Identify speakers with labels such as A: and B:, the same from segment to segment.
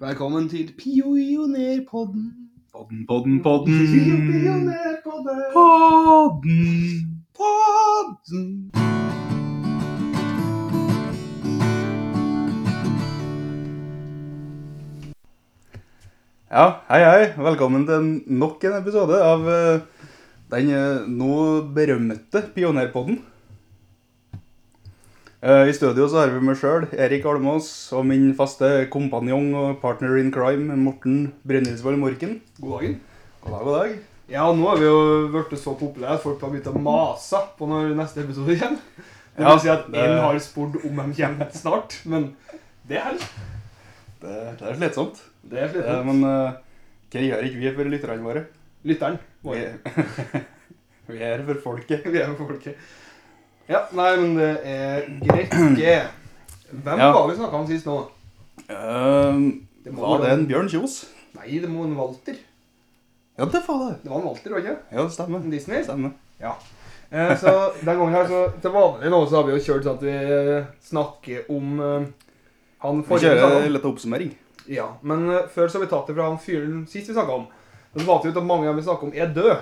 A: Velkommen til Pionerpodden. Podden, podden, podden.
B: Pionerpodden!
A: Podden. Podden.
B: Ja, hei, hei. Velkommen til nok en episode av eh, den eh, nå berømte Pionerpodden. Eh, I studio så har vi meg sjøl, Erik Almås, og min faste kompanjong og partner in crime, Morten Brynildsvold Morken.
A: God dagen.
B: God dag, god dag.
A: Ja, nå er vi jo blitt så populære at folk har begynt å mase på når neste episode kommer. Det
B: Ja,
A: vil si at
B: det-
A: én har spurt om de kommer snart, men det er
B: Det, det er slitsomt.
A: Det er
B: Eh,
A: slitsomt.
B: men eh, hva gjør ikke vi for lytterne våre?
A: Lytteren.
B: Vi,
A: vår.
B: vi er her for folket.
A: Vi er med folket. Ja, nei, men det er greit. det. Hvem
B: Ja.
A: var vi snakka om sist nå?
B: Eh,
A: Det må
B: var
A: være-
B: det en Bjørn Kjos?
A: Nei, det må en Walter.
B: Ja, det var det.
A: Det var en Walter, var det ikke?
B: Ja, det stemmer.
A: En Disney.
B: Stemmer.
A: Eh, så den gangen her, så til vanlig nå, så har vi jo kjørt sånn at vi eh, snakker om eh, han
B: Vi
A: forrige vi
B: kjører
A: snakket om.
B: litt oppsummering.
A: Ja, men eh, før så har vi tatt det fra han fyren sist vi snakka om. Og så fant vi ut at mange av dem vi snakket om, er døde.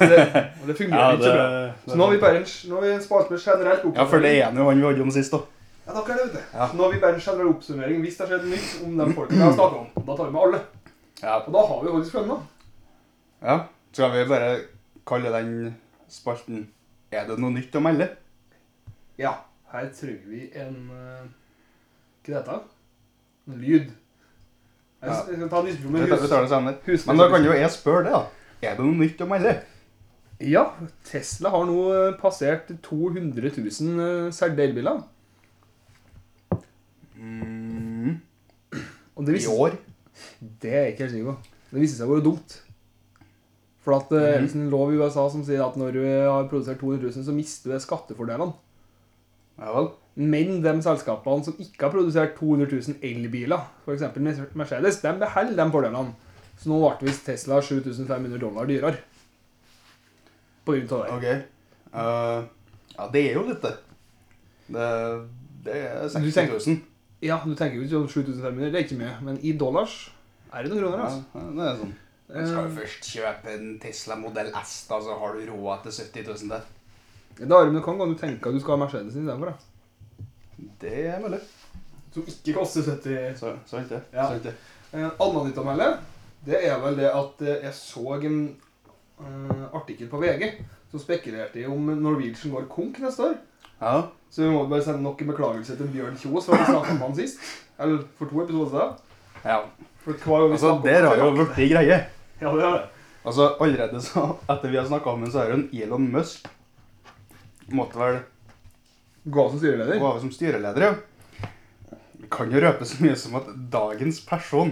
A: Så det, og det fungerer ikke så bra. Så nå har vi bare en, nå har vi en spareplan generelt opp.
B: Ja, for det ene jo han vi hadde om sist, da.
A: Ja, dere er det, vet du.
B: Ja.
A: Så nå har vi bare en generell oppsummering hvis det har skjedd nytt om de folkene vi har snakket om. Da tar vi med alle.
B: Ja.
A: Og da har vi jo faktisk skjønna.
B: ja. Skal vi bare kalle den spalten Er det noe nytt å melde?
A: Ja, her trenger vi en eh, Hva det heter det? En lyd. Jeg,
B: Ja.
A: s- jeg skal ta en diskusjon
B: Vi
A: med
B: tar,
A: hus.
B: vi tar det senere.
A: hus
B: Men da kan jo jeg spørre det, da. Er det noe nytt å melde?
A: Ja, Tesla har nå eh, passert 200 000 eh, solgte elbiler.
B: Mm.
A: Og det,
B: I
A: viste,
B: år?
A: det er jeg ikke helt sikker på. Det viste seg å være dumt. For at eh, det er
B: Mhm.
A: en lov i USA som sier at når du eh, har produsert 200 000, så mister du skattefordelene.
B: Ja vel.
A: Men de selskapene som ikke har produsert 200 000 elbiler, f.eks. Mercedes, de beholder de fordelene. Så nå ble visst Tesla 7500 dollar dyrere. På grunn av det.
B: OK. Eh, ja, det er jo litt, det. Det, det er
A: Du
B: 60
A: tenker-
B: 000.
A: Ja, du tenker jo ikke sånn om 7500, det er ikke mye. Men i dollars er det noen kroner,
B: Ja,
A: altså.
B: det er sånn. Du skal jo
A: Eh,
B: først kjøpe en Tesla modell S, da, så har du råd til 70 000 der.
A: Eh, Da er det men kan du tenke at du skal ha Mercedes istedenfor, da.
B: Det er mulig.
A: Som ikke koster 70
B: Så, sant det.
A: Ja.
B: Sant det.
A: En annen nytt å melde, det er vel det at eh, jeg så en eh, artikkel på VG som spekulerte i om Norwegian går konk neste år.
B: Ja.
A: Så vi må bare sende nok en beklagelse til Bjørn Kjos, for vi snakket om han sist. Eller for to episoder siden.
B: ja.
A: For hver gang vi
B: Altså, der har jo blitt ei greie.
A: Ja, det er det.
B: Altså, allerede så, etter vi har snakka om den, så er det en Elon Musk Måtte vel
A: Gå av som styreleder.
B: gå av som styreleder, ja. Vi kan jo røpe så mye som at dagens person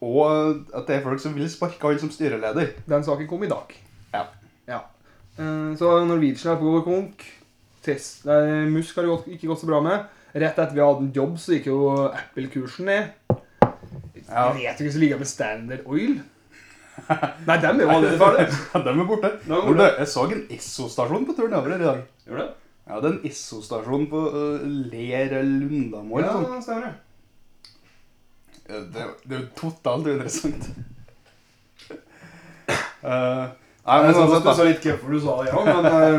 B: Og at det er folk som vil sparke han som styreleder.
A: Den saken kom i dag.
B: Ja.
A: Ja. Eh, Så Norwegian er på god konk. Tesla, eh, Musk har det gått, ikke gått så bra med. Rett etter vi hadde en jobb, så gikk jo Apple-kursen ned.
B: Ja.
A: Jeg vet jo ikke hva som ligger med Standard Oil. Nei, dem er jo allerede ferdig.
B: De er borte.
A: De er borte.
B: Hvor det- Jeg så en Esso-stasjon på tur nedover her i dag.
A: Gjør det?
B: Ja, det er en Esso-stasjon på uh, Ler eller Lundamo eller
A: Ja,
B: sånn.
A: stemmer det.
B: Ja, Eh, Det, det er jo totalt uinteressant. Eh, nei, men
A: Jeg
B: uansett,
A: synes du
B: da.
A: sa litt hvorfor du sa det, ja, men eh,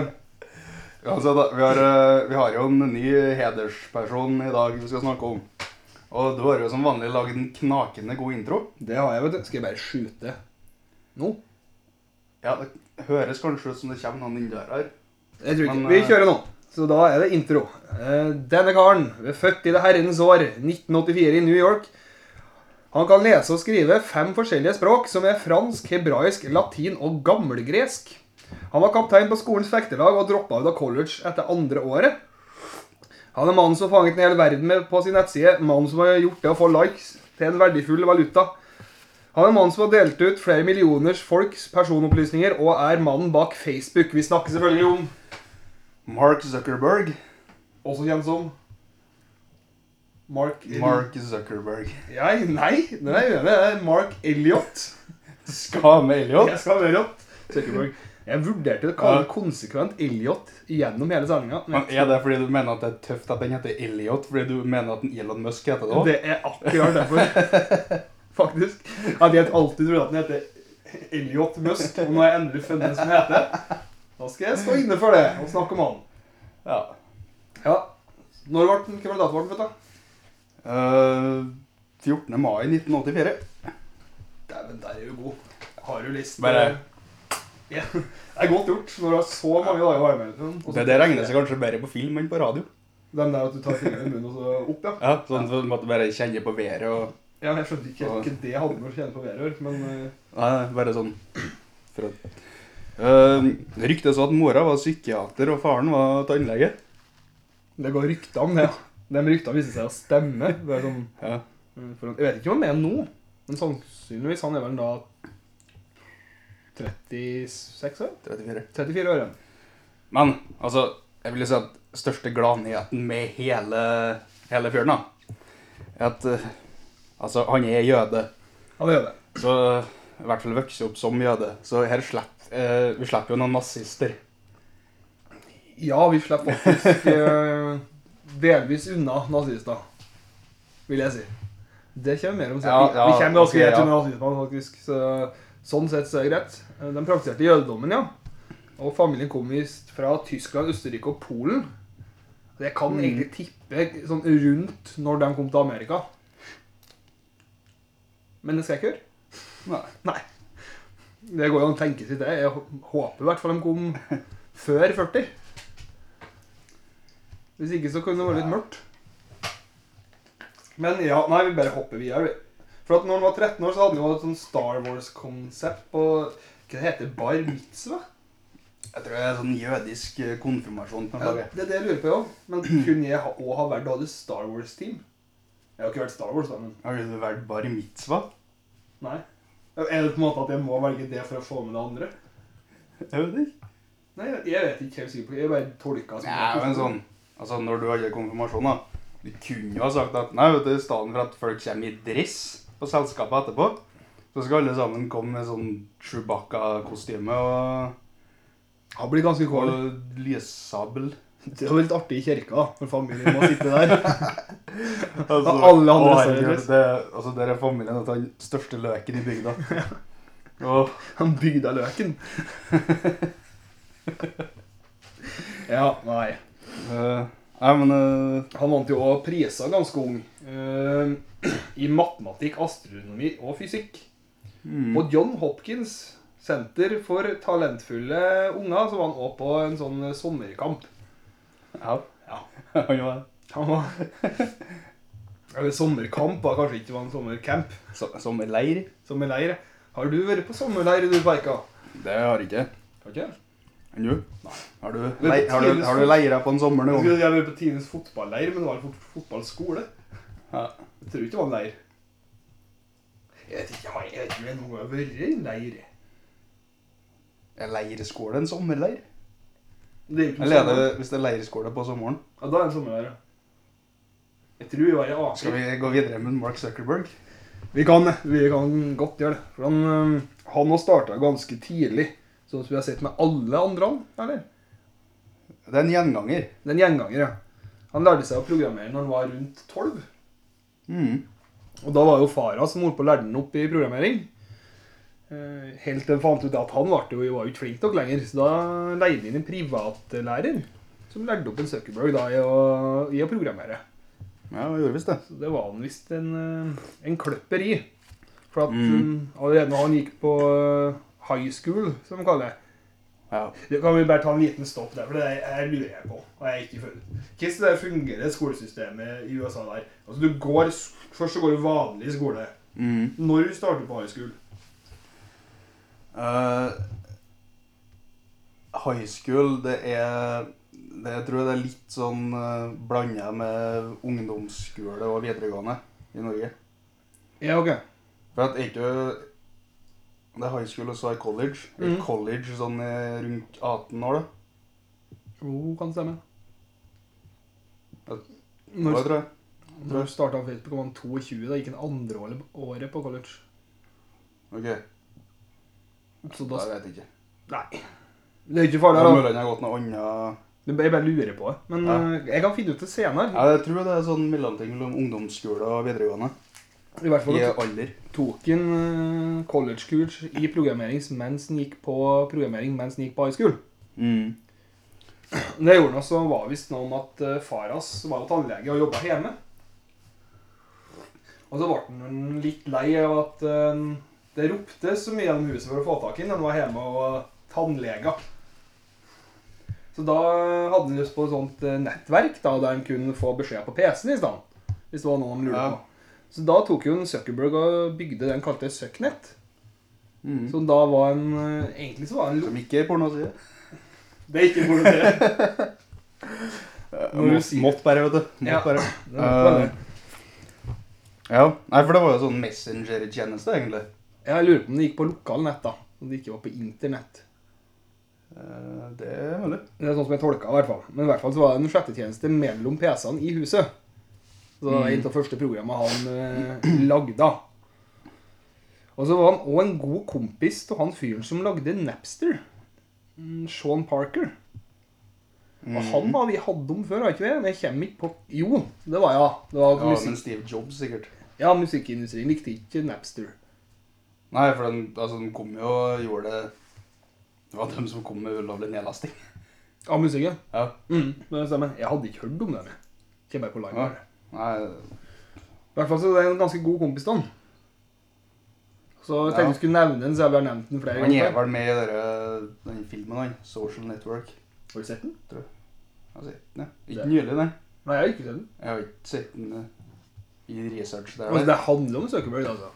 B: Uansett, da. Vi har, eh, vi har jo en ny hedersperson i dag vi skal snakke om. Og du har jo som vanlig lagd en knakende god intro.
A: Det har jeg, vet du. Skal jeg bare skyte nå?
B: Ja, Det høres kanskje ut som det kommer noen inn døra her.
A: Jeg tror ikke.
B: Men,
A: Vi
B: eh,
A: kjører nå. Så da er det intro. Eh, Denne karen, ved født i det herrens år, 1984 i New York. Han kan lese og skrive fem forskjellige språk, som er fransk, hebraisk, latin og gammelgresk. Han var kaptein på skolens fektelag og droppa ut av college etter andre året. Han er mannen som fanget en hel verden med på sin nettside, mannen som har gjort det å få likes til en verdifull valuta. Han er mannen som har delt ut flere millioners folks personopplysninger, og er mannen bak Facebook. Vi snakker selvfølgelig om
B: Mark Zuckerberg.
A: også kjent som Mark
B: Mark Zuckerberg.
A: Ja, nei, nei, nei, nei, Mark Elliot.
B: Skal med Elliot.
A: Jeg skal høre opp. Zuckerberg. Jeg vurderte å kalle
B: Ja.
A: den konsekvent Elliot gjennom hele sendinga.
B: Men Er det fordi du mener at det er tøft at den heter Elliot? Fordi du mener at den Elon Musk heter det òg?
A: Det er akkurat derfor. Faktisk. At jeg alltid trodde at den heter Elliot Musk, og nå har jeg endelig funnet en som heter det. Da skal jeg stå inne for det og snakke om han.
B: Ja.
A: Ja. Når ble den hvem var datoen født, da?
B: Eh, 14. mai 1984.
A: Dæven, der er du god. Har du list?
B: Bare-
A: Ja. Det er godt gjort når du har så mange dager å være med. liksom. Og så-
B: Det, det regner seg kanskje bedre på film enn på radio.
A: Den der at du tar fingeren i munnen og så opp, ja.
B: Ja, Sånn at du måtte bare kjenne på været og
A: Ja, men Jeg skjønte ikke helt hva det hadde med å kjenne på været å gjøre, men eh,
B: Nei, nei, bare sånn for at Eh, Ryktet sa at mora var psykiater og faren var tannlege.
A: det går rykter om det. ja. De ryktene viste seg å stemme. Det er sånn...
B: Ja.
A: Mm, For han, jeg vet ikke om han er nå, men sannsynligvis han er vel da 36 år?
B: 34.
A: 34 år, ja.
B: Men altså, jeg vil jo si at største gladnyheten med hele, hele fjøren, da, er at eh, altså, han er jøde.
A: Han er det.
B: Så eh, i hvert fall vokser opp som jøde. Så her slepp, eh, vi slipper jo noen nazister.
A: Ja, vi slipper faktisk eh, delvis unna nazister, vil jeg si. Det kommer mer om seg.
B: Ja, ja,
A: vi kommer ganske
B: ok,
A: greit
B: ja.
A: unna nazismen, faktisk. Så, sånn sett så er det greit. Eh, De praktiserte jødedommen, ja. Og familien kom visst fra Tyskland, Østerrike og Polen. Så Jeg
B: Mm.
A: kan egentlig tippe sånn rundt når de kom til Amerika. Men det skal jeg ikke gjøre.
B: Nei.
A: Nei. Det går jo an å tenke seg det. Jeg hå- håper i hvert fall de kom før 40. Hvis ikke så kunne det vært litt mørkt. Men ja, nei, vi bare hopper videre. vi. For at når han var 13 år, så hadde han jo et sånn Star Wars-konsept på Hva det heter Bar mitzva?
B: Jeg tror det er sånn jødisk eh, konfirmasjon. på en
A: Ja,
B: måte.
A: det er det jeg lurer på, jeg òg. Men kunne jeg ha- også ha valgt å ha det Star Wars-team? Jeg har jo ikke vært Star Wars, da, men
B: Har du vært bar mitzvah?
A: Nei. Er det på en måte at jeg må velge det for å få med det andre?
B: Jeg vet ikke.
A: Nei, jeg jeg vet ikke helt sikkert. på- Jeg bare tolka som
B: Nei, men sånn, altså Når du hadde konfirmasjon, da Du kunne jo ha sagt at nei, vet du, i stedet for at folk kommer i dress på selskapet etterpå, så skal alle sammen komme med sånn Chewbacca-kostyme og,
A: Han blir ganske kål.
B: og lyssabel.
A: Det var litt artig i kirka, da, når familien må sitte der.
B: Altså,
A: alle andre
B: å,
A: står i
B: herregud,
A: dress.
B: det, altså, Der er familien til den største løken i bygda. Åh,
A: Han bygde løken. Ja, nei.
B: eh, nei, men eh,
A: Han vant jo også priser ganske ung. eh, I matematikk, astronomi og fysikk.
B: mm.
A: På John Hopkins senter for talentfulle unger så var han også på en sånn sommerkamp.
B: Ja.
A: Ja.
B: Han var
A: Han var Eller sommerkamp var kanskje ikke det var en sommercamp.
B: so- som en leir.
A: Sommerleir. Har du vært på sommerleir, du, Berka?
B: Det har jeg ikke.
A: Har ikke?
B: Enn du? Har du,
A: Men
B: lei- har du,
A: tidligst-
B: har du leira på en sommer
A: Jeg
B: nå?
A: skulle si jeg var på Tines fotballeir, men det var en fot fotballskole.
B: Ja.
A: Jeg tror ikke det var en leir. Jeg vet ikke, jeg har- jeg vet ikke om jeg noen gang har vært i en leir.
B: Er leirskole en sommerleir?
A: Det er jo ikke noe
B: Eller er det,
A: sommer.
B: hvis det er leirskole på sommeren?
A: Ja, da er det en sommerleir, ja. Jeg tror vi var i
B: Skal
A: Aker.
B: vi gå videre med Mark Zuckerberg?
A: Vi kan, vi kan godt gjøre det. For han, øhm, han nå starta ganske tidlig, sånn som vi har sett med alle andre, han, eller?
B: Det er en gjenganger.
A: Den gjenganger, ja. Han lærte seg å programmere når han var rundt tolv.
B: Mm.
A: Og da var jo fara som holdt på å lære den opp i programmering. Eh, Helt til han fant ut at han var jo, var jo ikke flink nok lenger, så da leide han inn en privatlærer som lærte opp en Zuckerberg da, i, å, i å programmere.
B: Ja, det gjorde visst det.
A: Så det var han visst en, eh, en kløpper i. For at
B: Mm.
A: eh, allerede når han gikk på eh, high school, som de kaller det
B: Ja.
A: det kan vi bare ta en liten stopp der, for det her lurer jeg på. og jeg er ikke funnet. Hvordan det fungerer skolesystemet i USA der? Altså, du går, Først så går du vanlig skole.
B: Mm.
A: Når du starter på high school
B: Eh, high school, det er det, Jeg tror det er litt sånn uh, blanda med ungdomsskole og videregående i Norge.
A: Ja, ok.
B: For at er ikke Det er high school, og så er college. Er
A: Mm.
B: College sånn eh, rundt 18 år, da.
A: Jo, kan det stemme.
B: Ja, Hva
A: Når,
B: tror jeg?
A: når starta han Facebook, var han 22. Da gikk han andre året- året på college.
B: Ok,
A: Så
B: da
A: da
B: vet jeg ikke.
A: Nei. Det er ikke
B: Det
A: farlig.
B: er
A: da.
B: mulig han har gått noe annet
A: Du- Jeg bare lurer på det. Men
B: Ja.
A: eh, jeg kan finne ut det senere.
B: Ja, Jeg tror det er sånn mellomting mellom ungdomsskole og videregående.
A: I hvert fall
B: I
A: at
B: alder.
A: tok han eh, college-kurs i programmering mens han gikk på programmering mens han gikk på high school.
B: Mm.
A: Det gjorde han også var visst noe om at eh, far hans var jo tannlege og jobba hjemme. Og så ble han litt lei av at eh, det ropte så mye gjennom huset for å få tak i ham. Han var hjemme og tannlega. Så da hadde han lyst på et sånt eh, nettverk da, der han kunne få beskjed på PC-en i stedet. Hvis det var noe han lurte
B: Ja.
A: på. Så da tok jo en Zuckerberg og bygde det han kalte Søknett.
B: Mm.
A: Som da var en eh, Egentlig så var det en
B: Som ikke er pornoside.
A: Det er ikke politiet. Når du
B: Må-
A: sier-
B: Måtte bare, vet du. Måtte
A: Ja.
B: bare.
A: Det var det.
B: Ja. Nei, for det var jo sånn messenger-tjeneste, egentlig.
A: Jeg lurer på om det gikk på lokalnett, da. Om det ikke var på internett.
B: Eh, Det er mulig.
A: Det er sånn som jeg tolka, i hvert fall. Men i hvert fall så var det en slettetjeneste mellom PC-ene i huset. Så det var et av de første programma han eh, lagde. da. Og så var han òg en god kompis av han fyren som lagde Napster. Mm, Sean Parker. Og
B: Mm.
A: han var vi hadde om før, har ikke vi? Men jeg kommer ikke på Jo, det var ja. Det var
B: Ja, men
A: musikk.
B: Steve Jobs, sikkert.
A: ja, musikkindustrien likte ikke Napster.
B: Nei, for den, altså, den kom jo og gjorde det Det var dem som kom med ulovlig nedlasting.
A: Av musikken.
B: Ja.
A: Mm, det stemmer. Jeg hadde ikke hørt om det. Kommer bare på live.
B: Ja.
A: her.
B: Nei,
A: I hvert fall så er det en ganske god kompis da. Så jeg tenkte
B: Ja.
A: jeg skulle nevne den, så jeg har nevnt den flere
B: han er
A: ganger.
B: vel med i dere- den filmen, han. 'Social Network'.
A: Har du sett den?
B: Jeg har sett den, ja. Ikke
A: Det-
B: nylig, nei.
A: Nei, jeg har ikke sett den.
B: Jeg har ikke sett den eh, i research der.
A: Altså,
B: nei.
A: det handler om Zuckerberg, altså.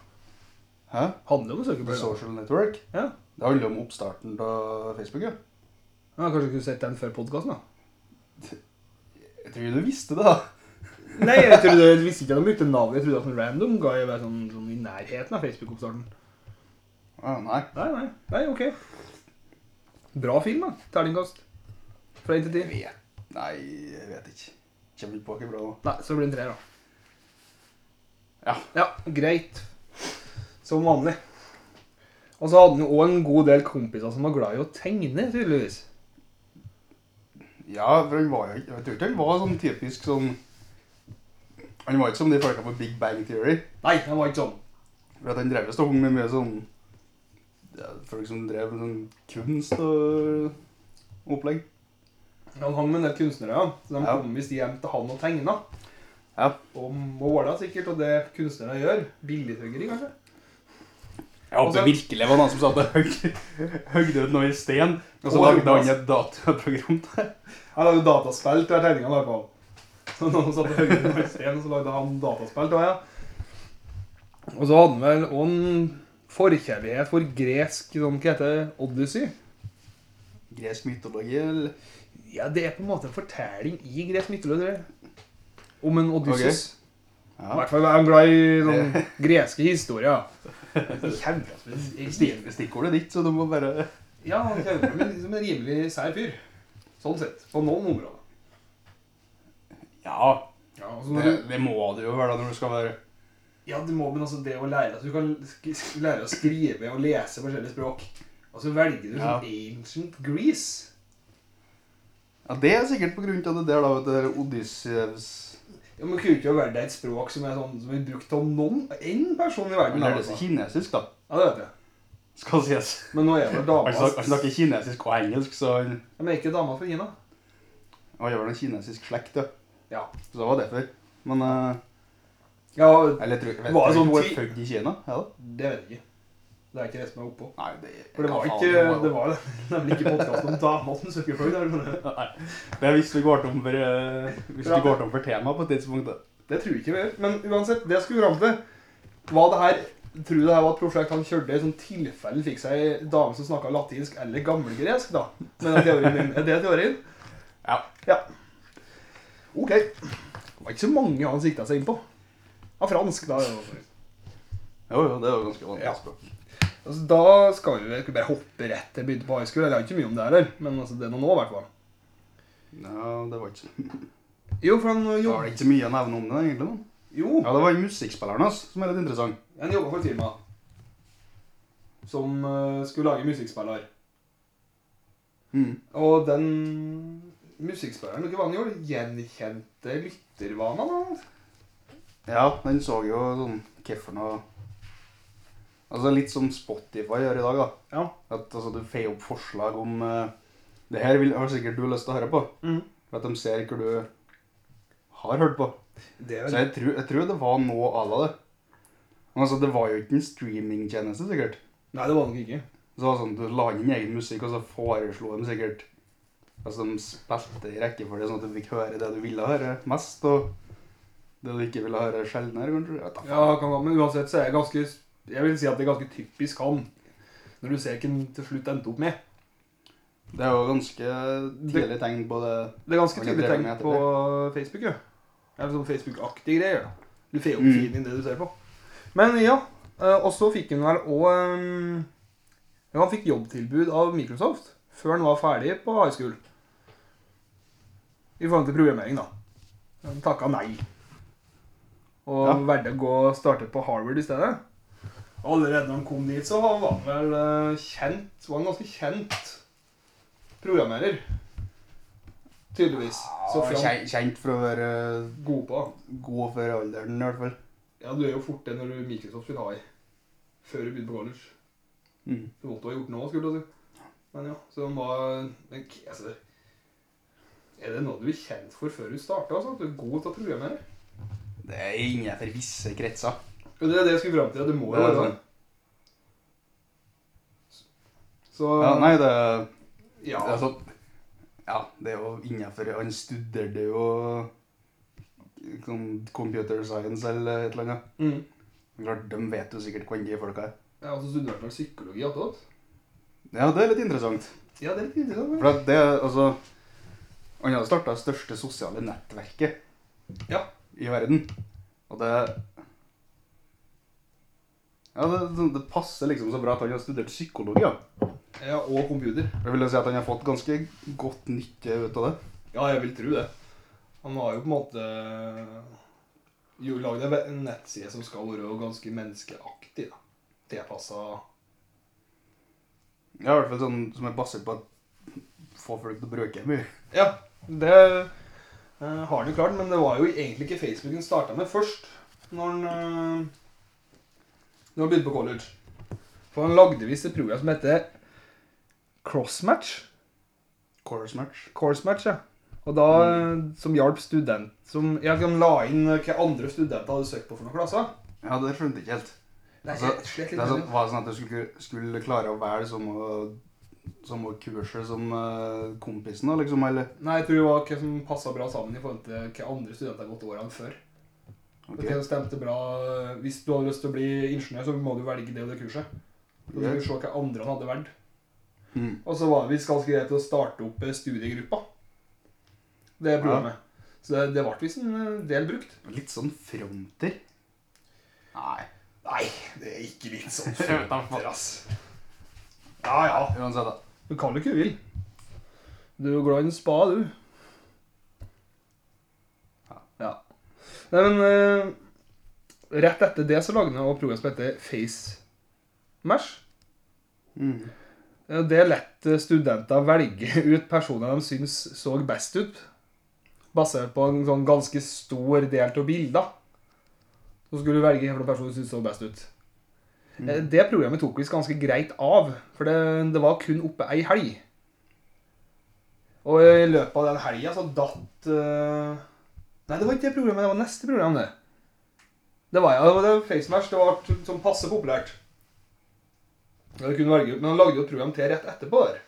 B: Hæ?
A: Handler om
B: The
A: Zuckerberg. da.
B: Social Network?
A: Ja.
B: Det handler om oppstarten av Facebook, ja.
A: Ja, kanskje du kunne sett den før podcasten, da.
B: Jeg tror du visste det, da.
A: Nei, jeg trodde, jeg visste ikke at de brukte navnet. Jeg trodde at en random guy var sånn, sånn i nærheten av Facebook-oppstarten.
B: Ah, nei.
A: Nei, nei. Nei, ok. Bra film, da. Terningkast. Fra 1 til 10.
B: vet. Nei, jeg vet ikke. Kommer ikke på ikke bra nå.
A: Nei, så blir det en 3, da.
B: Ja.
A: Ja, greit. Som vanlig. Og så hadde han jo òg en god del kompiser som var glad i å tegne, tydeligvis.
B: Ja, for han var jo ikke Jeg tror ikke han var sånn typisk sånn Han var ikke som de folka på Big Bang Theory.
A: Nei, han var ikke sånn.
B: For at han drev og hung med mye sånn ja, Folk som drev med sånn kunst og opplegg.
A: Han hang med en del kunstnere, ja. Så de
B: Ja.
A: kom visst hjem til han og tegna.
B: Ja.
A: Og måla sikkert, og det kunstnere gjør. Billighuggeri, kanskje.
B: Jeg
A: Og så-
B: håper virkelig det var noen som sa at det høgde ut noe i sten, og så
A: Og
B: lagde han
A: Jonas.
B: et dataprogram der.
A: Han lagde dataspill til hver tegning han lagde. Så noen satte høyre på en sten, så lagde han dataspill til hver. Og så hadde han vel også en forkjærlighet for gresk sånn, Hva heter det? Odyssey?
B: Gresk mytologi, eller?
A: Ja, det er på en måte en fortelling i gresk mytologi. tror jeg. Om en Odysseus. I
B: Ja.
A: hvert fall er han glad i sånn greske historier. Kjempespesielt.
B: Stikk- Stikkordet ditt, så du må bare
A: Ja, han kjenner meg liksom en rimelig sær fyr. Sånn sett. På noen områder.
B: Ja,
A: Ja, altså, når
B: det,
A: du,
B: det må du jo være da når du skal være
A: ja, du må, men altså det å lære at Du kan sk sk- lære å skrive og lese forskjellige språk. Og så velger du
B: Ja.
A: sånn ancient Greece.
B: Ja, det er sikkert på grunn av det der, da, vet du. Odyssevs
A: Ja, men Kunne ikke være det et språk som er sånn som er brukt av noen én person i verden?
B: Han
A: da,
B: lærer seg
A: altså.
B: kinesisk, da.
A: Ja, det vet jeg.
B: Skal sies.
A: Men nå er vel
B: Han
A: dama
B: snak- han snakker kinesisk og engelsk, så han
A: Ja, Men er ikke dama fra Kina?
B: Han gjør vel en kinesisk slekt, ja.
A: Ja.
B: Så det var derfor. Men eh,
A: ja
B: Eller jeg tror jeg vet,
A: Var det
B: jeg tror
A: sånn
B: hun er
A: ti-
B: født i Kina? Ja, da.
A: det vet jeg ikke. Det er ikke det som er oppå.
B: Nei, det
A: For det var
B: hva faen,
A: ikke
B: hun
A: Det var nemlig ikke podkast om dama som søker folk. der.
B: Nei, det er hvis vi går tom for, eh, hvis
A: Ja.
B: vi går tom for tema på et tidspunkt. da.
A: Det tror jeg ikke vi gjør. Men uansett, det jeg skulle fram til, var det her Tror du det her var et prosjekt han kjørte i sånn tilfelle fikk seg ei dame som snakka latinsk eller gammelgresk, da? Men er teorien min. Er det teorien?
B: Ja.
A: Ja. OK. Det var ikke så mange han sikta seg inn på. Av fransk, da.
B: Jo, jo, det er jo ganske vanlig
A: Ja.
B: språk.
A: Altså, da skal vi vel ikke bare hoppe rett til begynte på high school. Jeg lærer ikke mye om det her, men altså, det er noe nå, i hvert fall.
B: Ja, det var ikke så
A: Jo, for han
B: Det var
A: jobber
B: ikke så mye å nevne om det, egentlig. men.
A: Jo,
B: Ja, det var musikkspilleren hans som er litt interessant.
A: han jobba for et firma som eh, skulle lage musikkspiller.
B: Mm.
A: Og den musikkspilleren dere vanliggjorde, gjenkjente lyttervanene hans.
B: Ja, den så jo sånn hvorfor noe Altså litt som Spotify gjør i dag, da.
A: Ja.
B: At altså, du får opp forslag om eh, Det her vil, har sikkert du lyst til å høre på.
A: Mm.
B: For at de ser hva du har hørt på.
A: Det er
B: Så
A: vel
B: jeg tror, jeg tror det var noe à la det. Men altså, det var jo ikke en streamingtjeneste, sikkert.
A: Nei, det var nok ikke.
B: Så det var sånn, Du la inn egen musikk, og så foreslo de sikkert Altså, De spilte i rekkefølge, sånn at du fikk høre det du ville høre mest, og det du ikke ville høre sjeldnere, kanskje. Jeg vet da faen.
A: Ja, kan være, Men uansett så er det ganske Jeg vil si at det er ganske typisk han. Når du ser hva han til slutt endte opp med.
B: Det er jo ganske tidlig tegn på det.
A: Det er ganske
B: Han er
A: tydelig
B: drevet
A: tegn
B: med
A: på Facebook, jo. Eller sånn Facebook-aktig greier. da. Du får opp
B: Mm.
A: feeden din det du ser på. Men ja. eh, Og så fikk han vel òg Ja, han fikk jobbtilbud av Microsoft før han var ferdig på high school. I forhold til programmering, da. Han takka nei. Og
B: Ja.
A: valgte å gå og starte på Harvard i stedet. Allerede når han kom dit, så var han vel eh, kjent Var han ganske kjent programmerer. Tydeligvis. Så
B: Ja,
A: Frank
B: kjen- Kjent for å være
A: god på.
B: god for alderen, i hvert fall.
A: Ja, du er jo fort det når du Microsoft vil ha i. Før du begynte på college.
B: Mm.
A: Du måtte ha gjort noe, skulle du si. Men ja, så han var men, k- altså, Er det noe du er kjent for før du starta? Altså? At du er god til å programmere?
B: Det er innenfor visse kretser.
A: Og det er det jeg skulle fram til. at Det må
B: Det
A: jo
B: er
A: være
B: sant.
A: sånn. Så
B: Ja, nei, det er
A: ja.
B: altså, Ja, det er jo innenfor Han studerte jo liksom, computer science eller et eller annet.
A: Mm.
B: Men Klart, De vet jo sikkert hvem de folka er.
A: Jeg har også studert vel psykologi attåt.
B: Ja, det er litt interessant.
A: Ja, det er litt interessant.
B: For at det er, altså Han hadde starta det største sosiale nettverket
A: Ja.
B: i verden. Og det Ja, det, det- det passer liksom så bra at han har studert psykologi. Ja.
A: da. Ja, og computer.
B: Jeg vil jo si at han har fått ganske godt nytte ut av det.
A: Ja, jeg vil tro det. Han har jo på en måte eh, jo lagd en ve- en nettside som skal være ganske menneskeaktig. da. Tilpassa
B: Ja, i hvert fall sånn som er basert på at få folk til å bruke mye.
A: Ja, det eh, har han jo klart, men det var jo egentlig ikke Facebook han starta med først. Når han, eh, når han begynte på college. For han lagde visst et program som heter Crossmatch.
B: Course match.
A: course match, ja. Og da,
B: Mm.
A: eh, som hjalp student som, Jeg kan la inn eh, hva andre studenter hadde søkt på for noen klasser.
B: Ja, det skjønte jeg ikke helt.
A: Det er
B: Altså,
A: helt slett
B: Det
A: litt
B: er sånn,
A: sånn.
B: var det sånn at du skulle, skulle klare å velge samme- samme kurset som eh, kompisen, da, liksom, eller?
A: Nei, jeg tror det var hva som passa bra sammen i forhold til hva andre studenter har gått årene før.
B: Ok.
A: Okay. stemte bra. Hvis du hadde lyst til å bli ingeniør, så må du velge det og det kurset. Og så
B: Ja.
A: skal du se hva andre han hadde valgt.
B: Mm.
A: Og så var det visst ganske greit å starte opp eh, studiegruppa. Det programmet. Så det, det ble visst en eh, del brukt.
B: Litt sånn fronter. Nei.
A: Nei, det er ikke litt sånn
B: fronter,
A: ass. Ja, ja.
B: Uansett, da.
A: Du kan jo ikke du vil. Du er jo glad i en spa, du. Ja. Nei, men eh, rett etter det så lagde han et program som heter Face Mash.
B: Mm.
A: Eh, Det lett studenter velge ut personer de syns så best ut, basert på en sånn ganske stor del av bilder. Så skulle du velge hvilken person du syntes så best ut. Eh, Det programmet tok visst ganske greit av, for det, det var kun oppe ei helg. Og i løpet av den helga så datt eh, Nei, det var ikke det programmet, det var neste program, det. Det var, ja, det var det FaceMatch. Det var t- sånn passe populært. Ja, du kunne velge ut, Men han lagde jo et program til rett etterpå. der.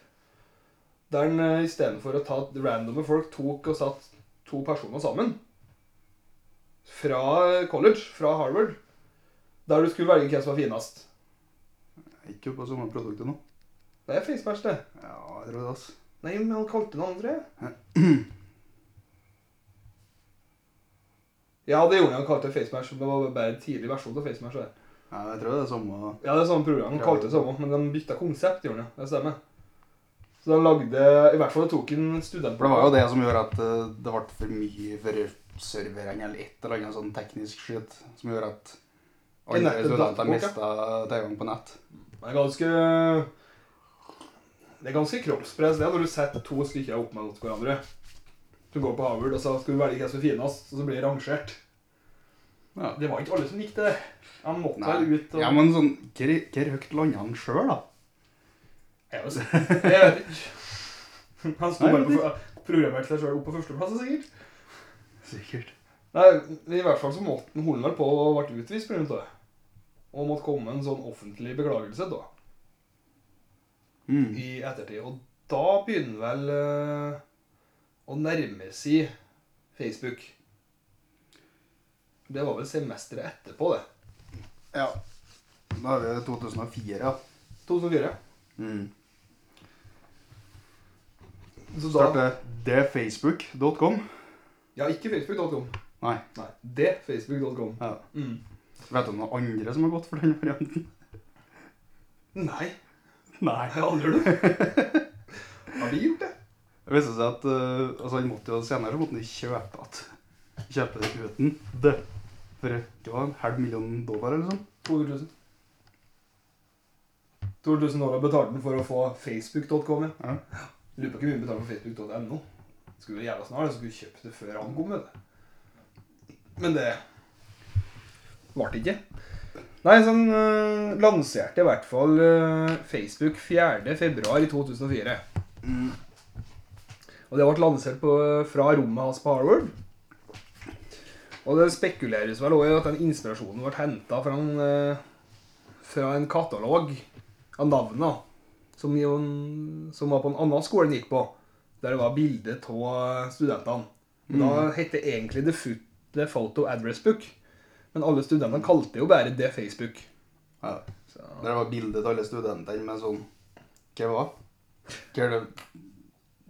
A: Der han eh, istedenfor å ta randome folk, tok og satt to personer sammen. Fra eh, college, fra Harvard. Der du skulle velge hvem som var finest.
B: Ikke på samme produktet nå.
A: Det er FaceMatch, det.
B: Ja, jeg tror det, ass.
A: Nei, men han kalte den andre. ja, det gjorde han. Han kalte det FaceMatch. men Det var bare en tidlig versjon av FaceMatch. det.
B: Ja, jeg tror det er samme
A: Ja, det er samme program. Han kalte det samme, men de bytta konsept, gjorde han. Det stemmer. Så de lagde I hvert fall tok en student
B: For det var jo det som gjorde at eh, det ble for mye for servering eller et eller annet sånn teknisk skit, som gjorde at
A: I
B: alle
A: nettet datt
B: studenter
A: bort, ja.
B: mista tilgang på nett.
A: Det er ganske Det er ganske kroppspress det er når du setter to stykker opp mot hverandre. Du går på Harvard, og så skal du velge hvem som er finest, og så blir det rangert.
B: Ja.
A: Det var ikke alle som likte det. Han måtte
B: Nei.
A: vel ut og
B: Ja, men sånn, hvor hvor høyt landa han sjøl, da?
A: Jeg vet ikke. Jeg vet ikke. Han sto
B: Nei,
A: bare
B: jeg vet
A: på programmerte seg sjøl opp på førsteplass, sikkert.
B: Sikkert.
A: Nei, I hvert fall så måtte han holde vel på og ble utvist pga. det. Og måtte komme med en sånn offentlig beklagelse da,
B: Mm.
A: i ettertid. Og da begynner vel eh, å nærme seg Facebook. Det var vel semesteret etterpå, det.
B: Ja. Da er det 2004, ja.
A: 2004.
B: Mm.
A: Så da,
B: Starte thefacebook.com.
A: ja, ikke facebook.com.
B: Nei.
A: Nei, det facebook.com.
B: Ja.
A: Mm.
B: Vet du om noen andre som har gått for den varianten?
A: Nei,
B: Nei.
A: jeg har aldri gjort det. Har de gjort det?
B: Det viste seg at eh, altså, han måtte jo senere så måtte han kjøpe at, kjøpe det uten det. For det var en halv million dollar eller sånn.
A: 200 000. 200 000 dollar betalte den for å få facebook.com. ja.
B: Ja.
A: Lurer på hvor mye han betalte for facebook.no. Skulle være jævla snart, skulle vi kjøpt det før han kom med det. Men det varte ikke. Nei, sånn øh, lanserte i hvert fall øh, Facebook 4. februar i 2004. Og det ble lansert på, eh, fra rommet hans på Harvard. Og det spekuleres vel også i at den inspirasjonen ble henta fra, en, eh, fra en katalog av navna som, jo en- som var på en annen skole han gikk på, der det var bilde av studentene. Og
B: Mm.
A: Da het det egentlig The, Foot, The Photo Address Book, men alle studentene kalte det jo bare det Facebook.
B: Ja.
A: Så,
B: Der var bildet til alle studentene med sånn Hva var Hva er det?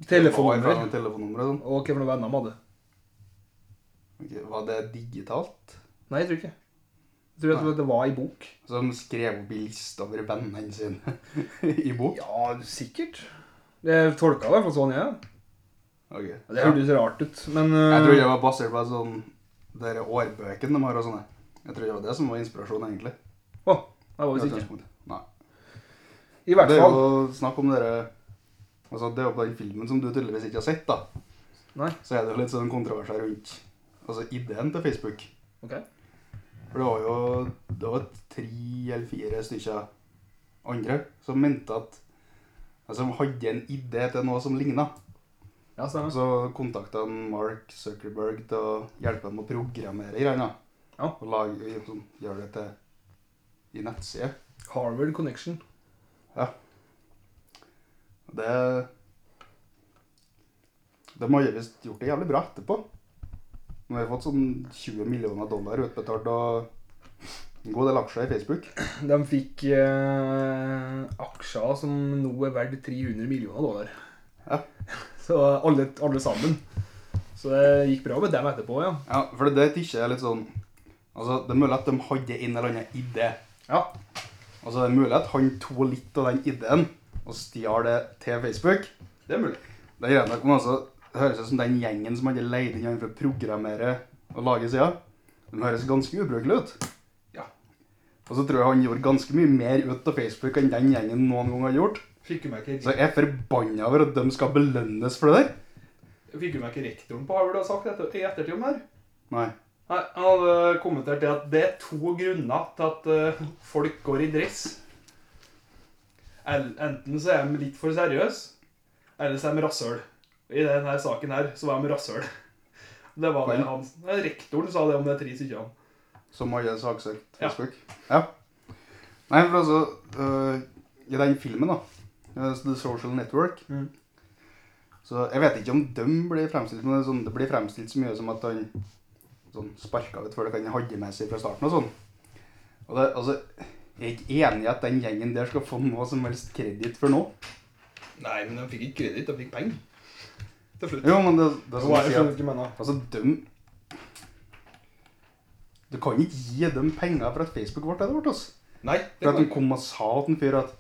A: telefonnummer
B: Hva er Telefonnummeret sånn.
A: og hva for noen venner de hadde.
B: Ok, Var det digitalt?
A: Nei, jeg tror ikke. Jeg tror at det var i bok.
B: Så de skrev opp i lista over vennene sine i bok?
A: Ja, sikkert. Det tolka i hvert fall sånn, jeg.
B: Ok.
A: Ja. Det hørtes rart ut, men eh,
B: Jeg tror det var basert på sånn Dere årbøkene de har og sånne. Jeg tror det var det som var inspirasjonen, egentlig.
A: Å, der var vi sikre.
B: Utgangspunktet. Nei.
A: I hvert
B: Det er
A: fall.
B: jo snakk om dere Altså, det er jo på den filmen som du tydeligvis ikke har sett, da.
A: Nei.
B: Så er det jo litt sånn kontroverser rundt altså, ideen til Facebook.
A: Ok.
B: For det var jo det var tre eller fire stykker andre som mente at Altså, som hadde en idé til noe som ligna.
A: Ja, stemmer.
B: Så kontakta han Mark Zuckerberg til å hjelpe ham å programmere greiene.
A: Ja.
B: Og lage, sånn, gjøre det til i nettside.
A: Harvard Connection.
B: Det De har visst gjort det jævlig bra etterpå. Nå har vi fått sånn 20 millioner dollar utbetalt og en god del aksjer i Facebook.
A: De fikk eh, aksjer som nå er verdt 300 millioner dollar.
B: Ja.
A: Så alle, alle sammen. Så det gikk bra med dem etterpå, ja.
B: Ja, for det er ikke er litt sånn Altså, Det er mulig at de hadde en eller annen idé.
A: Ja.
B: Altså, Det er mulig at han tog litt av den ideen og stjal det til Facebook.
A: Det er mulig.
B: Det er greit nok, men altså, det høres ut som den gjengen som hadde leid inn han for å programmere og lage sida. De høres ganske ubrukelig ut.
A: Ja.
B: Og så tror jeg han gjorde ganske mye mer ut av Facebook enn den gjengen noen gang har gjort.
A: Fikk du med ikke,
B: Så jeg er forbanna over at de skal belønnes for det der.
A: fikk du med ikke rektoren på Harvard har sagt etter, i ettertid om det her?
B: Nei.
A: Nei, Han hadde kommentert det at det er to grunner til at eh, folk går i dress. El- Enten så er de litt for seriøse, eller så er de rasshøl. I denne saken her så var de rasshøl. Det var det
B: Oi.
A: han, nei, Rektoren sa det om det tre stykkene.
B: Som alle saksøkt
A: Ja.
B: Facebook. Ja. Nei, for altså øh, I den filmen, da, øh, The Social Network
A: Mhm.
B: Så jeg vet ikke om dem blir fremstilt men det, er sånn, det blir fremstilt så mye som at han sånn, sparka ut folk han hadde med seg fra starten og sånn. Og det, altså, jeg er ikke enig i at den gjengen der skal få noe som helst kreditt for noe.
A: Nei, men de fikk ikke kreditt, de fikk penger. Til slutt.
B: Jo, men det,
A: Jo,
B: det er sånn å
A: jeg
B: si at
A: skjønner ikke hva du mener.
B: Altså, dem Du kan ikke gi dem penger for at Facebook ble det det ble. Altså.
A: Nei,
B: For
A: det
B: at
A: kan
B: han kom og sa til en fyr at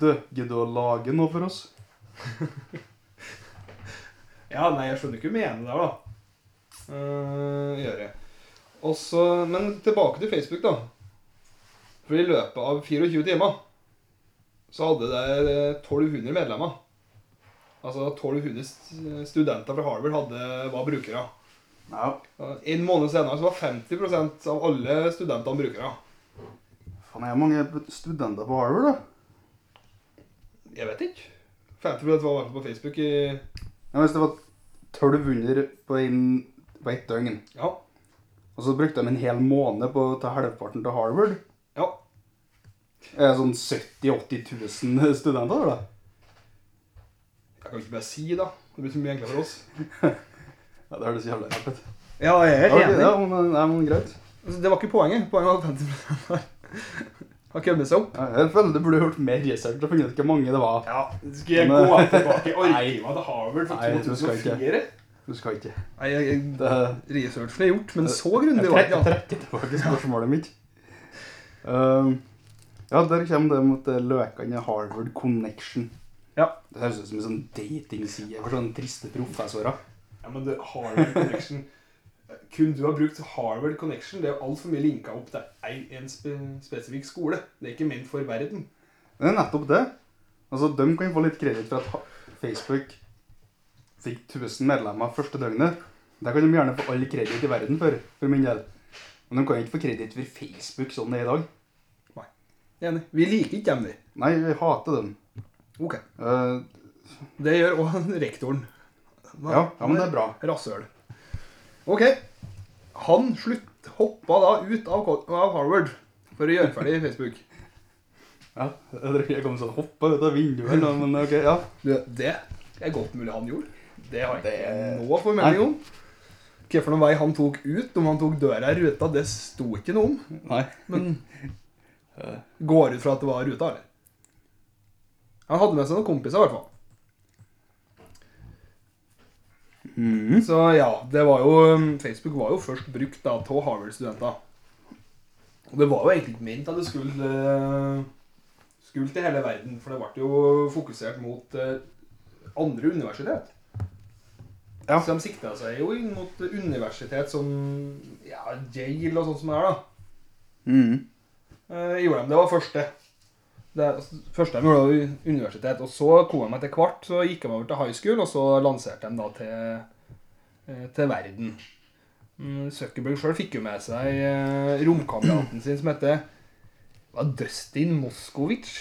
B: Du, gidder du å lage noe for oss?
A: Ja, nei, jeg skjønner ikke hva du mener der, da. Eh, gjør jeg. Og så- men tilbake til Facebook, da. For i løpet av 24 timer så hadde det eh, 1200 medlemmer. Altså 1200 st- studenter fra Harvard hadde, var brukere.
B: Ja.
A: Og En måned senere så var 50 av alle studentene brukere.
B: Faen, jeg har mange studenter på Harvard, da.
A: Jeg vet ikke. 50 var i hvert fall på Facebook i
B: Jeg visste det var 1200 på, en, på ett døgn.
A: Ja.
B: Og så brukte de en hel måned på å ta halvparten til Harvard.
A: ja.
B: Det er sånn 70 000-80 000 studenter, da.
A: Jeg kan ikke bare si, da. Det blir så mye enklere for oss.
B: Ja, Det høres jævlig rart ut.
A: Ja, jeg
B: Ja, ok, ja, men, ja, men greit.
A: Altså, det var ikke poenget. Poenget var at 50 har- har kommet seg opp.
B: Ja, Jeg føler du burde gjort mer research og funnet ut hvor mange det var.
A: Ja, Skal jeg
B: Men-
A: gå tilbake i arkivet til Harvard fra
B: Nei, du skal ikke.
A: 2004?
B: Du skal ikke.
A: Nei, jeg, jeg,
B: Det,
A: researchen er gjort, men så
B: jeg
A: grundig var det
B: trekker,
A: ikke. altså.
B: trekker tilbake spørsmålet mitt. Ehm, ja, der kommer det mot det løkende Harvard Connection.
A: Ja.
B: Det høres ut som en sånn datingside for sånne triste professorer.
A: Ja, men det, Harvard Connection Kun du har brukt Harvard Connection. Det er altfor mye linka opp til en, en spe, spesifikk skole. Det er ikke ment for verden.
B: Det er nettopp det. Altså, De kan få litt kreditt for at ha- Facebook fikk 1000 medlemmer første døgnet. Der kan de gjerne få all kreditt i verden for, for min del. Men de kan ikke få kreditt for Facebook sånn det er i dag.
A: Enig. Vi liker ikke dem, vi.
B: Nei, jeg hater dem.
A: Ok.
B: Eh,
A: Det gjør òg rektoren.
B: ja, ja, men det er bra.
A: Rasshøl. Ok. Han slutt hoppa da ut av, Col- av Harvard for å gjøre ferdig Facebook.
B: Ja, Jeg tror ikke jeg kommer til å hoppe ut av vinduet eller noe, men ok, ja.
A: Du, det er godt mulig han gjorde. Det har jeg
B: Det-
A: ikke noe formening om. Hvilken vei han tok ut, om han tok døra i ruta, det sto ikke noe om.
B: Nei.
A: Men
B: Eh,
A: går ut fra at det var ruta, eller? Han hadde med seg noen kompiser, i hvert fall.
B: mhm.
A: Så ja, det var jo um, Facebook var jo først brukt da av Harvard-studenter. Og det var jo egentlig ikke ment at det skulle eh, skulle til hele verden, for det ble jo fokusert mot eh, andre universitet.
B: Ja.
A: Så de sikta seg jo inn mot universitet som ja, Yale og sånt som det er, da.
B: Mhm.
A: Eh, gjorde de. Det var første. Det er- første de gjorde, var jo universitet. Og så kom de etter hvert, så gikk de over til high school, og så lanserte de da til, eh, til verden. Mm, Zuckerberg sjøl fikk jo med seg eh, romkameraten sin som heter hva, Dustin Moskowitz.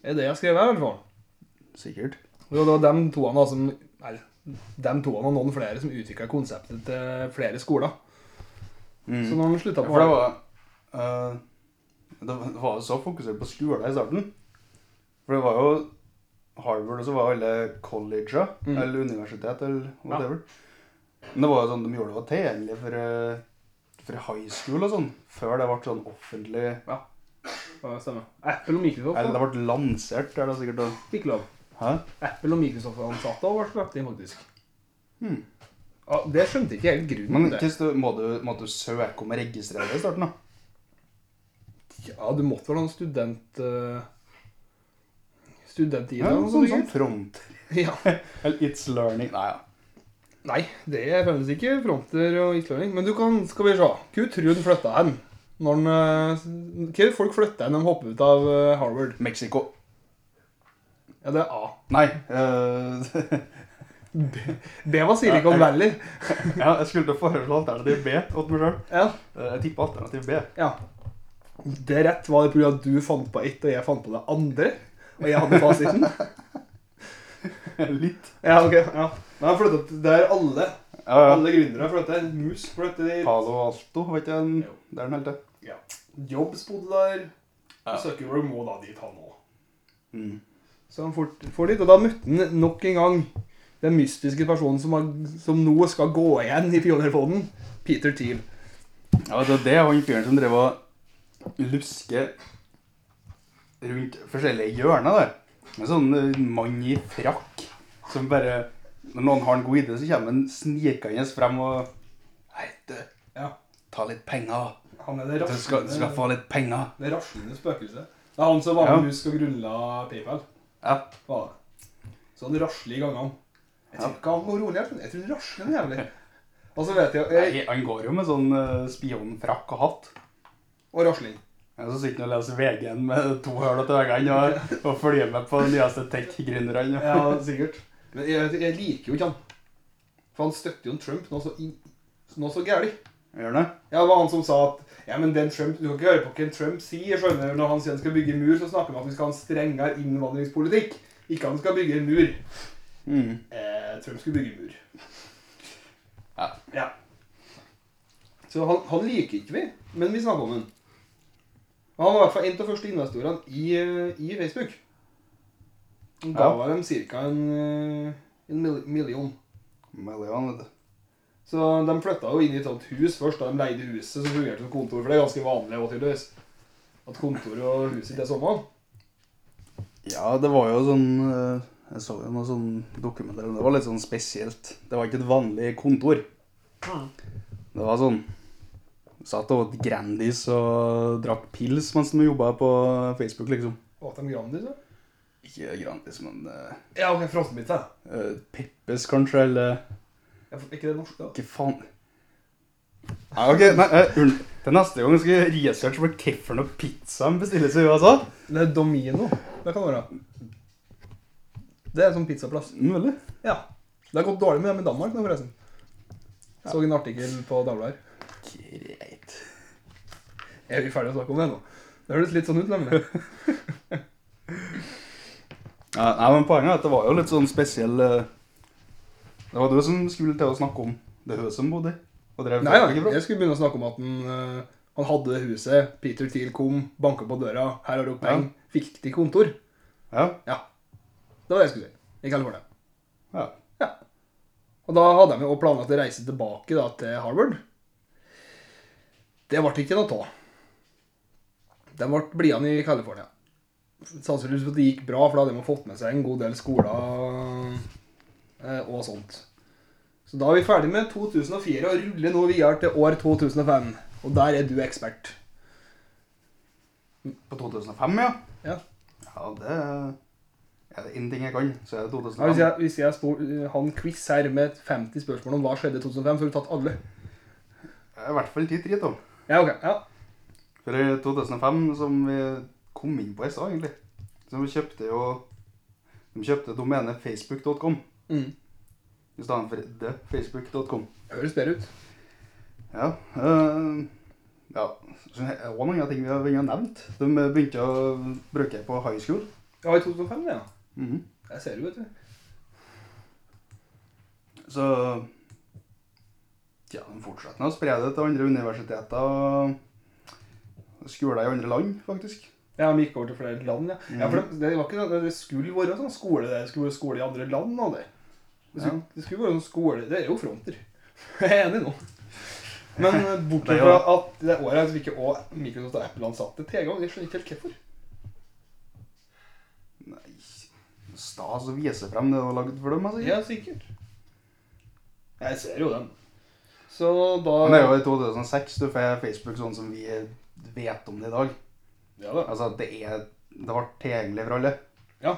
A: Er det jeg skrev her, i hvert fall?
B: Sikkert.
A: Jo, det var dem toene da som Eller dem toene og noen flere som utvikla konseptet til flere skoler.
B: Mhm.
A: Så når de slutta
B: Ja,
A: på
B: for det var, eh, det var- det var jo så fokusert på skolen i starten. For det var jo Harvard, og så var alle colleger,
A: Mm.
B: eller universitet, eller whatever. Men det var jo sånn, de gjorde det jo tilgjengelig for, eh, for high school og sånn, før det ble sånn offentlig,
A: Ja, stemmer. Apple og Microsoft
B: eller
A: da,
B: det ble lansert, er det sikkert da.
A: fikk lov.
B: Hæ?
A: Apple og Microsoft-ansatte har vært lagt inn, faktisk.
B: Hmm.
A: Ja, det skjønte ikke jeg helt grunnen
B: Men
A: til.
B: hvordan du- må du, må du søke om å registrere det i starten da?
A: Ja, det måtte være noen student... Uh, student-ID.
B: Ja,
A: eller noe
B: sånn, sånn
A: altså, sikkert.
B: front.
A: Ja.
B: Eller it's learning, nei ja.
A: Nei, det finnes ikke fronter og islending. Men du kan, skal vi se. Hvor tror du den flytta hen? Når den, eh, hva folk flytta hen når de hopper ut av eh, Harvard?
B: Mexico.
A: Ja, det er A.
B: Nei. eh,
A: B var Silicon Valley.
B: Ja, jeg skulle til å foreslå alternativ B åt meg sjøl.
A: Ja,
B: Jeg tipper alternativ B.
A: ja. Det er rett var det pga. at du fant på ett, og jeg fant på det andre. Og jeg hadde fasiten.
B: Litt.
A: Ja, ok. Ja. Men han flyttet der alle
B: Ja, ja.
A: Alle gründere flytter. Mus flytter dit.
B: Palo Alto, vet jeg. en-
A: Jo.
B: Det er den hele tida.
A: Ja. Jobs bodde der.
B: Ja.
A: Zuckerberg må da dit, han òg.
B: Mm.
A: Så han fort, får dit, og da møtte han nok en gang den mystiske personen som, har, som nå skal gå igjen i pionerfonden, Peter Thiel.
B: Ja, vet du, det er han fyren som drev og lusker rundt forskjellige hjørner der. En sånn eh, mann i frakk som bare Når noen har en god idé, så kommer han snikende frem og Hei, du.
A: Ja.
B: Ta litt penger.
A: Han er det
B: Du skal, du skal få litt penger.
A: det raslende spøkelset. Det er han som var
B: Ja.
A: med Musk og grunnla PayPal.
B: Ja.
A: Var det. Så han rasler i gangene. Jeg tror
B: Ja.
A: ikke han går rolig, jeg tror- jeg tror han rasler noe jævlig. Og så vet jeg, jeg
B: Nei, han går jo med sånn eh, spionfrakk og hatt.
A: Og rasling.
B: Jeg som sitter og leser VG-en med to høl til veggene og, og følger med på de nyeste tech-gründerne.
A: Ja, sikkert. Men jeg, jeg liker jo ikke han. For han støtter jo en Trump nå så, inn- nå så gærlig.
B: Gjør det?
A: Ja, det var han som sa at ja, men den Trump, du kan ikke høre på hva en Trump sier. skjønner du. Når han sier han skal bygge mur, så snakker han om at vi skal ha en strengere innvandringspolitikk. Ikke at han skal bygge en mur.
B: Mm.
A: Eh, Trump skulle bygge mur.
B: Ja.
A: ja. Så han, han liker ikke vi, men vi snakker om han. Han var i hvert fall en av de første investorene i, eh, i Facebook. Han ga dem ca. en, eh, en mil- million.
B: Million, vet du.
A: Så de flytta jo inn i et sånt hus først, da de leide huset som fungerte som kontor. For det er ganske vanlig også, tydeligvis. At kontoret og huset ikke er sånn samme.
B: Ja, det var jo sånn eh, Jeg så jo noe sånn dokumentar om det. Det var litt sånn spesielt. Det var ikke et vanlig kontor. Det var sånn Satt og åt Grandis og drakk pils mens de jobba på Facebook, liksom.
A: Åt de Grandis, da?
B: Ikke Grandis, men eh,
A: Ja, ok, frossenpizza.
B: eh, Peppes, kanskje, eller
A: Er ikke det norsk, da?
B: Hva faen? Nei, ok, nei, eh, unn- Til neste gang skal jeg researche på hvilken pizza de altså. bestilles i USA.
A: Det er Domino. Det kan være. Det er sånn pizzaplass.
B: Mm, veldig.
A: Ja. Det har gått dårlig med dem i Danmark nå, forresten. Så en artikkel på Dagbladet.
B: Greit.
A: Er vi ferdige å snakke om det nå? Det høres litt sånn ut, nemlig.
B: Ja, nei, men Poenget er at det var jo litt sånn spesiell eh, Det var du som skulle til å snakke om det høset som bodde i. Og drev
A: Nei da,
B: ikke bra.
A: jeg skulle begynne å snakke om at han, eh, han hadde det huset. Peter Thiel kom, banka på døra. Her har du penger. Fikk de kontor?
B: Ja,
A: Ja. Det var det jeg skulle si. I California.
B: ja.
A: Ja. Og da hadde de jo planlagt å reise tilbake da, til Harvard. Det ble ikke noe av. De ble blidende i California. Sannsynligvis at det gikk bra, for da hadde de jo fått med seg en god del skoler eh, og sånt. Så da er vi ferdig med 2004 og ruller nå videre til år 2005. Og der er du ekspert.
B: På 2005, ja.
A: Ja.
B: Ja, det er det én ting jeg kan, så er det
A: Ja, hvis
B: 2005.
A: jeg, hvis jeg sto, har en quiz her med 50 spørsmål om hva skjedde i 2005, så har du tatt alle.
B: Jeg er i hvert fall ti dritt om.
A: Ja, ok. Ja.
B: For i 2005, som vi kom inn på i stad, egentlig Så vi kjøpte jo De kjøpte domenet facebook.com
A: Mm.
B: i stedet for thefacebook.com.
A: Høres bedre ut.
B: Ja. øh, ja. Så er det også mange ting vi har vi har nevnt. De begynte å bruke på high school.
A: Ja, i 2005, ja.
B: Mhm.
A: Jeg ser det, vet du.
B: Så ja, de fortsatte med å spre det til andre universiteter og skoler i andre land, faktisk.
A: Ja, De gikk over til flere land, ja. ja for det, det var ikke noe- det skulle være sånn skole det skulle være skole i andre land. Og det. Det, skulle, det skulle være sånn skole Det er jo fronter. Jeg er enig nå. Men eh,
B: Det
A: bortsett
B: er
A: fra
B: jo-
A: at det året her så fikk jo også Microsoft og Apple ansatte tilgang. Jeg skjønner ikke helt hvorfor.
B: Nei, stas å vise frem det de har lagd for dem. Altså.
A: Ja, sikkert. Jeg ser jo den. Så da
B: Men det er jo i 2006 du får Facebook sånn som vi vet om det i dag.
A: Ja da.
B: Altså, det er det ble tilgjengelig for alle.
A: Ja.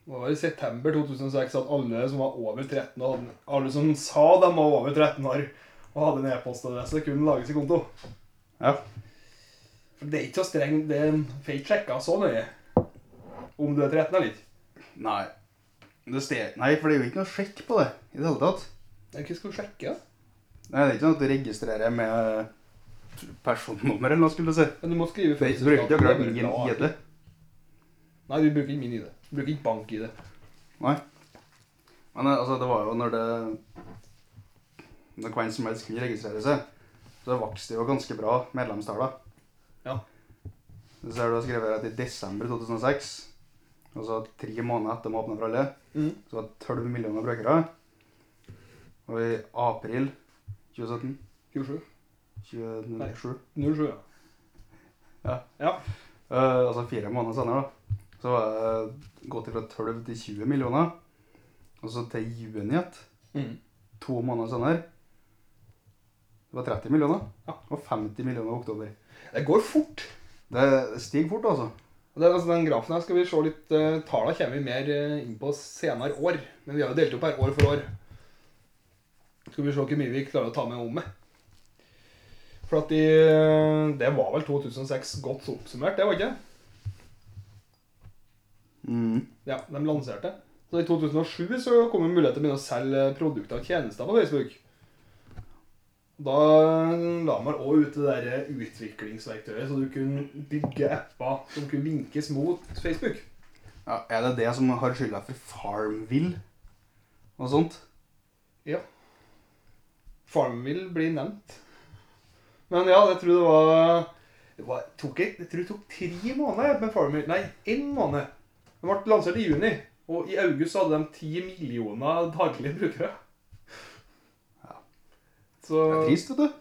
A: Det var i september 2006 at alle som var over 13 og hadde, alle som sa de var over 13 år og hadde en e-postadresse, kunne lage seg konto.
B: Ja.
A: For det er ikke så strengt. Det får ikke sjekka så nøye om du er 13 eller ikke.
B: Nei. Det ste- Nei, for det er jo ikke noe sjekk på det i det hele tatt.
A: Men Hva skal du sjekke? da?
B: Nei, det er ikke noe at du registrerer med personnummer eller noe, skulle du si.
A: Men du må skrive
B: Det du bruker ikke akkurat min ID.
A: Nei, du bruker ikke min ID. Du bruker ikke bank-ID.
B: Nei. Men eh, altså, det var jo når det Når hvem som helst kunne registrere seg, så vokste det jo ganske bra medlemstallene.
A: Ja.
B: Så ser du har skrevet at i desember 2006, altså tre måneder etter de åpna for alle,
A: Mm.
B: så var det 12 millioner brukere. Og i april 2017
A: 07.
B: 2007
A: 07, ja.
B: Ja.
A: Ja.
B: Eh, altså fire måneder senere, da. Så var det gått fra 12 til 20 millioner. Og så til juni igjen,
A: Mm.
B: to måneder senere, det var 30 millioner.
A: Ja.
B: Og 50 millioner i oktober.
A: Det går fort.
B: Det stiger fort, altså.
A: Og Det, er altså, den grafen her skal vi se litt uh, Tallene kommer vi mer eh, inn på senere år. Men vi har jo delt opp her år for år. Skal vi se hvor mye vi klarer å ta med om med. For at de eh, Det var vel 2006 godt oppsummert, det var ikke det?
B: Mm.
A: Ja, de lanserte. Så i 2007 så kom jo mulighet til å begynne å selge produkter og tjenester på Facebook. Da eh, la man også ut det der utviklingsverktøyet, så du kunne bygge apper som kunne vinkes mot Facebook.
B: Ja, er det det som har skylda for Farmville og sånt?
A: Farmville blir nevnt. Men ja, jeg tror det var Det var, tok, ikke- jeg tror det tok tre måneder med Farmville. Nei, én måned. Den ble lansert i juni, og i august så hadde de ti millioner daglige brukere.
B: Ja. Det er
A: Så
B: trist, vet du.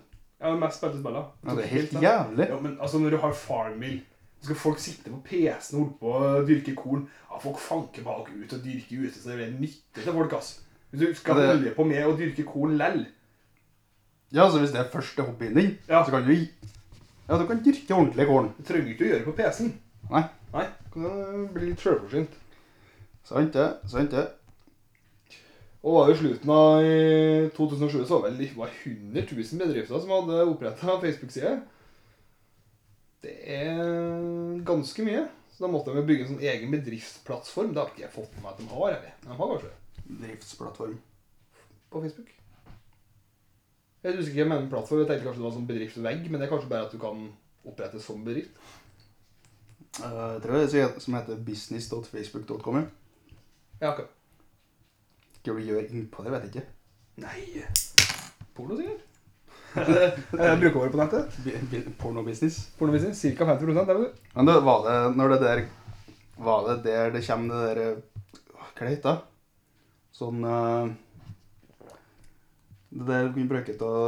A: Ja, det mest spilte spillene.
B: Ja, det er helt jævlig.
A: Ja, men altså, når du har Farmville så skal folk sitte på PC-en og holde på å dyrke korn. Ja, folk fanker bak ut og dyrker ute, så det blir nytte til folk, ass. Hvis du skal
B: Ja, det-
A: holde på med å dyrke korn lell,
B: Ja, altså Hvis det er første hobbyen din,
A: Ja.
B: så kan du Ja, du kan dyrke ordentlig korn.
A: Det trenger du ikke å gjøre på PC-en.
B: Nei.
A: Nei, kan det bli litt sjølforsynt.
B: Sant det. Sant det.
A: Og var jo slutten av i 2007 så var vel det var 100 000 bedrifter som hadde oppretta Facebook-side. Det er ganske mye. Så da måtte de jo bygge en sånn egen bedriftsplattform. Det har ikke jeg fått med meg at de har. Eller? De har kanskje det
B: Driftsplattform.
A: på Facebook. Jeg husker ikke jeg mener plattform. Jeg tenkte kanskje det var en sånn bedriftsvegg, men det er kanskje bare at du kan opprette som bedrift.
B: Eh, jeg tror det er en som heter business.facebook.com. ja.
A: Ja, akkurat.
B: Hva du gjør innpå der, vet jeg ikke.
A: Nei Porno, sikkert? Jeg bruker ordet på nettet.
B: Bi- bi- Pornobusiness.
A: Pornovisning, ca. 50 er det du?
B: Men det, var det når det der Var det der det kommer det der Hva heter det? heter? Sånn eh, Det der du kunne bruke til å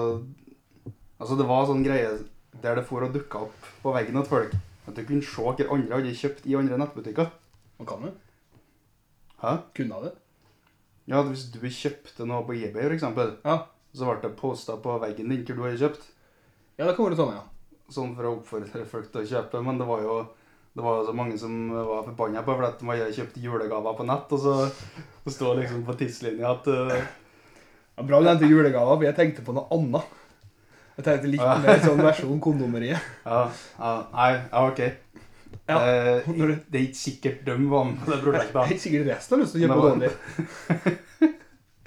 B: Altså, det var sånn greie der det for å dukke opp på veggen til folk. At du kunne se hva andre hadde kjøpt i andre nettbutikker.
A: Man kan det.
B: Hæ?
A: Kunne det.
B: Ja, at Hvis du kjøpte noe på eBay, for eksempel,
A: Ja.
B: så ble det posta på veggen din hva du hadde kjøpt.
A: ja, det kan være sånn, ja.
B: sånn for å oppfordre folk til å kjøpe, men det var jo det var jo så mange som var forbanna på for at de hadde kjøpt julegaver på nett, og så det står liksom på tidslinja at eh,
A: ja bra du nevnte julegaver, for jeg tenkte på noe annet. Jeg tenkte litt
B: Ja.
A: mer sånn versjon kondomeriet.
B: ja, ja, nei, ja, OK.
A: Ja,
B: Eh,
A: når du-
B: det er ikke sikkert de var med på det
A: Det er
B: prosjektet.
A: helt sikkert resten har lyst til å kjøpe
B: Men
A: dårlig.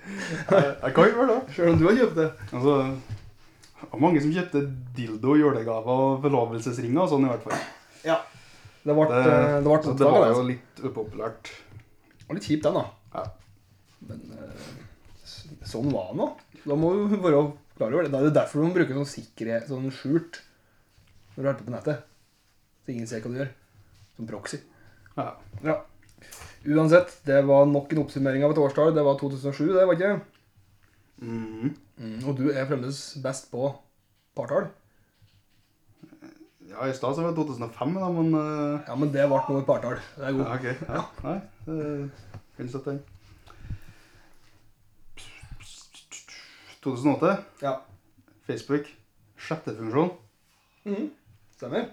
B: Eh, Jeg kan jo være det.
A: Selv om du har kjøpt det.
B: Altså, det var mange som kjøpte dildo, julegaver og forlovelsesringer og sånn, i hvert fall.
A: Det ble, det,
B: Det-
A: det ble
B: Så
A: oppdaget,
B: det var jo
A: altså.
B: litt upopulært.
A: Det var litt kjipt, den, da.
B: Ja.
A: Men eh, s- sånn var den, da. Da må du være klar over det. Da er det derfor du må bruke sånn sikkerhet, sånn skjult, når du er på på nettet. Så ingen ser hva du gjør. Som proxy.
B: Ja.
A: Ja. Uansett, det var nok en oppsummering av et årstall. Det var 2007, det, var ikke det?
B: Mhm.
A: Og du er fremdeles best på partall.
B: ja, i stad så var det 2005, da, men eh,
A: Ja, men det ble noe i partall. Det er
B: Ja,
A: god.
B: ok. Ja. Nei, eh, kan du sette den? 2008,
A: Ja.
B: Facebook, sjette funksjon.
A: Mhm. Stemmer.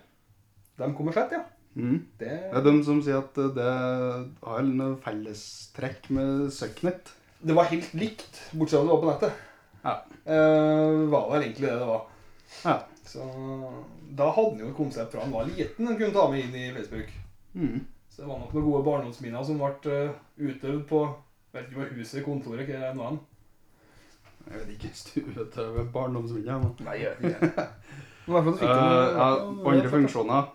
A: De kommer slett, ja.
B: Mhm.
A: Det
B: Det er de som sier at eh, det har noe fellestrekk med Søknet.
A: Det var helt likt, bortsett fra at det var på nettet.
B: Ja.
A: Eh, var vel egentlig det det var.
B: Ja.
A: Så da hadde han jo et konsept fra han var liten han kunne ta med inn i Facebook.
B: Mhm.
A: Så det var nok noen gode barndomsminner som ble eh, utøvd på vet ikke hva huset, kontoret, hva det nå er.
B: Jeg vet ikke, stuetøve, barndomsminner. men-
A: Nei, jeg vet ikke. Men i hvert fall
B: Eh,
A: fikk de-
B: ja,
A: ja,
B: andre funksjoner.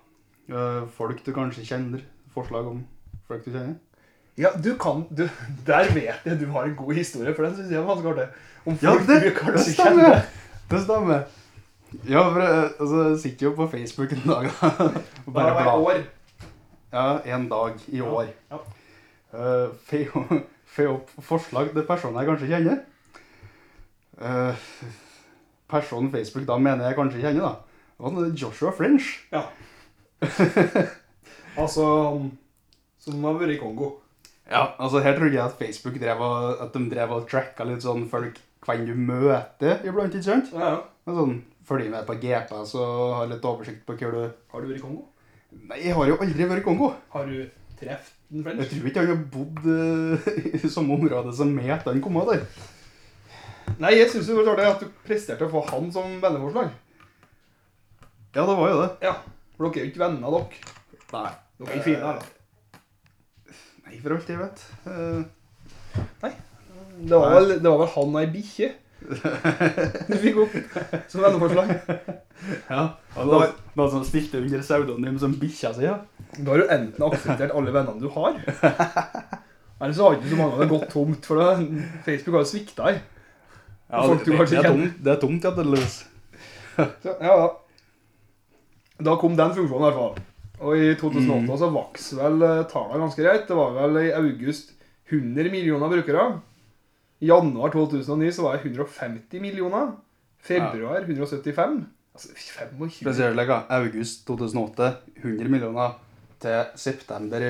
B: Eh, folk du kanskje kjenner. Forslag om folk du kjenner.
A: Ja, du kan du, Der vet jeg du har en god historie, for den syns jeg var ganske artig. Om
B: Ja,
A: folk
B: det-
A: du kanskje
B: det stemmer.
A: kjenner.
B: Det stemmer. Ja, for eh, altså, jeg sitter jo på Facebook en dag da. og
A: Da
B: bare
A: var jeg
B: blar.
A: år.
B: Ja, en dag i
A: Ja,
B: år.
A: ja.
B: Eh, fe- Få opp forslag til personer jeg kanskje kjenner. Eh, personen Facebook da mener jeg kanskje kjenner, da. Det var den Joshua French.
A: Ja. altså han Som har vært i Kongo.
B: Ja, altså Her trodde jeg at Facebook drev og, at de drev og tracka litt sånn folk hvem du møter iblant. ikke sant?
A: Ja, ja.
B: Men Sånn, Følger med på GPS og har litt oversikt på hvor du
A: Har du vært i Kongo?
B: Nei, jeg har jo aldri vært i Kongo.
A: Har du truffet en
B: Jeg
A: french?
B: tror ikke han har bodd eh, i samme område som meg etter han kom av der.
A: Nei, jeg syns det var artig at du presterte å få han som venneforslag.
B: Ja, det var jo det.
A: Ja, for dere er jo ikke venner, dere.
B: Nei.
A: Dere er ikke fine, eller?
B: Nei, for alt jeg vet. Eh,
A: Det var vel, det var vel han og ei bikkje du fikk opp som venneforslag.
B: ja. Og det var noen som stilte under pseudonym som bikkja si, ja.
A: Da har du enten akseptert alle vennene du har, eller så har ikke så mange av dem gått tomt, for det. Facebook har jo svikta her.
B: ja
A: Folk du kanskje
B: det, er
A: kjenner.
B: tomt, det er tomt, ja, det er løs.
A: Så, ja, ja. Da kom den funksjonen i hvert fall. Og i 2008 så vokste vel eh, tallene ganske greit. Det var vel i august 100 millioner brukere. I januar 2009 så var det 150 millioner. Februar 175. Altså 25
B: Spesielt like, august 2008, 100 millioner, til september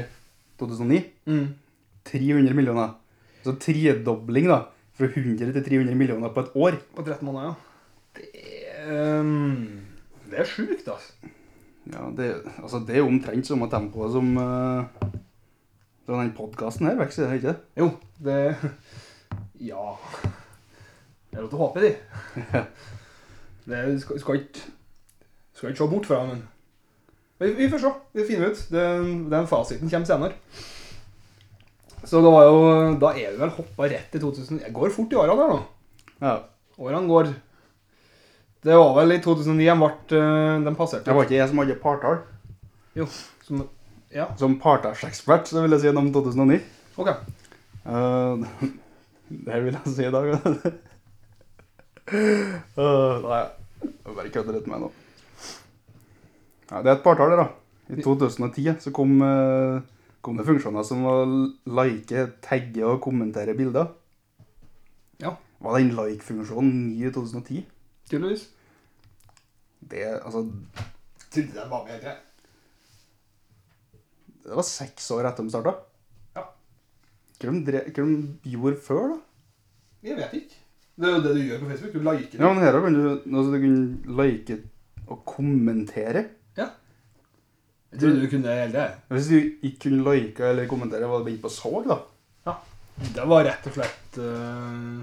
B: 2009,
A: mm.
B: 300 millioner. Så tredobling da, fra 100 til 300 millioner på et år.
A: på 13 måneder, ja. Det, ehm, det er sjukt, altså.
B: Ja, det, altså, det er omtrent samme tempoet som uh, den podkasten her vokser, er det ikke?
A: Jo, det Ja. Det er lov til å håpe, de. Det er- du skal, du skal ikke du skal ikke se bort fra det, men vi, vi får se. Vi finner ut. Den, den fasiten kommer senere. Så det var jo Da er vi vel hoppa rett i 2000 Jeg går fort i årene der nå.
B: Ja.
A: Årene går. Det var vel i 2009 de ble eh, De passerte.
B: Det var ikke jeg som hadde partall.
A: Jo. Som, ja,
B: Som partallsekspert så vil jeg si gjennom 2009.
A: OK.
B: Eh, det vil jeg si i dag. Eh, nei, jeg bare kødder litt med nå. Ja, det er et partall der, da. I 2010 så kom, eh, kom det funksjoner som å like, tagge og kommentere bilder.
A: Ja.
B: Var den like-funksjonen ny i 2010?
A: Tydeligvis.
B: Det, altså,
A: Trodde den var med helt greit.
B: det var seks år etter de starta.
A: Ja.
B: Hva de, dre- hva de gjorde før, da?
A: Jeg vet ikke. Det er jo det du gjør på Facebook. Du liker
B: Ja,
A: det.
B: men her kan du, altså, du kan like og kommentere.
A: Jeg trodde du kunne hele det.
B: Hvis du ikke kunne like eller kommentere, var det bare ikke på salg, da?
A: Det var rett og slett eh,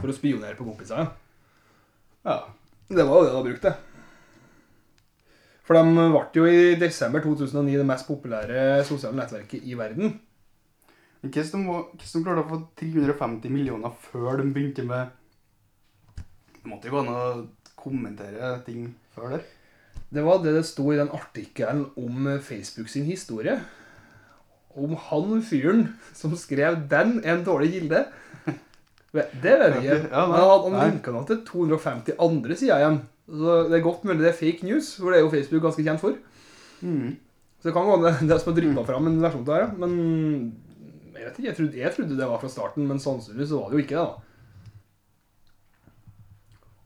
A: for å spionere på kompiser. ja.
B: Ja.
A: Det var jo det de brukte. For de ble jo i desember 2009 det mest populære sosiale nettverket i verden.
B: Men Hvordan de var- hvordan de klarte å få 350 millioner før de begynte med Det måtte jo gå an å kommentere ting før der.
A: Det var det det sto i den artikkelen om eh, Facebook sin historie. Om han fyren som skrev den, er en dårlig kilde. Ve- Det vet jeg ikke.
B: Ja, nei.
A: Men han, han
B: Nei.
A: linka nå til 250 andre sider igjen. Så det er godt mulig det er fake news, for det er jo Facebook ganske kjent for.
B: Mm.
A: Så det kan gå an det- det som har dryppa fram en versjon til det her, ja. men jeg vet ikke. Jeg trodde, jeg trodde det var fra starten, men sannsynligvis så var det jo ikke det, da.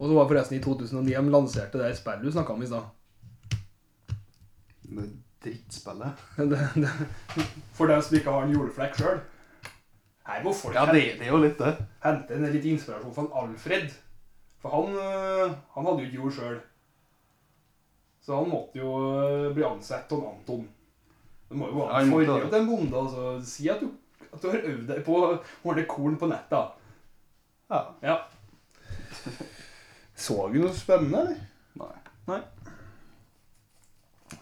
A: Og så var det forresten i 2009 de lanserte det spillet du snakka om i stad.
B: Det drittspillet.
A: Det- det- For dem som ikke har en juleflekk sjøl. Her må folk
B: Ja, det, det er jo litt det.
A: hente en litt inspirasjon fra Alfred. For han, øh, han hadde jo ikke jord sjøl. Så han måtte jo øh, bli ansett av Anton. Det må jo
B: Ja,
A: være
B: han
A: en
B: måtte
A: forhold
B: det.
A: til en bonde. altså. Si at du, at du har øvd deg på å ordne korn på nettet. da.
B: Ja.
A: Ja. Så du noe spennende, eller?
B: Nei.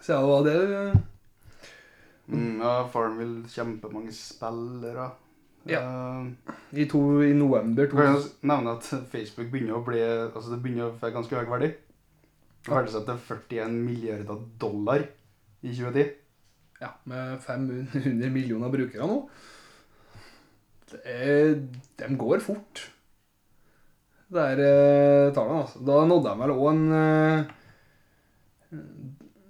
A: Så ja, det var det øh,
B: Mm, ja, Farmville, kjempemange spillere. Ja.
A: i, to, i november
B: Du kan jo
A: 2000.
B: nevne at Facebook begynner å bli Altså det begynner å få ganske høy verdi. Det Verdisatte 41 milliarder dollar i 2010.
A: Ja, med 500 millioner brukere nå. Det er, de går fort. Det er eh, tallene, altså. Da nådde de vel òg en eh,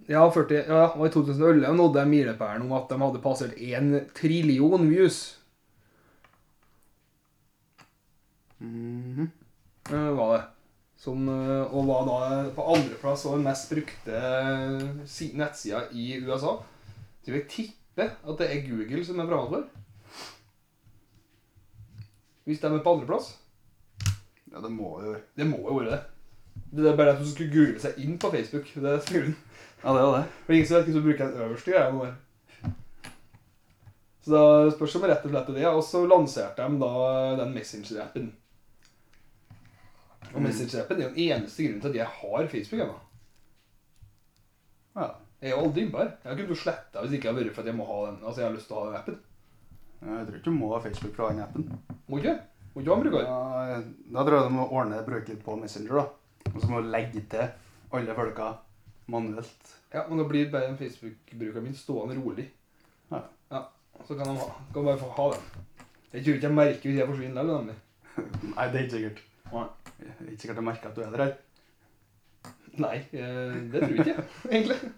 A: Ja, 40, ja, og i 2011 nådde de milepælen om at de hadde passert 1 trillion views.
B: Mhm.
A: eh, var det. Som, eh, og var da på andreplass og den mest brukte eh, si- nettsida i USA. Så jeg vil tippe at det er Google som er fremmed for. Hvis de er på andreplass.
B: Ja, det må jo være.
A: Det må jo være det. Det er bare at du skulle google seg inn på Facebook. Det er grunnen.
B: Ja, det er jo det.
A: For ingen som vet hvordan du bruker den øverste greia nå. Så da spørs det om rett og slett er det. Og så lanserte de da den Messenger-appen. Og
B: Mm.
A: Messenger-appen er jo den eneste grunnen til at jeg har Facebook ennå.
B: Ja.
A: Jeg er jo aldri innpå her. Jeg kunne jo sletta hvis ikke jeg hadde vært for at jeg må ha den. Altså, jeg har lyst til å ha den appen.
B: Jeg tror ikke du må ha Facebook fra den appen.
A: Må ikke Må ikke ha en bruker.
B: Da, da tror jeg du må ordne bruke litt på Messenger, da. Og så må du legge til alle folka manuelt.
A: Ja, men da blir bare en Facebook-bruker min stående rolig.
B: Ja.
A: Så kan han ha, kan bare få ha den. Jeg tror ikke jeg merker hvis jeg forsvinner eller nemlig.
B: Nei, det er ikke sikkert. Det er Ikke sikkert jeg merker at du er der. her.
A: Nei, eh, det tror jeg ikke, egentlig.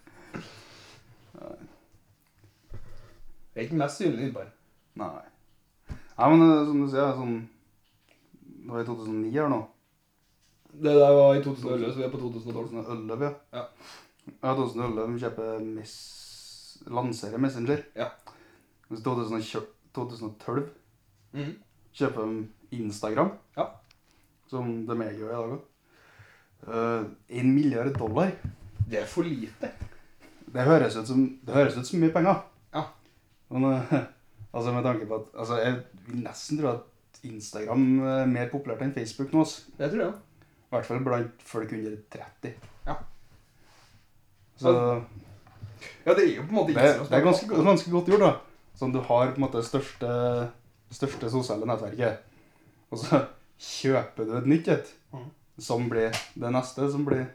A: Jeg er ikke mest synlig innpå her.
B: Nei. Nei, men eh, som du sier, sånn Det var i 2009 her nå.
A: Det der var i 2011, så vi er på 2012.
B: 2011,
A: Ja.
B: Ja, 2011 kjøper mes lanserer Messenger.
A: Ja.
B: Mens 2020 2012
A: Mhm.
B: kjøper de Instagram.
A: Ja.
B: Som de jeg gjør i dag òg. En milliard dollar.
A: Det er for lite.
B: Det høres ut som, det høres ut som mye penger.
A: Ja.
B: Men eh, altså med tanke på at altså, Jeg vil nesten tro at Instagram er mer populært enn Facebook nå. ass.
A: Det tror jeg.
B: I hvert fall blant folk under 30.
A: Ja.
B: Så
A: Ja, det er jo på en måte
B: det, det er ganske, ganske godt gjort, da. Sånn du har på en måte det største, største sosiale nettverket, og så kjøper du et nytt et,
A: Mhm.
B: som blir det neste, som blir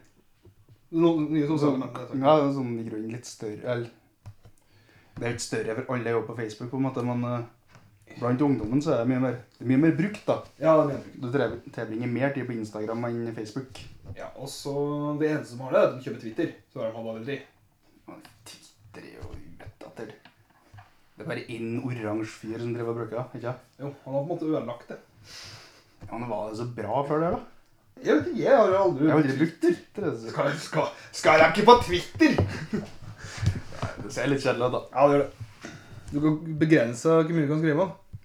A: Noen nye sosiale
B: Sånn,
A: medier.
B: ja, det er sånn i grunnen litt større eller, Det er jo ikke større, for alle er jo på Facebook, på en måte, men eh, blant ungdommen så er det mye mer, det er mye mer brukt. da.
A: Ja, det mener jeg.
B: Du tre- tilbringer mer tid på Instagram enn Facebook.
A: Ja, og så Det eneste som har det, er at de kjøper Twitter. Så har de hatt allerede.
B: Og Twitter er jo ute etter Det er bare én oransje fyr som driver og bruker det. ikke sant?
A: Jo, han har på en måte ødelagt det.
B: Ja, Men var det så bra før det, da?
A: Jeg vet ikke, jeg har jo aldri
B: Jeg har aldri brukt Twitter. altså.
A: Skal, skal, skal jeg ikke på Twitter?
B: Det ser litt kjedelig ut, da.
A: Ja, det gjør det. Du kan begrense hvor mye du kan skrive om.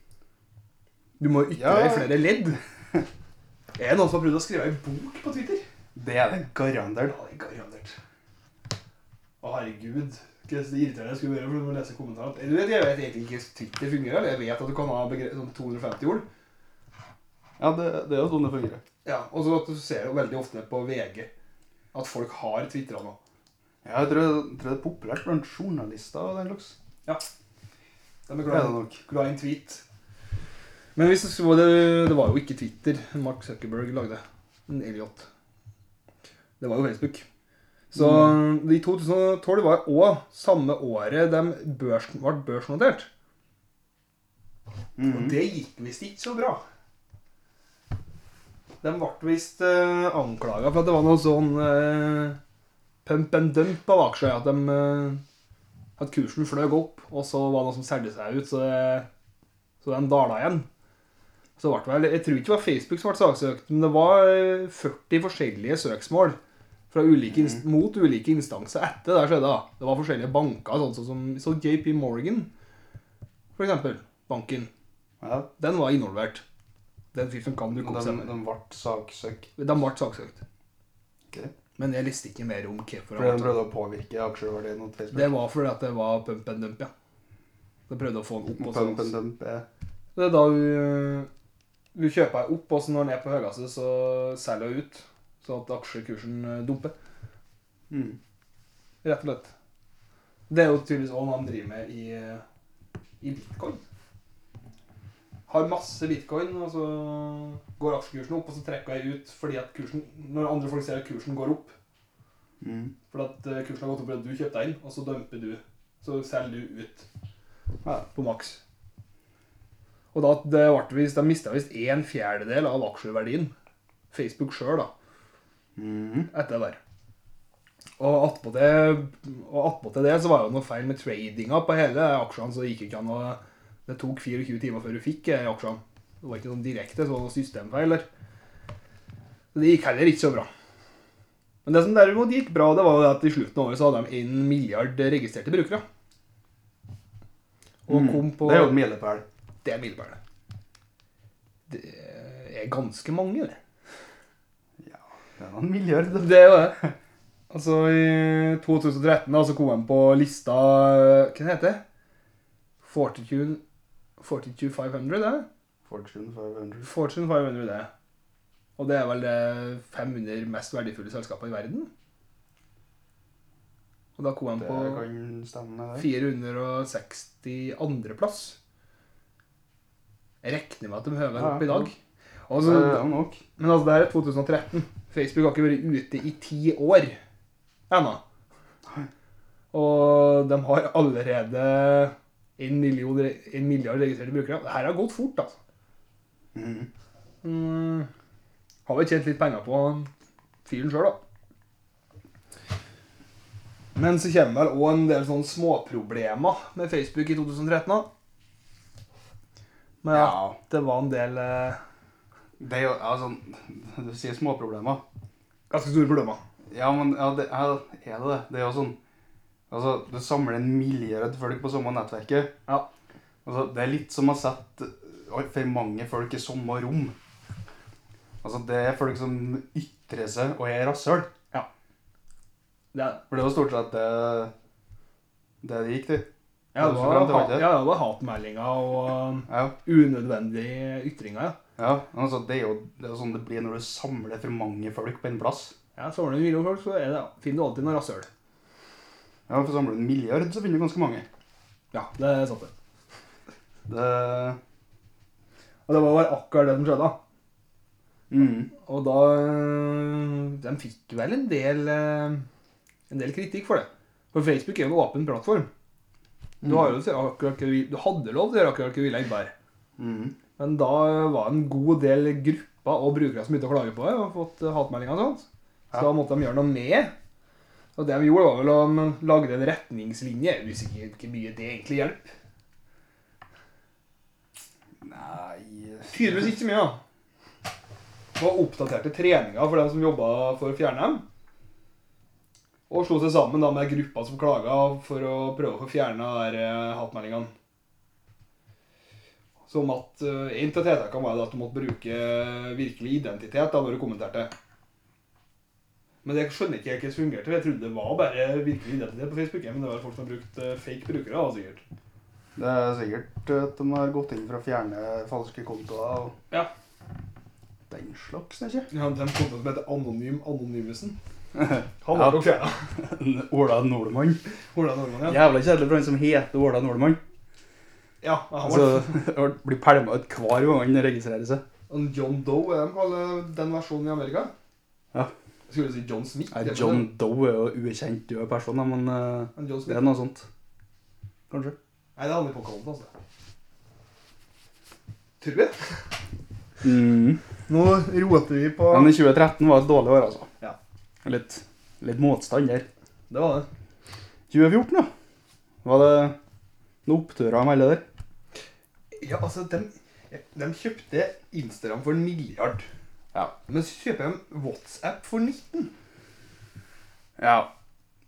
A: Du må jo ytre
B: Ja.
A: deg i flere ledd. Er det noen som har prøvd å skrive ei bok på Twitter?
B: Det er det garantert.
A: det er garantert. Å, herregud. Hva er det irriterende jeg skulle gjøre for å lese kommentarene? Du vet, Jeg vet egentlig ikke hvordan Twitter fungerer. eller Jeg vet at du kan ha begre sånn 250 ord.
B: Ja, det, det er jo sånn det fungerer.
A: Ja, Og så at du ser jo veldig ofte på VG at folk har twitra nå.
B: Ja, jeg tror, jeg tror det er populært blant journalister og den slags.
A: De er
B: Det er
A: glad,
B: det nok.
A: glad i en tweet. Men hvis det, var det, det var jo ikke Twitter Mark Zuckerberg lagde. En Elliot. Det var jo Facebook. Så i 2012 var òg samme året de børs, ble børsnotert.
B: Mm. Mhm.
A: Og det gikk visst ikke så bra. De ble visst uh, anklaga for at det var noe sånn eh, pump and dump av aksjer. At, de, eh, at kursen fløy opp, og så var det noe som solgte seg ut, så, det- så den dala igjen. Så ble det vel, Jeg tror ikke det var Facebook som ble saksøkt, men det var eh, 40 forskjellige søksmål fra ulike, inst- mot ulike instanser etter det skjedde. da. Det var forskjellige banker, sånn som så JP Morgan, for eksempel. Banken.
B: Ja,
A: Den var involvert. Den fyren kan du
B: men
A: ikke
B: de,
A: oppsummere.
B: de ble saksøkt.
A: De ble saksøkt.
B: Okay.
A: Men jeg visste ikke mer om hvorfor.
B: Fordi de
A: han ble-
B: prøvde å påvirke aksjeverdien mot Facebook.
A: Det var fordi at det var pump and dump, ja. De prøvde å få den opp. Og sånn.
B: Pump and
A: så.
B: dump er
A: Det er da hun, hun kjøper den opp, og så når den er på høyeste, så selger hun ut. Sånn at aksjekursen eh, dumper.
B: mm.
A: Rett og slett. Det er jo tydeligvis hva han driver med i, eh, i bitcoin. Har masse bitcoin, og så går aksjekursen opp, og så trekker jeg ut fordi at kursen Når andre folk ser at kursen går opp
B: Mm.
A: fordi at eh, kursen har gått opp fordi at du kjøpte deg inn, og så dumper du. Så selger du ut
B: Ja.
A: på maks. Og da det ble visst, de mista visst en fjerdedel av aksjeverdien. Facebook sjøl, da
B: Mm.
A: etter det der. Og attpåtil attpå til det så var det jo noe feil med tradinga på hele aksjene, så det gikk jo ikke an å Det tok 24 timer før du fikk eh, aksjene. Det var ikke sånn direkte, så det var noe systemfeil der. Så det gikk heller ikke så bra. Men det som derimot gikk bra, det var jo det at i slutten av året så hadde de 1 milliard registrerte brukere. Og
B: Mm.
A: kom på
B: Det er jo en milepæl.
A: Det er milepælet. Det er ganske mange, det.
B: Det er en milliard.
A: Det er jo det. Altså, i 2013 da, så kom han på lista øh, Hva heter det? Fortitude 42500, det? er det?
B: Fortune 500.
A: Fortune 500, det. er det. Og det er vel det 500 mest verdifulle selskapene i verden? Og Og da kom han
B: Det
A: på
B: kan stemme, det.
A: 462. plass. Jeg regner med at de høver den
B: Ja,
A: opp i
B: ja.
A: dag.
B: Det
A: Altså,
B: er jo nok.
A: men altså, det her er 2013. Facebook har ikke vært ute i ti år ennå. Og de har allerede en, million, en milliard registrerte brukere. Det her har gått fort, altså.
B: Mhm.
A: Mm. Har vel tjent litt penger på han fyren sjøl, da. Men så kommer vel òg en del sånne småproblemer med Facebook i 2013. da. Men ja,
B: Ja.
A: det var en del eh,
B: Det er jo altså Du sier småproblemer.
A: ganske store problemer.
B: Ja, men ja, det ja, er det det. Det er jo sånn Altså, du samler en milliard folk på samme nettverket.
A: Ja.
B: Altså, det er litt som å sette oi, for mange folk i samme rom. Altså, det er folk som ytrer seg og er rasshøl.
A: Det, er-
B: For det var stort sett det det det gikk til.
A: ja,
B: Det
A: det
B: er
A: var,
B: frem til
A: ha-
B: valget.
A: ja, det var hatmeldinger og um,
B: Ja.
A: unødvendige ytringer. ja.
B: ja. Altså, det er jo det er jo sånn det blir når du samler for mange folk på en plass.
A: Ja, Samler du en million folk, så er det, finner du alltid noe rasshøl.
B: Ja, for samler du en milliard, så finner du ganske mange.
A: Ja, det er sant, det.
B: Det
A: Og det var bare akkurat det som skjedde. da.
B: mm.
A: Og da øh, De fikk vel en del, øh, en del kritikk for det. For Facebook er jo en åpen plattform. Du, har jo, akkurat hva du vil- du hadde lov til å gjøre akkurat hva du ville egentlig bare.
B: Mm.
A: Men da var en god del grupper og brukere som begynte å klage på det, og fått øh, hatmeldinger og sånt. Så
B: Ja.
A: da måtte de gjøre noe med. Og det de gjorde, var vel å mm, lagde en retningslinje. Jeg husker ikke hvor mye det egentlig hjelper.
B: Nei
A: Tydeligvis ikke så mye, da. Det var oppdaterte treninger for dem som jobba for å fjerne dem. Og slo seg sammen da med gruppa som klaga for å prøve å få fjerna eh, hatmeldingene. Som at eh, En av tiltakene var jo at du måtte bruke eh, virkelig identitet da når du kommenterte. Men jeg skjønner ikke helt hvordan det fungerte. Jeg trodde det var bare virkelig identitet på Facebook. Men det var folk som har brukt eh, fake brukere. da, sikkert.
B: Det er sikkert at de har gått inn for å fjerne falske kontoer og
A: Ja.
B: den slags, ikke?
A: Ja, De kontoene som heter Anonym Anonymusen.
B: Han
A: Han
B: var
A: var
B: jo
A: jo fjerna.
B: Ola Nordmann.
A: Ola Nordmann, ja.
B: Jævla kjedelig for han som heter Ola Nordmann.
A: Ja, han var
B: Altså, han blir pælma ut hver gang han registrerer seg.
A: Og John Doe er de kaller den versjonen i Amerika.
B: Ja.
A: Jeg skulle si John Smith.
B: Nei,
A: det er
B: John Doe er jo ukjent død person, da, men eh,
A: det. Men John
B: det
A: Smith.
B: er noe sånt. Kanskje.
A: Nei, det er han i Pocahontas, altså. Tror vi.
B: Mm.
A: Nå roter vi på
B: Men i 2013 var et dårlig år, altså.
A: Ja.
B: Litt, litt motstand der.
A: Det var det.
B: 2014, da. Var det noen oppturer om alle der?
A: Ja, altså, de, de kjøpte Instagram for en milliard.
B: Ja.
A: Men så kjøper de WhatsApp for 19.
B: Ja.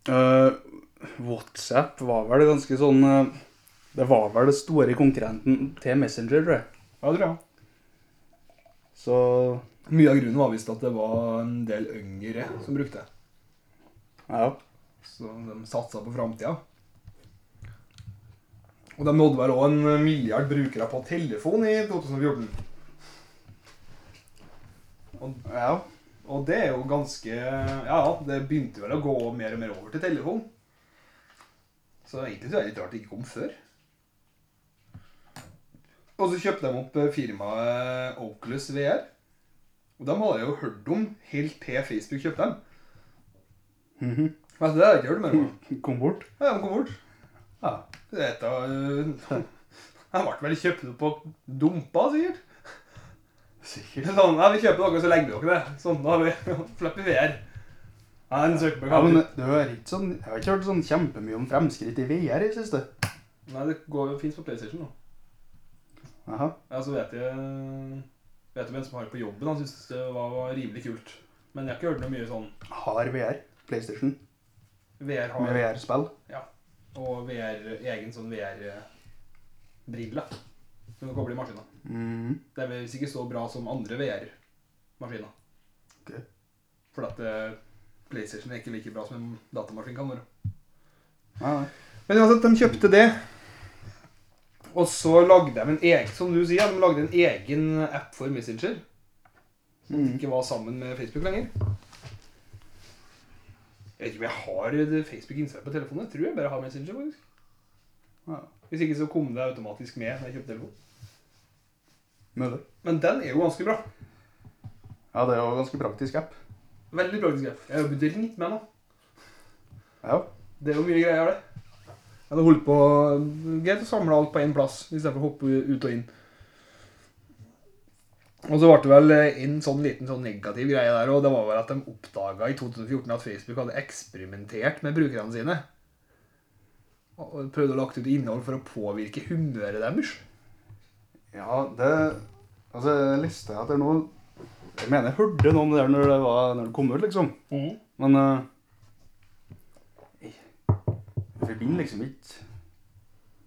B: Eh, WhatsApp var vel ganske sånn eh, Det var vel det store konkurrenten til Messenger, tror jeg.
A: Ja, tror jeg.
B: Så
A: Mye av grunnen var visst at det var en del yngre som brukte det.
B: ja.
A: Så de satsa på framtida. Og de nådde vel òg en milliard brukere på telefon i 2014.
B: ja.
A: Og det er jo ganske Ja, ja, det begynte vel å gå mer og mer over til telefon. Så egentlig så er det litt rart det ikke kom før. Og så kjøpte de opp eh, firmaet Oculus VR. Og dem hadde jeg jo hørt om helt til Facebook kjøpte dem.
B: Mhm.
A: Men det har jeg ikke hørt mer om.
B: Kom bort.
A: Ja, de kom bort.
B: Ja.
A: Dette øh, Han ble vel kjøpt opp og dumpa, sikkert.
B: Sikkert.
A: Sånn, ja, Vi kjøper noe, så legger vi dere det. Sånn, da har vi slipper VR. Ja, en Zuckerberg
B: Ja,
A: har
B: men
A: men...
B: det er ikke sånn, Jeg har ikke hørt sånn kjempemye om fremskritt i VR i det siste.
A: Nei, det går jo fint på PlayStation nå.
B: Aha.
A: Ja, så vet jeg eh, Vet du hvem som har det på jobben? Han syntes det var, var rimelig kult. Men jeg har ikke hørt noe mye sånn
B: Har VR. PlayStation
A: VR har
B: med VR-spill.
A: og VR, egen sånn VR-brille som du kobler i maskina.
B: Mm.
A: Det er vel ikke så bra som andre VR-maskiner.
B: Ok.
A: For at eh, PlayStation er ikke like bra som en datamaskin kan være.
B: Ja, ja.
A: Men uansett, de kjøpte det. Og så lagde de en egen, som du sier, de lagde en egen app for Messenger.
B: Mm.
A: Ikke var sammen med Facebook lenger. Jeg vet ikke om jeg har det Facebook innsett på telefonen. Jeg tror jeg bare har Messenger. faktisk.
B: Ja.
A: Hvis ikke så kom det automatisk med når jeg kjøpte telefon.
B: Mulig.
A: Men den er jo ganske bra.
B: Ja, det er jo en ganske praktisk app.
A: Veldig praktisk. app. Jeg har jo begynt litt med den. da.
B: Ja.
A: Det er jo mye greier, det. Jeg hadde holdt på Greit å samle alt på én plass istedenfor å hoppe ut og inn. Og så ble det vel en sånn liten sånn negativ greie der òg. Det var vel at de oppdaga i 2014 at Facebook hadde eksperimentert med brukerne sine. Og og prøvde å lagt ut innhold for å påvirke humøret deres.
B: Ja, det Altså, jeg leste etter noe Jeg mener jeg hørte noe om det der når det, var, når det kom ut, liksom.
A: Mhm.
B: Men eh, jeg jeg forbinder liksom ikke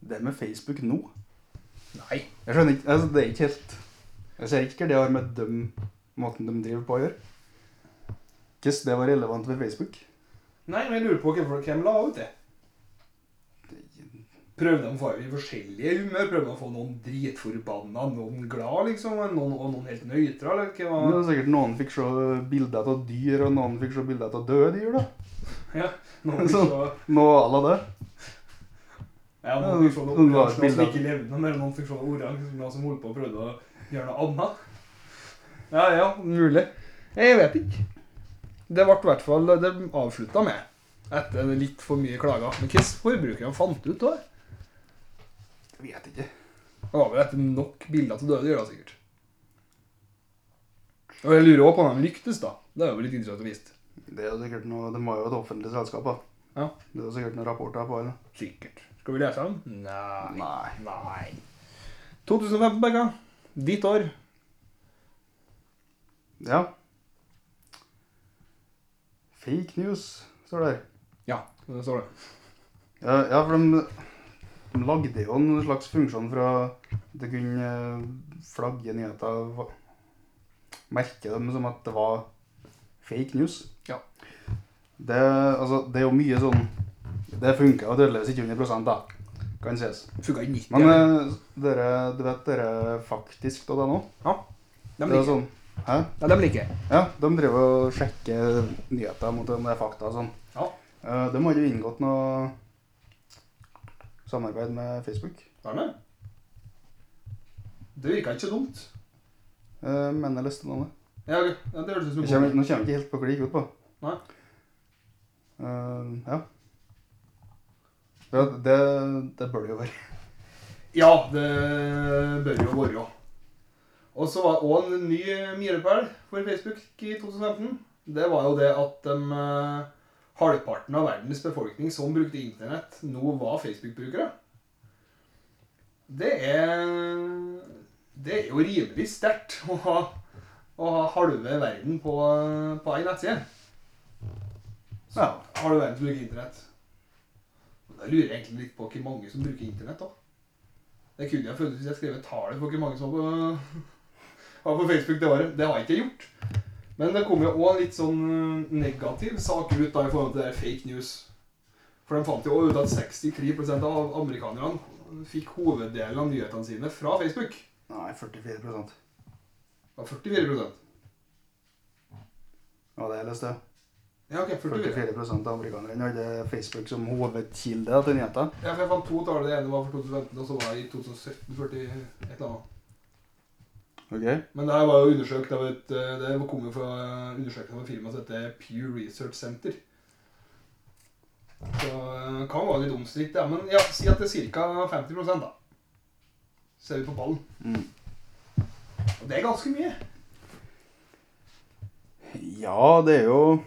B: det med Facebook nå.
A: Nei.
B: Jeg skjønner ikke altså, Det er ikke helt Jeg ser ikke hva det har med dem, måten de driver på å gjøre. Hvis det var relevant ved Facebook.
A: Nei, men jeg lurer på hvem folk- hvem la ut det. Prøvde de å få i forskjellige humør? Prøvde de å få noen dritforbanna, noen glad, liksom? og Noen, og noen helt nøytra? Eller hva
B: Det
A: var
B: var sikkert Noen fikk se bilder av dyr, og noen fikk se bilder av døde dyr. da.
A: Ja, noen så,
B: Noe à la det.
A: ja, noen fikk se noe
B: Det
A: oransje noen
B: var et
A: som
B: bilde.
A: ikke levde, men noen fikk se noe oransje liksom. noen som holdt på å prøvde å gjøre noe annet. Ja, ja, mulig. Jeg vet ikke. Det ble i hvert fall Det avslutta med, etter litt for mye klager. Men hva forbrukerne fant ut av det?
B: Jeg vet ikke.
A: Det var vel etter nok bilder til døde dyr, da, sikkert. Og jeg lurer også på om de lyktes, da. Det er jo litt interessant å vite.
B: Det er jo sikkert noe, det må jo være et offentlig selskap, da.
A: Ja.
B: Det er jo sikkert noen rapporter på, eller?
A: Sikkert. Skal vi lese den? Nei.
B: Nei.
A: Nei. 2015, Bekka. Ditt år.
B: Ja. Fake news, står det her.
A: Ja, det står det.
B: Ja, ja for de, de lagde jo en slags funksjon for å det kunne eh, flagge nyheter, va- merke dem som at det var fake news.
A: Ja.
B: Det, altså, det er jo mye sånn, det funker jo tydeligvis ikke 100% da, kan sies.
A: Funka i 90.
B: Men
A: Men,
B: eh, dere, du vet dere faktisk da det nå?
A: de
B: Det er
A: liker
B: sånn, hæ?
A: ja, de liker. jeg.
B: Ja, de driver og sjekker nyheter mot om det er fakta og sånn.
A: Ja.
B: Eh, De har jo inngått noe samarbeid med Facebook.
A: Hva er det? Det virka ikke så dumt.
B: Eh, Men jeg leste navnet.
A: Ja, ok. ja, det hørtes ut som en
B: Jeg kommer,
A: god
B: nå kommer jeg ikke helt på hva det gikk ut på.
A: Nei.
B: Eh, ja. Det, det, det bør det jo være.
A: Ja, det bør jo være. Og så var òg en ny milepæl for Facebook i 2015. Det var jo det at de, eh, halvparten av verdens befolkning som brukte internett, nå var Facebook-brukere. Det er Det er jo rimelig sterkt å ha, å ha halve verden på, på ei nettside.
B: Ja.
A: Halve verden som bruker internett. Men Da lurer jeg egentlig litt på hvor mange som bruker internett, da. Det kunne jeg funnet hvis jeg skrev et tall på hvor mange som var på, var på Facebook det året. Det har jeg ikke gjort. Men det kom jo òg en litt sånn eh, negativ sak ut da i forhold til det der fake news. For de fant jo også ut at 63 av amerikanerne fikk hoveddelen av nyhetene sine fra Facebook.
B: Nei, 44 Ja,
A: Det var 44
B: det jeg leste.
A: Ja, ok, 44.
B: 44 av amerikanerne hadde Facebook som hovedkilde til nyheter.
A: Ja, for jeg fant to tall. Det ene var for 2015, og så var det i 2017 40 et eller annet.
B: Okay.
A: Men det her var jo undersøkt av et eh, Det kom jo fra undersøkelsen av et firma som heter Pew Research Center. Så eh, kan være litt omstridt, ja. Men ja, si at det er ca. 50 da. Ser vi på ballen.
B: Mm.
A: Og det er ganske mye.
B: Ja, det er jo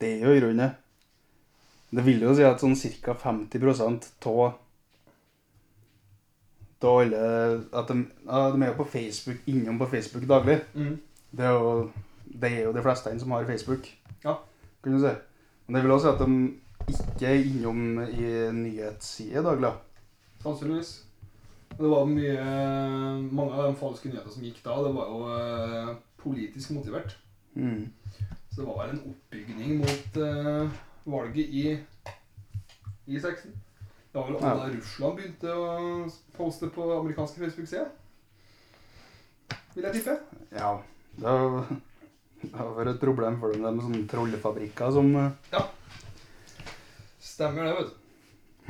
B: Det er jo i grunnen det. Det vil jo si at sånn ca. 50 av av alle At de, ja, de er jo på Facebook, innom på Facebook daglig. Det er jo, det er jo de fleste som har Facebook.
A: Ja.
B: Kan du si. Men det vil også si at de ikke er innom i nyhetssider daglig.
A: Sannsynligvis. Og det var mye Mange av de falske nyhetene som gikk da, det var jo eh, politisk motivert.
B: Mm.
A: Så det var en oppbygning mot eh, valget i, i 16. Det var vel også
B: Ja.
A: da Russland begynte å poste på amerikanske Facebook-sider. Vil jeg tippe.
B: Ja, det er jo Det har vært et problem for dem, de sånne trollefabrikker som eh,
A: Stemmer det, vet du. Og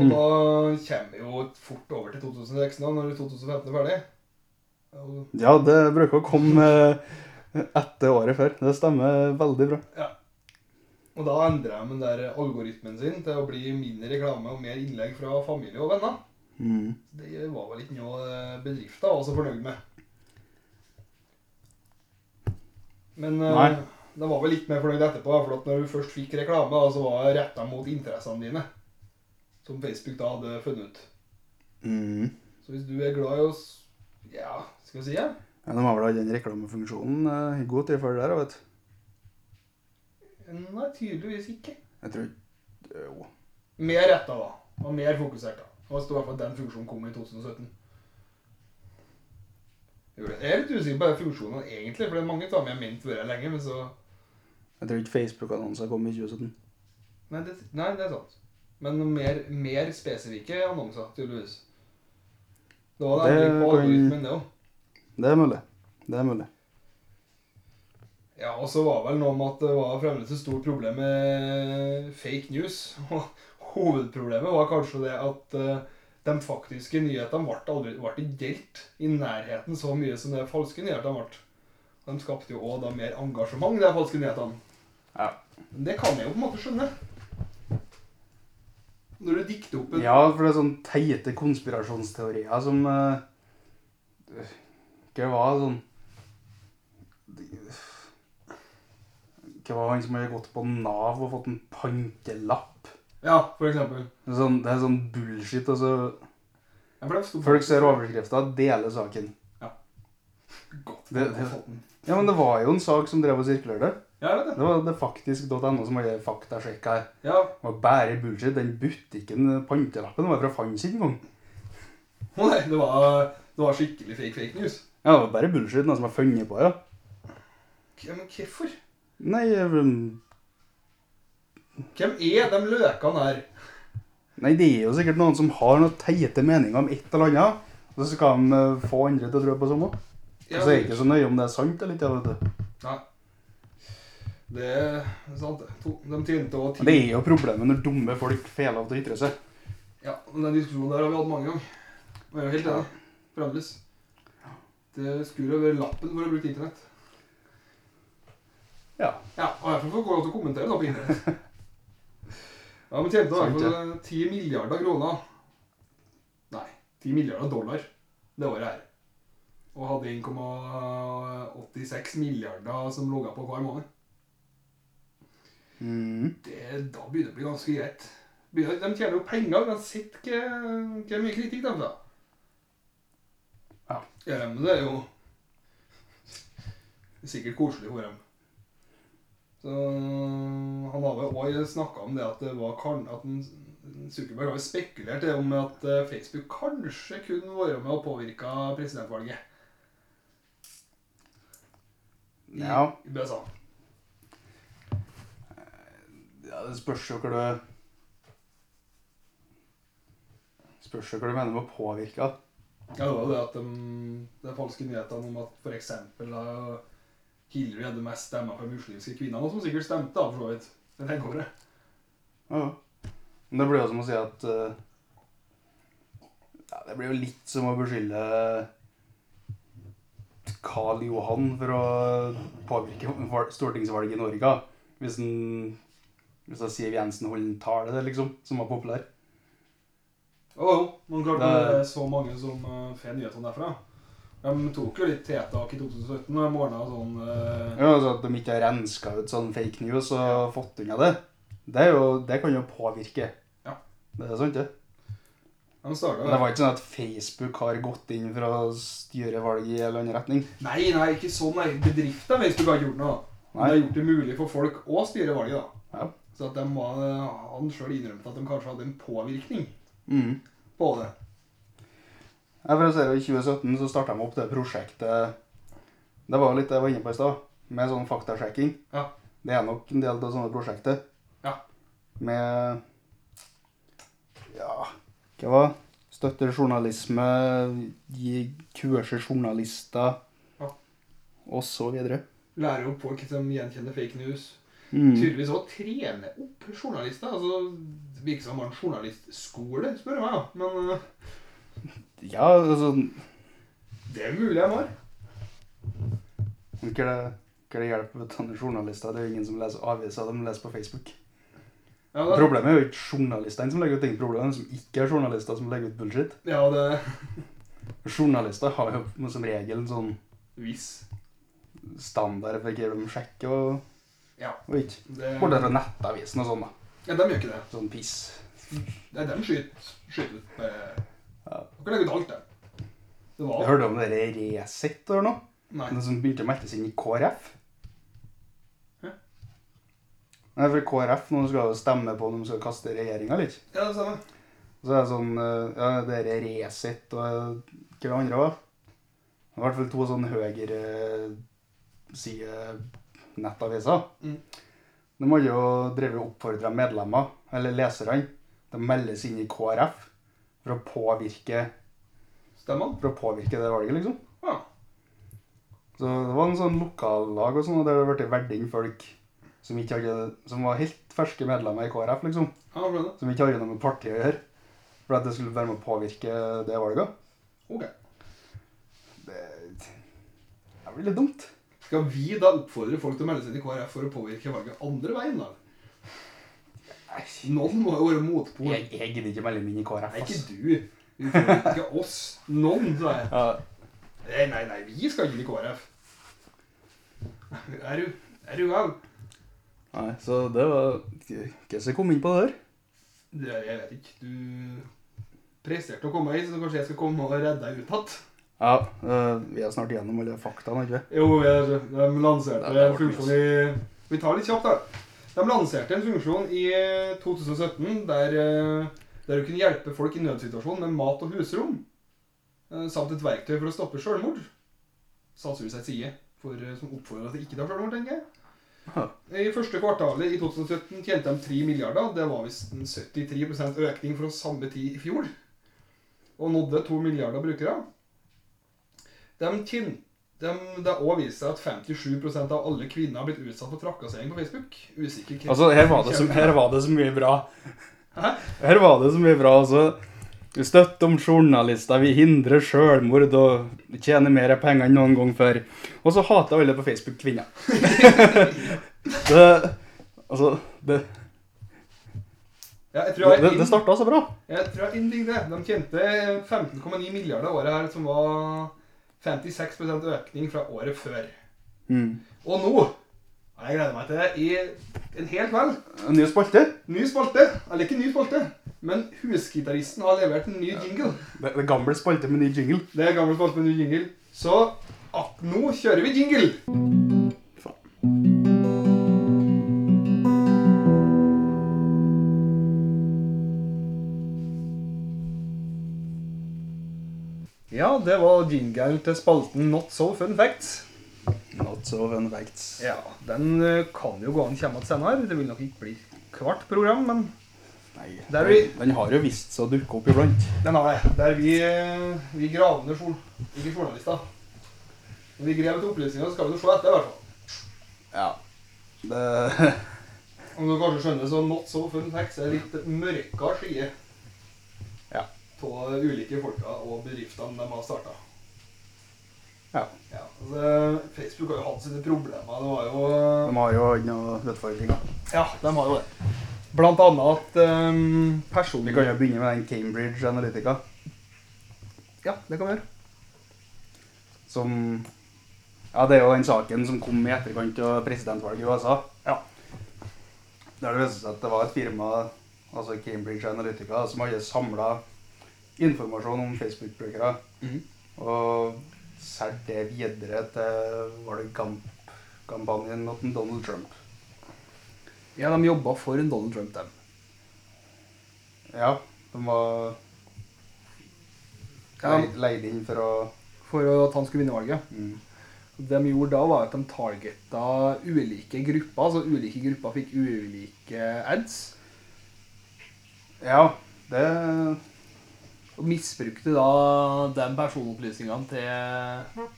B: Mm.
A: da kommer vi jo fort over til 2016 da, når 2015 er ferdig. Ja, og-
B: Ja, det bruker å komme eh, etter året før. Det stemmer veldig bra.
A: Og da endrer de den der algoritmen sin til å bli mindre reklame og mer innlegg fra familie og venner. Det var vel ikke noe eh, bedriften var så fornøyd med. Men eh,
B: Nei.
A: de var vel litt mer fornøyd etterpå, for at når du først fikk reklame, da, så var det retta mot interessene dine. Som Facebook da hadde funnet ut.
B: Mm.
A: Så hvis du er glad i oss Ja, skal vi si ja?
B: Ja, de har vel hatt den reklamefunksjonen eh, i god tid før det der, vet du.
A: Nei, tydeligvis ikke.
B: Jeg tror ikke eh, Jo.
A: Mer retta, da. Og mer fokusert, da. Og det står i hvert fall at den funksjonen kom i 2017. Jeg er litt usikker på den funksjonen egentlig, for det er mange av dem jeg har ment vært her lenge, men så
B: Jeg tror ikke Facebook-annonser kom i 2017.
A: Nei, det, nei, det er sant. Men mer, mer spesifikke annonser, tydeligvis. Det var en
B: Det
A: endring på
B: kan-
A: algoritmen, det òg.
B: Det er mulig. Det er mulig.
A: Ja, og så var vel noe med at det var fremdeles et stort problem med fake news. Og hovedproblemet var kanskje det at eh, de faktiske nyhetene ble aldri ble ikke delt i nærheten så mye som de falske nyhetene ble. Og De skapte jo òg da mer engasjement, de falske nyhetene.
B: Ja.
A: Men Det kan jeg jo på en måte skjønne. Når du dikter opp en
B: Ja, for det er sånne teite konspirasjonsteorier som eh, Hva var det sånn Hva var han som hadde gått på Nav og fått en pantelapp?
A: Ja, for eksempel.
B: Det er sånn, det er sånn bullshit. altså...
A: Ja, for det sto
B: Folk ser overskrifta, deler saken.
A: godt.
B: Det- det- Ja, men det var jo en sak som drev og sirkulerte.
A: Ja, jeg vet det.
B: Det var det faktisk.no som hadde faktasjekka her.
A: Ja,
B: Det var bare bullshit. Den butikken, pantelappen, var fra fanns ikke engang.
A: Å nei, det var, det var skikkelig fake fake news.
B: Ja, det var bare bullshit, noen som har funnet på det. Ja.
A: Ja, men hvorfor?
B: Nei, um,
A: Hvem er de løkene her?
B: nei, det er jo sikkert noen som har noen teite meninger om et eller annet. Og så skal de eh, få andre til å tro på det samme. Og
A: Ja,
B: så er det ikke så nøye om det er sant eller ikke. vet du.
A: Nei. Det er sant. det. To- De tjente også
B: Men Det
A: tid.
B: er jo problemet når dumme folk får lov til å ytre seg.
A: Ja, men den diskusjonen der har vi hatt mange ganger. Og jeg er jo helt enig. Fremdeles. Det skulle jo være lappen for å bruke internett.
B: Ja.
A: Ja, og derfor får gå lov til å kommentere da på internett. Ja, men tjente i hvert
B: Sant,
A: fall 10 milliarder kroner. Nei, 10 milliarder dollar det året her. Og hadde 1,86 milliarder som logga på hver måned.
B: Mm.
A: det, da begynner det å bli ganske greit. Begynner, de tjener jo penger uansett hva hva mye kritikk de får.
B: Ja.
A: ja, men det er jo det er sikkert koselig for dem. Så Han har vel òg snakka om det at det var kan, at en- Zuckerberg har jo spekulert i om at eh, Facebook kanskje kunne vært med og påvirka presidentvalget i,
B: Ja.
A: i USA.
B: Ja, det spørs jo hva du Spørs jo hva du mener med å påvirke. da.
A: Ja, det var jo det at de, de falske nyhetene om at for eksempel da Hillary hadde mest stemmer fra muslimske kvinner, noe som sikkert stemte, da, for så vidt. Men det går det.
B: Ja. Men det blir jo som å si at eh, ja, Det blir jo litt som å beskylde Karl Johan for å påvirke val- stortingsvalget i Norge. da. Hvis, en, hvis da Siv Jensen holder en tale der, liksom, som var populær.
A: Jo, jo. Men klart det
B: Det-
A: er så mange som uh, får nyhetene derfra. De tok jo litt tiltak i 2017 og de ordna sånn eh,
B: Ja, altså At de ikke har renska ut sånn fake news og fått unna det, det, er jo, det kan jo påvirke.
A: Ja.
B: Det er sant, det.
A: De starta
B: Men Det var ikke sånn at Facebook har gått inn for å styre valget i en eller annen retning.
A: Nei, nei, ikke sånn. Nei. Bedrifter hvis du ikke har gjort noe. da. Men
B: Nei.
A: det har gjort det mulig for folk å styre valget, da.
B: Ja.
A: Så at de, var- han sjøl innrømte at de kanskje hadde en påvirkning
B: Mm.
A: på det.
B: Ja, for å si det, I 2017 så starta de opp det prosjektet Det var jo litt det jeg var inne på i stad, med sånn faktasjekking.
A: Ja.
B: Det er nok en del av sånne prosjekter.
A: Ja.
B: Med Ja, hva var det? Støtter journalisme, gi kurser journalister
A: Ja.
B: og så videre.
A: lærer jo folk som gjenkjenner fake news.
B: Mm.
A: Tydeligvis å trene opp journalister. altså det Virker som han har en journalistskole, spør du meg. da. Men eh,
B: Ja, altså
A: det er mulig jeg har.
B: Men Hva er det, hva er det hjelper med sånne journalister? Det er jo ingen som leser aviser, de leser på Facebook.
A: Ja, det,
B: Problemet er jo ikke journalistene som legger ut ting, problemet er de som ikke er journalister, som legger ut bullshit.
A: ja, det
B: Journalister har jo som regel en sånn
A: Hvis.
B: standard for hva de sjekker og,
A: Ja.
B: og ikke.
A: Det,
B: Bortsett fra nettavisen og sånn, da.
A: ja, de gjør ikke det.
B: Sånn piss.
A: Det er dem skyter skyter ut med
B: Ja.
A: Dere legger ut alt, det. Det
B: Jeg
A: var
B: hørte om dere Resett eller noe?
A: Nei.
B: Det som begynte å meldes inn i KrF?
A: Hæ?
B: Nei, for KrF nå skal jo stemme på om de skal kaste regjeringa litt.
A: Ja, det stemmer.
B: Så er det sånn eh, Ja, det er Resett og eh, hva det andre var. Det var i hvert fall to sånne høyre eh, nettaviser.
A: Mm.
B: De hadde jo drevet og oppfordra medlemmer, eller leserne, til å melde seg inn i KrF for å påvirke,
A: Stemmer han?
B: for å påvirke det valget, liksom.
A: Ja.
B: Så det var en sånn lokallag og sånn, og der det ble verdt inn folk som, ikke hadde, som var helt ferske medlemmer i KrF, liksom.
A: ja jeg skjønner.
B: Som ikke hadde noe med partiet å gjøre. For at det skulle være med å påvirke det valget.
A: Ok.
B: Det, det blir litt dumt.
A: Skal vi da oppfordre folk til å melde seg inn i KrF for å påvirke valget andre veien, da?
B: Jeg,
A: Noen må jo være motpol.
B: jeg gidder ikke melde meg inn i KrF.
A: Nei, ikke
B: ass.
A: du. Du får ikke oss. Noen, sa jeg.
B: Ja,
A: Nei, Eh, nei, nei, vi skal ikke i KrF. Er du, er du gal?
B: nei, så det var Hva som kom inn på det der?
A: Det- Jeg vet ikke. Du presterte å komme hit, så kanskje jeg skal komme og redde deg ut igjen.
B: Ja, øh, vi er snart gjennom alle faktaene, ikke sant?
A: Jo, jeg- de lanserte
B: Det-
A: en
B: det ble mye.
A: funksjon i Vi tar litt kjapt, da. De lanserte en funksjon i 2017 der, eh, der du kunne hjelpe folk i nødsituasjon med mat og husrom. eh, Samt et verktøy for å stoppe sjølmord. Sannsynligvis ei side for, eh, som oppfordrer til ikke ta sjølmord, tenker jeg. Eh,
B: Ja.
A: I første kvartalet i 2017 tjente de 3 milliarder. Det var visst en 73 økning fra samme tid i fjor. Og nådde 2 milliarder brukere. De tjente de, det har også vist seg at 57 av alle kvinner har blitt utsatt for trakassering på Facebook. Usikker hvem-
B: Altså, her var, det så, her var det så mye bra.
A: Hæ?
B: Her var det så mye bra, altså. Vi støtter om journalister, vi hindrer sjølmord og tjener mer penger enn noen gang før. Og så hater alle på Facebook kvinner. det, altså, det,
A: ja, jeg, tror jeg,
B: det, det starta så bra.
A: jeg tror jeg indignet. De tjente 15,9 milliarder året her, som var 56 økning fra året før.
B: Mm.
A: Og nå ja, Jeg gleder meg til det i en hel kveld.
B: En ny spalte.
A: Ny spalte. Eller ikke ny spalte, men husgitaristen har levert en ny jingle.
B: Det, det gamle spalte med ny jingle.
A: Det er gammel spalte med ny jingle. Så ak nå kjører vi jingle. Ja, det var jingelen til spalten Not So Fun Facts.
B: Not so fun facts.
A: Ja, Den eh, kan jo gå an komme igjen senere. Det vil nok ikke bli hvert program, men
B: Nei,
A: Der vi-
B: den- Den har jo visst seg å dukke opp iblant.
A: den har jeg. Der vi, eh, vi graver ned jour- ikke journalister. Når vi graver til opplysninger, så skal vi nå se etter, i hvert fall.
B: Ja. Det,
A: Om du kanskje skjønner, så Not So Fun Facts er litt mørka skyer
B: Ja.
A: av ulike folka og bedriftene de har starta.
B: ja.
A: Ja, altså, Facebook har jo hatt sine problemer. Det var jo
B: De har jo ikke noe utfordringer.
A: Ja, de har jo det. Blant annet at um,
B: Vi
A: personlig
B: kan jo begynne med den Cambridge Analytica,
A: Ja, det kan vi gjøre.
B: som Ja, det er jo den saken som kom i etterkant av presidentvalget i USA.
A: Ja.
B: Der det viste seg at det var et firma, altså Cambridge Analytica, som hadde samla informasjon om Facebook-brukere
A: Mm.
B: og solgt det videre til Var det Gamp-kampanjen mot en Donald Trump?
A: Ja, de jobba for en Donald Trump, dem.
B: Ja, de var
A: Ja.
B: leid- leid inn for å
A: For at han skulle vinne valget.
B: mm,
A: Det de gjorde da, var at de targeta ulike grupper. Altså ulike grupper fikk ulike ads.
B: Ja, det
A: Og misbrukte da de personopplysningene til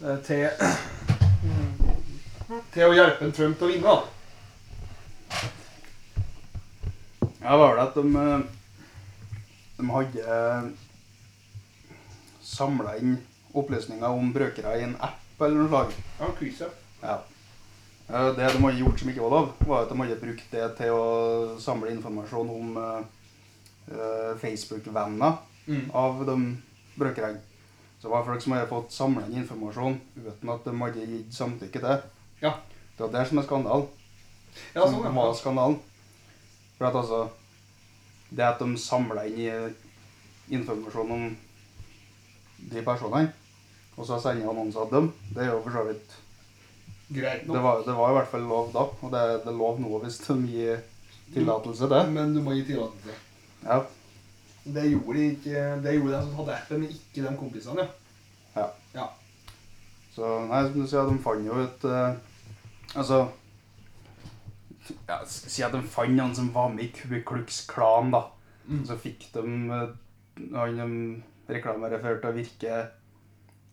A: eh, Til til å hjelpe en Trump til å vinne.
B: Ja, var det at de, eh, de hadde samla inn opplysninger om brukere i en app eller noe slag.
A: Ja, quizet.
B: Ja. Eh, Det de hadde gjort som ikke var lov, var at de hadde brukt det til å samle informasjon om eh, eh, Facebook-venner
A: Mm.
B: av de brukerne. Så det var folk som hadde fått samla inn informasjon uten at de hadde gitt samtykke til.
A: Ja.
B: Det var det som er skandalen.
A: Ja, sånn,
B: Som var
A: ja.
B: skandalen. For at altså Det at de samla inn i- informasjon om de personene, og så sender annonser av dem, det er jo for så vidt
A: Greit
B: det
A: nok.
B: var, det var i hvert fall lov da, og det, det er lov nå hvis de gir tillatelse til det.
A: Men du må gi tillatelse.
B: Ja.
A: Det gjorde de ikke Det gjorde de altså som hadde appen, men ikke de kompisene.
B: ja.
A: Ja.
B: Så nei, som du sier, de fant jo ut eh, Altså ja, s- Si at de fant noen som var med i Ku Klux Klan, da.
A: Mm.
B: Så fikk de eh, han de reklamerer for til å virke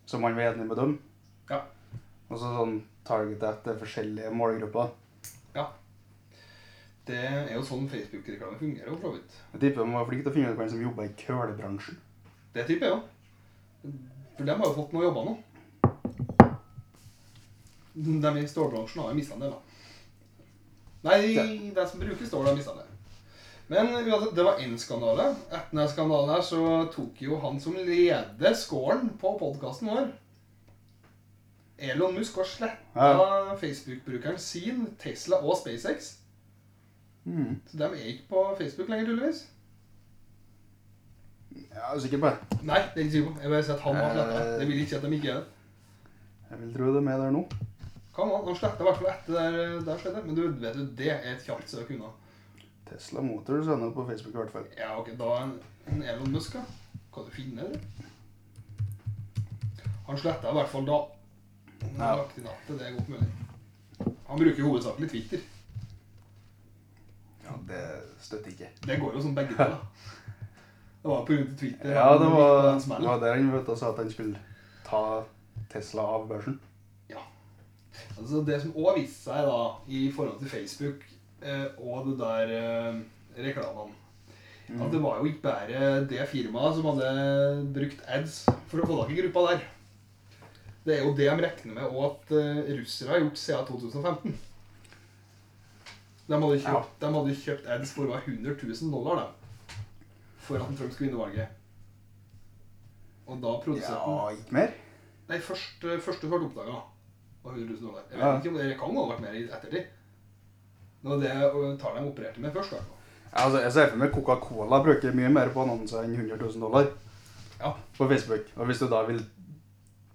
B: som han var enig med dem.
A: Ja.
B: Og så sånn targetet etter forskjellige målgrupper.
A: ja. Det er jo sånn Facebook-reklame fungerer, jo, for så vidt.
B: Jeg tipper de var flinke til å finne ut hvem som jobba i kølebransjen.
A: Det tipper jeg òg. For de har jo fått noe å jobbe nå. De i stålbransjen har jo mista en del, da. Nei, de, de som bruker stål, har mista en del. Men uansett, det var én skandale. Etter den skandalen her så tok jo han som leder scoren på podkasten vår Elon Musk har sletta
B: Ja.
A: Facebook-brukeren sin, Tesla og SpaceX.
B: Mm.
A: Så de er ikke på Facebook lenger, tydeligvis.
B: Jeg er sikker på det.
A: Nei, det er ikke sikker på. Jeg bare sier at han har sletta. Det vil ikke si at de ikke er det.
B: Jeg vil tro det er med der nå.
A: Kan han, han sletta i hvert fall etter der, eh, der skjedde. Men du vet jo, det er et kjapt søk unna.
B: Tesla Motors er nå på Facebook i hvert fall.
A: Ja, ok, da er en, en Elon Musk, ja. Kan du finne det? Han sletta i hvert fall da. Om han
B: Ja.
A: har lagt inn natt, det er godt mulig. Han bruker jo hovedsakelig Twitter.
B: Ja, det støtter ikke.
A: Det går jo som begge deler. Det var på grunn til Twitter.
B: Ja, det
A: han gikk
B: var,
A: på den
B: det
A: smellen.
B: var der han vet, du, sa at han skulle ta Tesla av børsen.
A: Ja. Altså Det som òg viste seg da i forhold til Facebook eh, og det der eh, reklamene At det var jo ikke bare det firmaet som hadde brukt ads for å få tak i gruppa der. Det er jo det de regner med og at eh, russere har gjort siden 2015. De hadde, kjøpt, de hadde kjøpt ads for hver 100 000 dollar da, for at Trump skulle vinne valget. Og da produserte han
B: Ja, ikke mer?
A: Nei, først, eh, første som ble oppdaga, var 100 000 dollar. Jeg vet
B: Ja.
A: ikke om det, det kan ha vært mer i ettertid. Det var det ø, tallet de opererte med først. i hvert fall.
B: Ja, Altså, jeg ser for meg Coca-Cola bruker mye mer på annonser enn 100 000 dollar
A: Ja.
B: på Facebook. Og hvis du da vil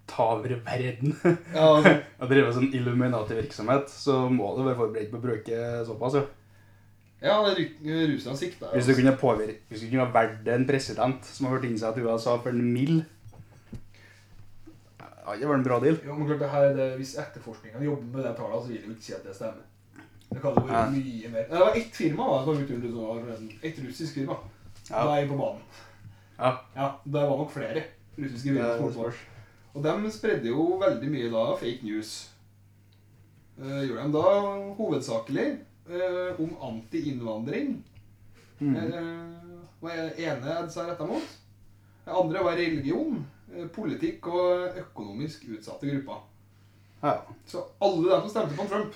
B: ta over verden
A: Ja, altså.
B: og drive sånn Illuminati-virksomhet, så må du være forberedt på å bruke såpass, jo.
A: ja det ry- eh, russerne sikta
B: Hvis du kunne påvirke, hvis du kunne vært en president som har vært innsatt i USA for en mill Ja, det var en bra deal.
A: Jo, men klart det her, det, Hvis etterforskningen jobber med de tallene, så vil jeg jo ikke si at det stemmer. Det kan jo være
B: Ja.
A: mye mer. Det var ett firma da, som var ute under dollar. Et russisk firma.
B: Ja.
A: Da er jeg på banen.
B: Ja.
A: Ja, Det var nok flere russiske
B: Det
A: firmaer
B: er
A: som var på. Og de spredde jo veldig mye da fake news. Eh, gjorde de da hovedsakelig eh, om anti-innvandring.
B: Mm.
A: Eh, var jeg ene jeg sa retta mot. Det andre var religion, eh, politikk og økonomisk utsatte grupper.
B: Ja.
A: Så alle de som stemte på Trump,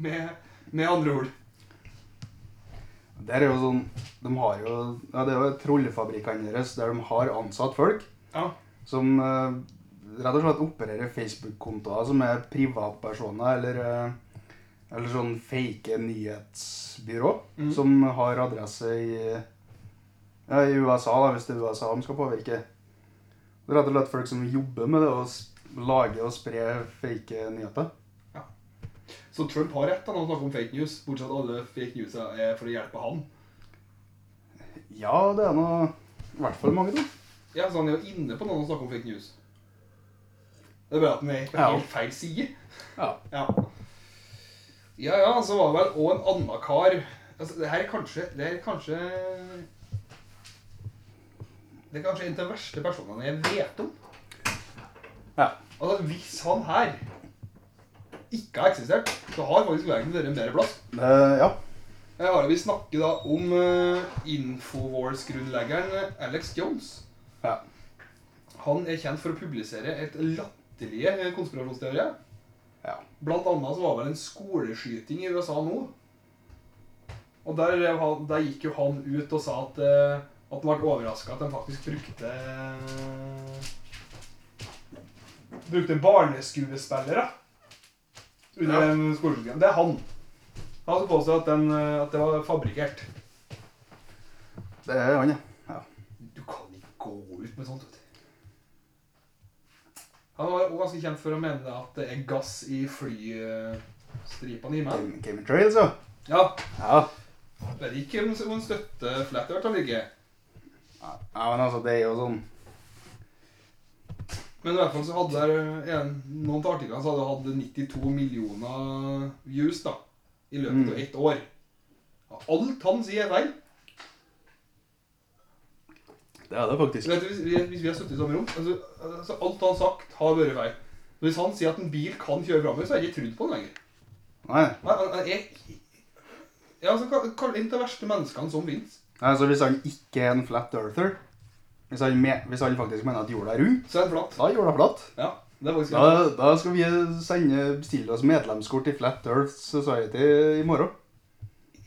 A: med, med andre ord.
B: Det er jo sånn, de har jo, ja, det er jo trollefabrikkene deres der de har ansatt folk
A: Ja.
B: som eh, rett og slett opererer Facebook-kontoer som er privatpersoner eller, eh, eller sånn fake nyhetsbyrå
A: Mhm.
B: som har adresse i, ja, i USA, da, hvis det er USA de skal påvirke. Det er rett og slett folk som jobber med det å s- lage og spre fake nyheter.
A: Så Trump har rett da når han snakker om fake news, bortsett fra at alle fake news er for å hjelpe han.
B: Ja, det er noe, i hvert fall mange da.
A: Ja, så han er jo inne på noe når han snakker om fake news. Det er bare at han er på
B: Ja.
A: helt feil side.
B: Ja.
A: Ja. Ja, ja, så var det vel òg en annen kar altså, Det her er kanskje Det her er kanskje Det er kanskje en av de verste personene jeg vet om.
B: Ja.
A: Altså, hvis han her ikke har eksistert, så har faktisk verden vært en bedre plass.
B: Eh, ja.
A: Eh, Are, vi snakker da om eh, Infowars-grunnleggeren eh, Alex Jones.
B: Ja.
A: Han er kjent for å publisere et latterlige eh, konspirasjonsteorier.
B: Ja.
A: Blant annet så var det vel en skoleskyting i USA nå. Og der, rev han, der gikk jo han ut og sa at, eh, at han ble overraska at de faktisk brukte eh, Brukte barneskuespillere under
B: Ja.
A: ja. skoleskytingen. Det er han. Han som påstår at, den, eh, at det var fabrikkert.
B: Det er han, ja.
A: Du kan ikke gå ut med sånt. vet du. Han var også ganske kjent for å mene at det er gass i flystripene i meg.
B: Game, Game Trails, ja.
A: Ja,
B: Ja.
A: vet ikke om om han støtter Flat Earth eller ikke.
B: Ja, men altså, det er jo sånn
A: Men i hvert fall så hadde der eh, en, noen av artiklene så hadde hadde 92 millioner views da, i løpet av
B: Mm.
A: ett år. Ja, Alt han sier er feil.
B: Det er det faktisk.
A: Vet du, hvis, vi- hvis vi har sittet i samme rom, altså, altså alt han har sagt har vært feil. Hvis han sier at en bil kan kjøre framover, så har jeg ikke trodd på han lenger.
B: Nei.
A: Nei, han- han er Ja, altså, kall- Kall inn de verste menneskene som fins.
B: Nei, så hvis han ikke er en flat earther Hvis han, me hvis han faktisk mener at jorda er rund,
A: Så er han flat.
B: da er jorda flatt.
A: Ja, det er faktisk
B: Da, da skal vi sende, bestille oss medlemskort i Flat Earth Society i morgen.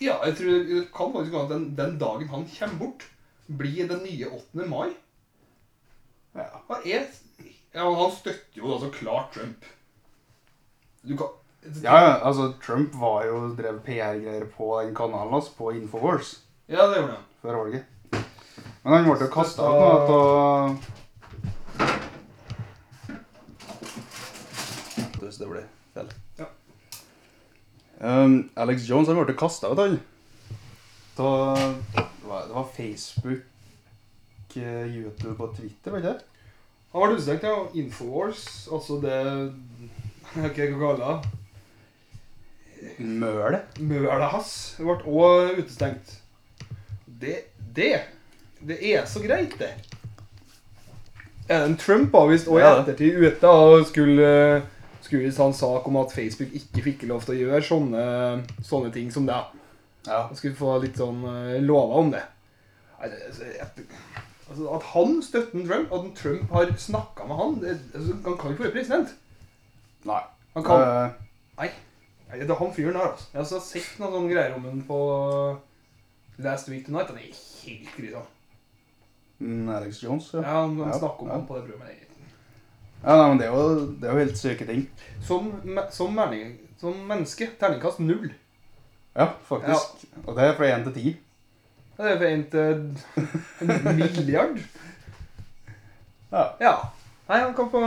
A: Ja, jeg tror det kan faktisk gå an at den, den dagen han kommer bort, blir den nye 8. mai.
B: Ja.
A: Han er Ja, men han støtter jo altså klart Trump. Du kan
B: Ja, ja, altså Trump var jo drev PR-greier på den kanalen hans, på Infowars,
A: Ja, det gjorde han.
B: før valget. Men han ble jo kasta ut nå etter Hvis det ble feil.
A: Ja.
B: Um, Alex Jones han ble kasta ut, han. Da, det var- det var Facebook, eh, YouTube og Twitter, var det ikke det?
A: Han var utstengt av Infowars, altså det Hva skal jeg kalle det?
B: Møl.
A: Møla hans ble òg utestengt. Det, det Det er så greit, det. En Trump var visst òg i
B: Ja, det.
A: ettertid ute og skulle eh, skulle visst ha en sak om at Facebook ikke fikk lov til å gjøre sånne, sånne ting som det.
B: Ja.
A: Han skulle få litt sånn eh, lova om det. Nei, det- altså, jeg- Altså, at han støtter en Trump, at en Trump har snakka med han det, altså, Han kan jo ikke være president.
B: Nei.
A: Han kan
B: Eh,
A: Nei, det er han fyren her, altså. Jeg har altså sett noen sånne greier om den på uh, Last Week Tonight. Han er helt grisa.
B: mm, Alex Jones,
A: Ja,
B: ja.
A: han, han
B: Ja,
A: snakker om
B: ja.
A: han på det programmet. der.
B: ja nei, men det er, jo, det er jo helt syke ting.
A: Som, me- som, mening, som menneske, terningkast null.
B: Ja, faktisk. Og det er fra én til ti.
A: Ja, Det er for en til en milliard.
B: Ja.
A: Ja. Nei, han kan få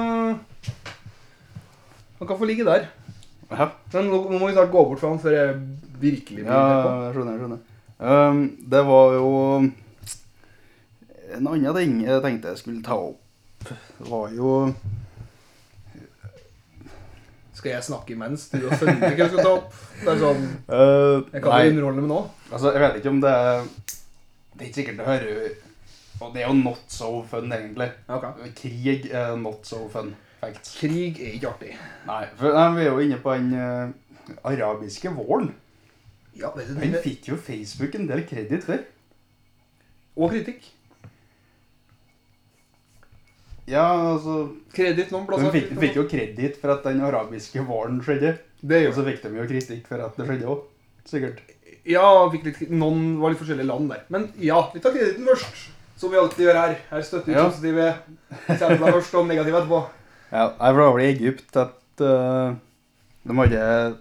A: Han kan få ligge der.
B: ja.
A: Men nå nå må vi snart gå bort fra han før jeg virkelig blir
B: Ja,
A: ja.
B: jeg skjønner, jeg skjønner. Ehm, det var jo En annen ting jeg tenkte jeg skulle ta opp, var jo
A: Skal jeg snakke imens? Du har funnet hva jeg skal ta opp? Det er sånn,
B: eh,
A: Jeg kan jo
B: Nei,
A: underholde med nå.
B: altså, jeg vet ikke om det er Det er ikke sikkert det hører Og det er jo not so fun, egentlig.
A: Okay.
B: Krig er not so fun. Facts.
A: Krig er ikke artig.
B: Nei, for nei, vi er jo inne på den eh, arabiske våren.
A: Ja, vet du,
B: Den
A: det-
B: fikk jo Facebook en del kreditt for.
A: Og kritikk.
B: Ja, altså
A: Kreditt noen
B: De
A: plasser.
B: fikk, fikk jo kreditt for at den arabiske våren skjedde.
A: Det
B: Og
A: gjør
B: så fikk de jo kritikk for at det skjedde òg. Sikkert.
A: Ja, fikk litt, noen var litt forskjellige land der. Men ja, vi tar kreditten først. Som vi alltid gjør her. Her støtter vi
B: Ja.
A: positive eksempler først og negative etterpå.
B: Ja, nei, for det var vel i Egypt at eh, de hadde eh,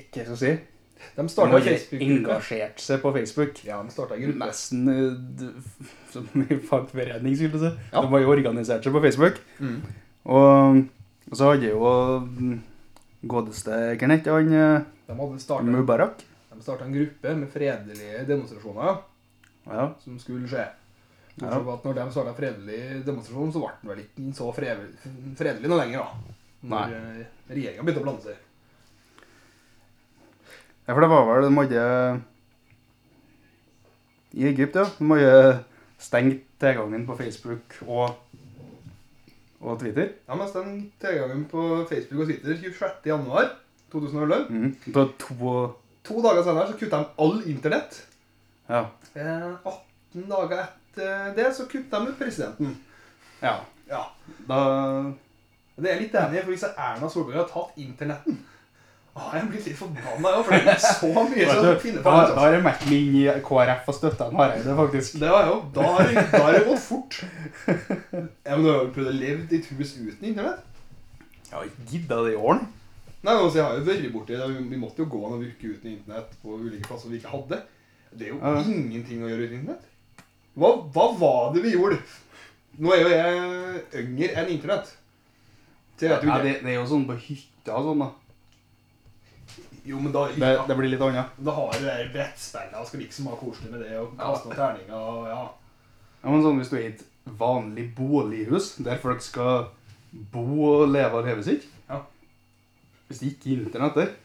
B: Ikke hva skal jeg si
A: De
B: De
A: starta
B: hadde
A: Facebook-gruppe.
B: engasjert seg på Facebook.
A: Ja, de startet en gruppe.
B: Nesten eh, d- f- som i fagforening, skulle jeg si.
A: Ja.
B: De har jo organisert seg på Facebook.
A: Mm.
B: Og, og så hadde jo mm, godeste Hvem het han? eh,
A: De hadde startet,
B: Mubarak?
A: de startet en gruppe med fredelige demonstrasjoner
B: Ja.
A: som skulle skje.
B: Ja.
A: Bortsett fra at når de starta fredelig demonstrasjon, så ble den vel ikke så frev- fredelig noe lenger, da. Når regjeringa begynte å blande seg.
B: Ja, for det var vel De hadde I Egypt, ja. De hadde stengt tilgangen på Facebook og Og Twitter.
A: Ja, mest den tilgangen på Facebook og Twitter 26. januar 2011.
B: Mm. Da to og
A: To dager senere så kutta de all internett.
B: Ja.
A: Eh, 18 dager etter det så kutta de ut presidenten.
B: ja.
A: Ja,
B: Da
A: Det er jeg litt enig i, for hvis Erna Solberg har tatt internetten Da har jeg blitt litt forbanna, ja, for det er så mye
B: Vet
A: som
B: du,
A: finner
B: da,
A: på.
B: da har jeg meldt meg inn i KrF og støtta en Hareide, faktisk.
A: Det var jo, Da har det da har det gått fort. Ja, men Du har jo prøvd å leve i et hus uten internett?
B: Jeg har ikke gidda det i åren.
A: Nei, men altså, Jeg har jo vært borti det. Vi- Vi måtte jo gå noen uker uten internett på ulike plasser vi ikke hadde. Det er jo
B: Ja.
A: ingenting å gjøre uten internett. Hva, hva var det vi gjorde? Nå er jo jeg yngre enn internett. Så jeg vet jo
B: Ja,
A: ikke.
B: det, det er jo sånn på hytta og sånn, da.
A: Jo, men da
B: Det, det blir litt annet.
A: Da har du det der brettspillet og skal liksom ha koselig med det og kaste noen terninger og ja.
B: Ja, men sånn Hvis du er i et vanlig bolighus, der folk skal bo og leve og leve sitt
A: Ja.
B: Hvis det ikke er internett der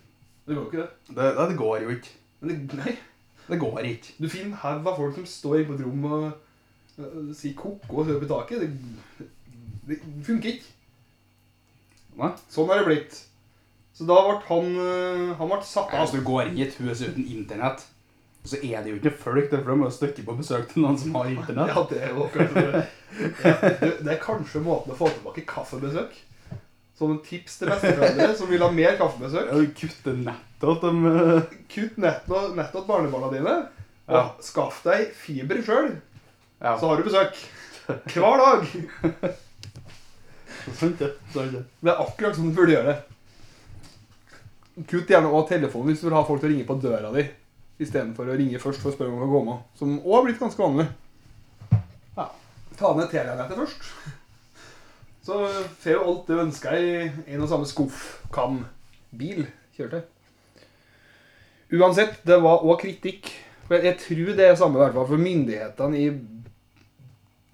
A: Det går jo ikke, det.
B: det, det, det går jo ikke.
A: Men det, nei.
B: Det går ikke.
A: Du finner en haug av folk som står inne på et rom og øh, sier ko-ko og hører på taket. Det, det funker ikke.
B: Nei.
A: Sånn er det blitt. Så da ble han øh, Han ble satt av.
B: Hvis altså, du går inn i et hus uten internett, så er det jo ikke folk der, for de må jo stikke på besøk til noen som har internett.
A: Ja, det er jo kanskje det. Ja, det, det er kanskje måten å få tilbake kaffebesøk. Sånne tips til besteforeldre som vil ha mer kaffebesøk.
B: Ja, du kutter nettet at de eh,
A: Kutt nettopp, nettopp barnebarna dine, og
B: Ja.
A: skaff deg fiber sjøl,
B: Ja,
A: så har du besøk. Hver dag.
B: sant det. Sant det.
A: Det er akkurat som du burde gjøre det. Kutt gjerne også telefonen hvis du vil ha folk til å ringe på døra di. Istedenfor å ringe først for å spørre om du kan komme. Som òg har blitt ganske vanlig.
B: Ja.
A: Ta ned Telia-nettet først. Så får jo alt du ønsker deg i en og samme skuff, kam, bil, kjøretøy. Uansett, det var òg kritikk. Men jeg tror det er samme i hvert fall for myndighetene i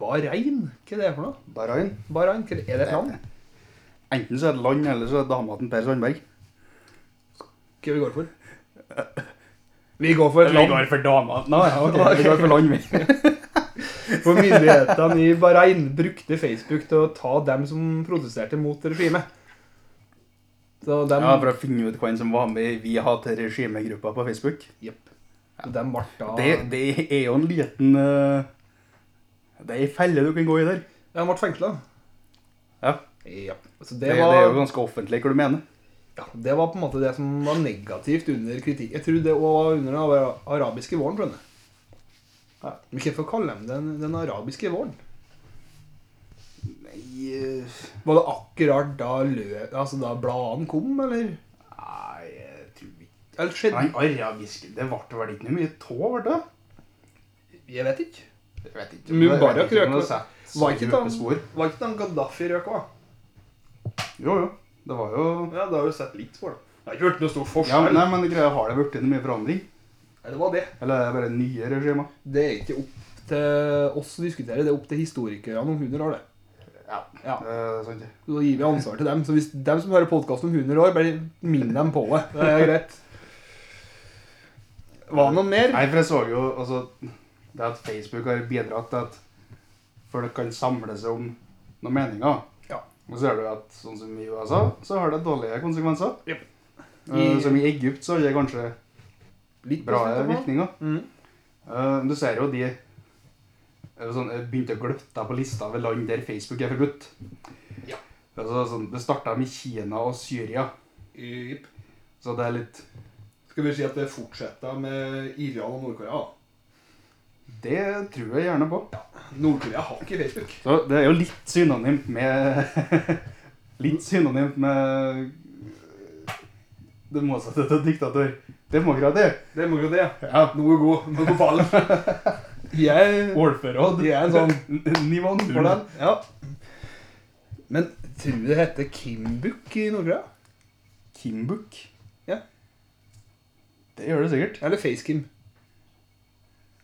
A: Bahrain? Hva er det for noe?
B: Bahrain.
A: Bahrain? Hva er det- er det et land?
B: Enten så er det land, eller så er det dama til Per Sandberg.
A: Hva vi går for? Vi går for et
B: Vi
A: land.
B: går for dama. Nei, ja, ok, vi går for land, vi.
A: For myndighetene i Bahrain brukte Facebook til å ta dem som protesterte mot regimet. Så dem,
B: Ja, for å finne ut hvem som var med i Vi hater regimegruppa på Facebook.
A: Jepp. Så dem ble da
B: Det, det er jo en liten eh, Det er ei felle du kan gå i der.
A: Ja, De ble fengsla.
B: Ja.
A: Ja. Så det,
B: Det, det er jo
A: var,
B: ganske offentlig hva du mener.
A: ja, det var på en måte det som var negativt under kritikk. Jeg tror det òg var under den ara- arabiske våren, skjønner jeg.
B: Ja.
A: Men hvorfor kaller de den den arabiske våren?
B: Nei eh,
A: Var det akkurat da, lø, altså da bladene kom, eller?
B: Nei, jeg tror ikke
A: Eller skjedde
B: Nei, arabisk Det ble vel ikke noe mye tå, ble det?
A: Jeg vet ikke.
B: Jeg vet ikke.
A: Mubarak
B: Jeg vet ikke om
A: røk-
B: det satt så
A: var ikke
B: dype
A: da-
B: spor.
A: Var ikke den Gaddafi røk òg?
B: Jo, jo. Det var jo
A: Ja, det har du sett litt for, da. Det har ikke vært noe stor
B: ja, men,
A: forskjell.
B: Nei, men greia har det blitt noe mye forandring?
A: Nei, det var det.
B: Eller er det bare nye regimer?
A: Det er ikke opp til oss å diskutere, det er opp til historikerne om 100 år, det.
B: Ja.
A: Ja.
B: Eh, sant det.
A: Så gir vi ansvar til dem. Så hvis dem som hører podkasten om 100 år, bare minn dem på det. Det er greit. Var det noe mer?
B: Nei, for jeg så jo altså, Det at Facebook har bidratt til at folk kan samle seg om noen meninger.
A: Ja.
B: Og så er det jo at sånn som i USA, så har det dårlige konsekvenser.
A: Jep.
B: Eh,
A: I-
B: som i Egypt så har det kanskje
A: Litt
B: bra
A: positivt, da.
B: virkninger.
A: Mhm.
B: Eh, men du ser jo de eh, sånn, eh, begynte å gløtte på lista ved land der Facebook er forbudt.
A: Ja.
B: Altså, sånn, det starta med Kina og Syria,
A: Yep.
B: så det er litt
A: Skal vi si at det fortsetter med Iran og Nord-Korea? da?
B: Det tror jeg gjerne på.
A: Nord-Korea har ikke Facebook.
B: Så det er jo litt synonymt med Litt synonymt med eh, det motsatte til diktator. Demokrati.
A: Det må jo det.
B: Ja.
A: Noe god. Noe på ballen. Jeg
B: Ordførerråd.
A: Det er en sånn
B: nivå null.
A: for den. Ja. Men tror du det heter Kimbuk i Nord-Korea?
B: Kimbuk.
A: Ja.
B: Det gjør det sikkert.
A: Eller FaceKim?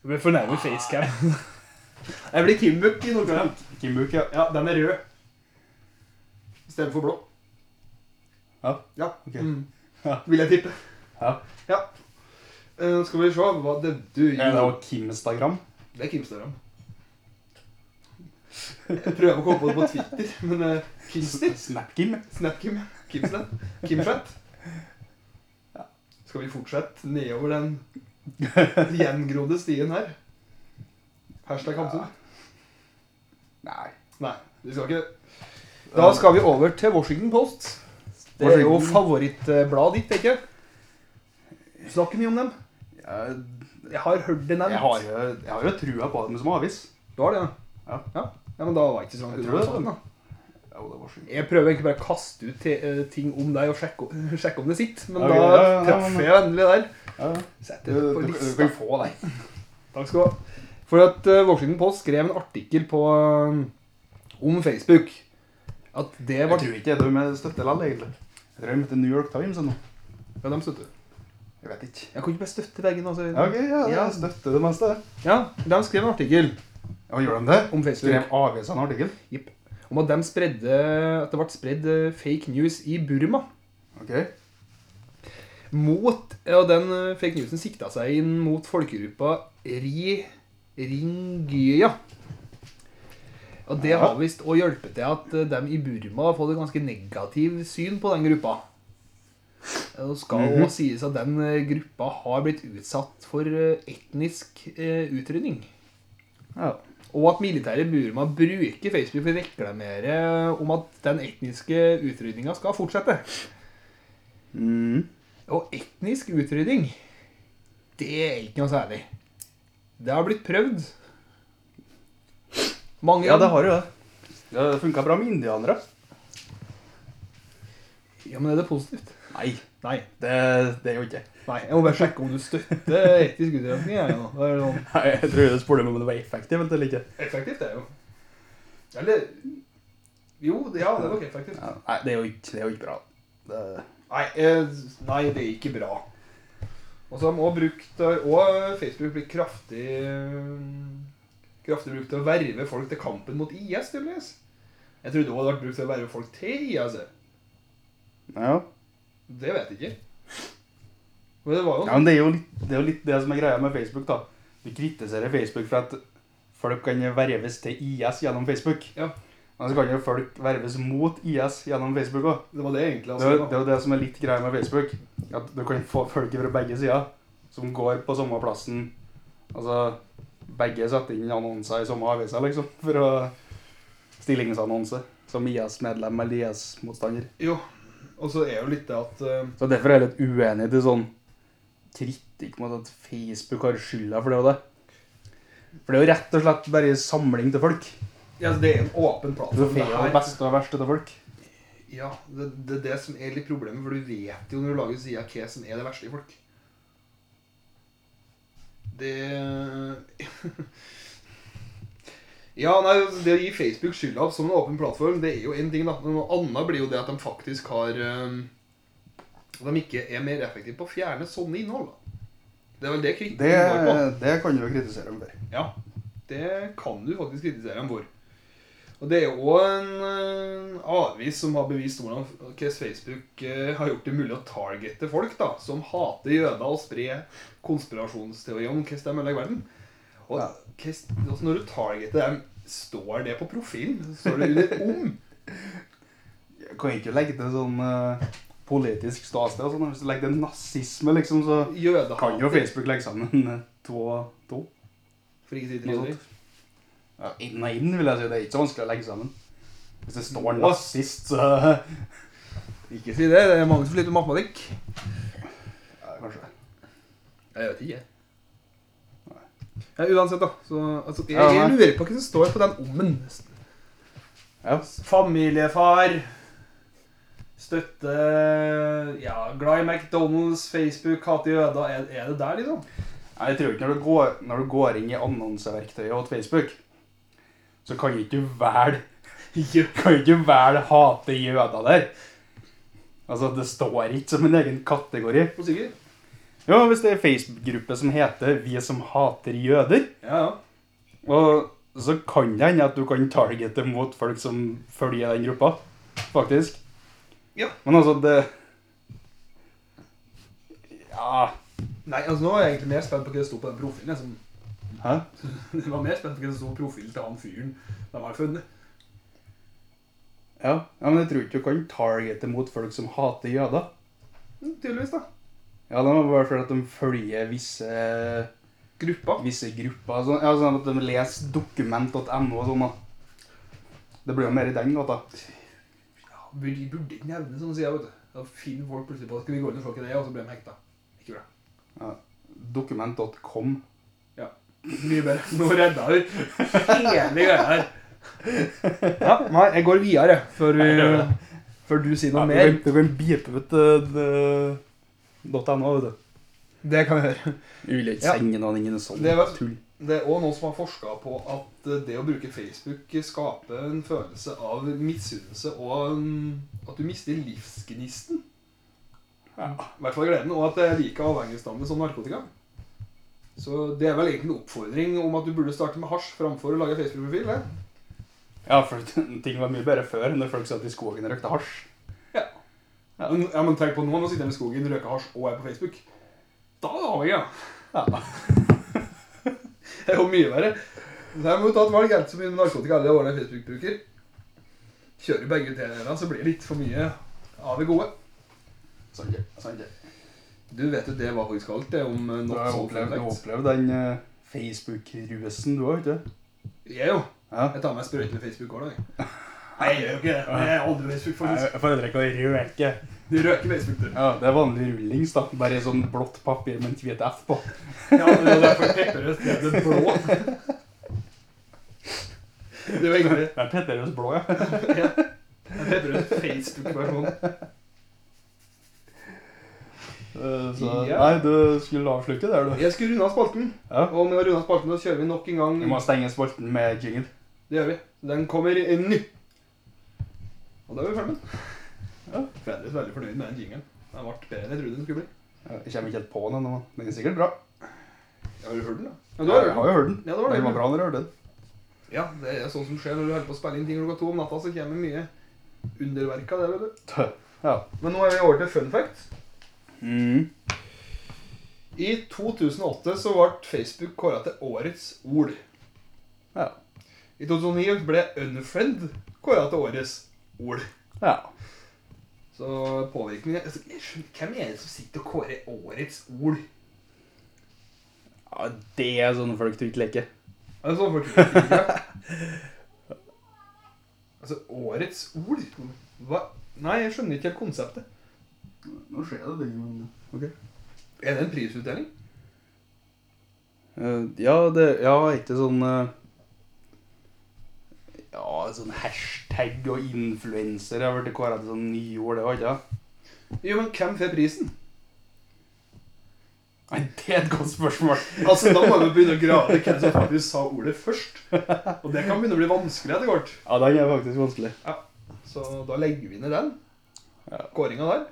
A: Du ble fornærmet FaceCam. Jeg blir Kimbuk i Nord-Korea.
B: Kimbuk, ja.
A: Ja, den er rød. Istedenfor blå.
B: Ja,
A: Ja.
B: ok.
A: Mm.
B: Ja.
A: Vil jeg tippe.
B: ja.
A: Ja. Eh, skal vi se hva det du
B: Er det også Kimstagram?
A: Det er Kimstagram. Jeg prøver å komme på det på Twitter, men eh, Kimster?
B: Snapkim.
A: Snapkim? Kimsnap? Kimchat? Skal vi fortsette nedover den gjengrodde stien her? Hashtag Hamsun?
B: Nei.
A: Nei, vi skal ikke Da skal vi over til Washington Post. Det er jo
B: Washington.
A: favorittbladet ditt, ikke Snakker mye om dem.
B: Jeg,
A: Jeg har hørt det nevnt.
B: jeg, har, jo, jeg har jo trua på dem som avis.
A: Du har det, ja?
B: Ja.
A: Ja, ja men da var jeg ikke så langt
B: Jeg
A: unna.
B: tror det.
A: sånn, da.
B: Ja, det var sjukt.
A: Jeg prøver egentlig bare å kaste ut te- eh, ting om deg og sjekke, o- sjekke om det sitter, men
B: Ok,
A: da
B: ja, ja, ja,
A: traff
B: men-
A: jeg endelig der.
B: Ja, ja.
A: Sett
B: Du,
A: det
B: du,
A: på
B: du, du
A: lista.
B: kan få deg.
A: Takk skal du ha. For at eh, Washington Post skrev en artikkel på, eh, om Facebook. At det
B: Jeg
A: var
B: tror ikke de støtter lall, egentlig. Jeg tror de heter New York Times ennå.
A: Ja, dem støtter.
B: Jeg vet ikke.
A: Jeg kan ikke bare støtte veggen, altså.
B: Ja, ok, ja,
A: Ja.
B: jeg støtter det meste.
A: Ja, de skrev en artikkel
B: Ja, gjør de det?
A: om Facebook.
B: Skrev avisa en artikkel?
A: Om at, dem spredde, at det ble spredd eh, fake news i Burma.
B: Ok.
A: Mot, ja, den eh, fake newsen sikta seg inn mot folkegruppa Ri Ringya. Og det
B: Ja.
A: har visst å hjelpe til at eh, dem i Burma har fått et ganske negativt syn på den gruppa. Eh, Det skal òg
B: Mhm.
A: sies at den eh, gruppa har blitt utsatt for eh, etnisk eh, utrydning.
B: Ja.
A: Og at militære i Burma bruker Facebook for å reklamere om at den etniske utrydninga skal fortsette.
B: Mm.
A: Og etnisk utrydding, det er ikke noe særlig. Det har blitt prøvd. Mange
B: Ja, det har jo det. Ja, det funka bra med indianere.
A: Ja, men er det positivt?
B: Nei,
A: Nei.
B: det, det er jo ikke.
A: Nei, Jeg må bare sjekke om du støtter etisk utredning. Jeg, nå. Det er sånn.
B: Nei, Jeg tror det spurte meg om det var effektivt eller ikke.
A: Effektivt, det er jo. Eller Jo, ja, det er nok effektivt.
B: Ja, nei, det er jo ikke, det er jo ikke bra. Det,
A: Nei, eh, nei, det er ikke bra. Og så har de også brukt eh, Og Facebook blitt kraftig eh, Kraftig brukt til å verve folk til kampen mot IS, tydeligvis. Jeg trodde også det hadde vært brukt til å verve folk til IS. jeg.
B: ja.
A: Det vet jeg ikke. Men det var jo
B: ja, men det er jo litt det, er jo litt det som er greia med Facebook, da. Du kritiserer Facebook for at folk kan verves til IS gjennom Facebook.
A: Ja.
B: Men så kan jo folk verves mot IS gjennom Facebook òg.
A: Det var det egentlig
B: Det er jo-
A: altså,
B: det er jo det som er litt greia med Facebook. At du kan få folk fra begge sider som går på samme plassen. Altså, begge setter inn annonser i samme aviser, liksom, for å Stillingsannonse som IS-medlem eller IS-motstander.
A: Jo. Og så er jo litt det at eh,
B: Så derfor er jeg litt uenig til sånn kritikk mot at Facebook har skylda for det og det. For det er jo rett og slett bare samling til folk.
A: ja, altså, Det er en åpen plattform.
B: Du får jo det beste og verste til folk.
A: Ja, det, det er det som er litt problemet, for du vet jo når du lager sida hva som er det verste i folk. Det Ja, nei, det å gi Facebook skylda som en åpen plattform, det er jo én ting, da. Men noe annet blir jo det at de faktisk har eh, At de ikke er mer effektive på å fjerne sånne innhold. da. Det er vel det
B: Det,
A: kritikken går på.
B: det kan du jo kritisere dem for.
A: Ja, det kan du faktisk kritisere ham for. Og det er jo også en eh, avis som har bevist hvordan hvordan Facebook eh, har gjort det mulig å targete folk da, som hater jøder og sprer konspirasjonsteorier om hvordan de ødelegger verden. Og
B: Ja.
A: hvordan- altså når du targeter dem, står det på profilen? Står det under om?
B: Jeg kan ikke legge til sånn eh, politisk ståsted og sånn. Hvis du legger til nazisme, liksom, så kan jo
A: Jødehater?
B: Facebook legge sammen eh, to og to.
A: For ikke å si
B: Noe
A: trivelig.
B: sånt. Ja, inn og inn, vil jeg si. Det er ikke så vanskelig å legge sammen. Hvis det står
A: Nå.
B: nazist, så ja,
A: Ikke si det. Det er mange som sliter med matematikk.
B: Kanskje.
A: Jeg vet ikke. Ja, uansett, da. Så, altså, jeg,
B: Ja,
A: jeg
B: nei.
A: lurer på hva som står på den ommen.
B: Ja.
A: Familiefar. Støtte Ja, glad i McDonald's, Facebook, hater jøder. Er, er det der, liksom?
B: Nei, Jeg tror ikke når du går, når du går inn i annonseverktøyet hos Facebook, så kan du ikke velge kan du ikke velge hate jøder der. Altså, det står ikke som en egen kategori.
A: På sikker?
B: Jo, hvis det er en Facebook-gruppe som heter 'Vi som hater jøder',
A: Ja, ja.
B: og så kan det hende at du kan targete mot folk som følger den gruppa, faktisk.
A: Ja.
B: Men altså, det Ja.
A: Nei, altså nå er jeg egentlig mer spent på hva det sto på den profilen. Liksom.
B: Hæ?
A: Jeg var mer spent på hvilken stor profil til han fyren de har funnet.
B: Ja. ja, men jeg tror ikke du kan targete mot folk som hater jøder.
A: Mm, Tydeligvis, da.
B: Ja, det var bare fordi at de følger visse,
A: Gruppa.
B: visse grupper. Sånn, ja, sånn at de leser dokument.no og sånn, da. Det blir jo mer i den gata.
A: Ja, burde, burde ikke nevne sånne sider, vet du. Da finner folk plutselig på at skal vi gå inn og se hva det er, og så blir de hekta. Ikke bra.
B: Ja. Dokument.com.
A: Mye bedre. Nå redda du hele greia her. Ja, nei, jeg går videre før,
B: Nei, gjør det.
A: vi, før du sier
B: Ja,
A: noe
B: du
A: mer.
B: kan- Du kan beepe ut eh, det- .no, vet du.
A: Det kan vi gjøre.
B: Vi vil ikke
A: Ja.
B: sende noen ingen sånn
A: Det var-
B: tull.
A: Det er òg noen som har forska på at eh, det å bruke Facebook skaper en følelse av misunnelse og mm, at du mister livsgnisten.
B: Ja.
A: I hvert fall gleden, og at det er like avhengighetsdannende som narkotika. Så det er vel egentlig en oppfordring om at du burde starte med hasj framfor å lage Facebook-profil. det.
B: Ja, for ting var mye bedre før, når folk satt i skogen og røkte hasj.
A: Ja, men- ja, men tenk på noen som sitter de i skogen, røyker hasj og er på Facebook. Da er det avhengig, ja.
B: Ja.
A: Det er jo mye verre. Så her må du ta et valg. Enten så mye narkotika alle årene Facebook-bruker. Kjører begge delene, så blir det litt for mye av det gode.
B: Sant det. sant det.
A: Du vet jo det var faktisk alt, det om eh,
B: Du
A: not
B: har
A: so
B: jo opplevd, du har
A: perfect.
B: opplevd den eh, Facebook-rusen du har, vet du.
A: Jeg jo.
B: Ja.
A: Jeg tar meg en sprøyte med Facebook òg, da. jeg. Nei, jeg gjør jo ikke det. Jeg er aldri Facebook, faktisk.
B: Jeg foredrer ikke å røke.
A: Du røker Facebook, du.
B: Ja, det er vanlig rullings, da. Bare i sånn blått papir med en hvit F på.
A: Ja, men det er derfor pepperrødt er det blå. Det er jo egentlig
B: Det er Petterøes blå, ja.
A: Ja. Jeg prøver en Facebook-versjon.
B: Eh, Så,
A: Ja.
B: Nei, du skulle avslutte der, du.
A: Jeg skulle runde av spalten,
B: Ja.
A: og med å runde av spalten så kjører vi nok en
B: Vi
A: gang.
B: må stenge spalten med jingle.
A: Det gjør vi. Den kommer eh, nå. Og da er vi ferdig med
B: Ja.
A: den. Fredrik er veldig fornøyd med den jingelen. Den ble bedre enn jeg trodde den skulle bli.
B: Ja, Jeg kommer ikke helt på den ennå. men Den er sikkert bra.
A: Ja, Har du hørt den, da? Ja,
B: Jeg
A: du har hørt
B: har
A: den.
B: jo hørt den.
A: Ja, det var det.
B: Den var bra når jeg hørte den.
A: Ja, det er sånn som skjer når du holder på å spille inn ting klokka to om natta, så kommer mye underverka der, vet du.
B: Tø. Ja.
A: Men nå er vi over til fun fact.
B: Mm.
A: I 2008 så ble Facebook kåra til årets ord.
B: Ja.
A: I 2009 ble Unfriend kåra til årets ord.
B: Ja.
A: Så påvirkning altså, jeg skjønner, Hvem er det som sitter og kårer årets ord?
B: ja. Det er sånne folk du ikke leker.
A: Er det sånn folk ikke Altså, årets ord? Hva? Nei, jeg skjønner ikke helt konseptet.
B: Nå skjer det ting, men Ok.
A: Er det en prisutdeling?
B: Eh, ja, det Ja, ikke sånn eh, Ja, sånn hashtag og influenser har blitt kåra til sånn nyord, det òg, ikke sant?
A: Jo, men hvem får prisen?
B: Nei, det er et godt spørsmål.
A: Altså, Da må vi begynne å grave i hvem som faktisk sa ordet først. Og det kan begynne å bli vanskelig etter hvert.
B: Ja, den er faktisk vanskelig.
A: Så da legger vi ned den
B: Ja.
A: kåringa der.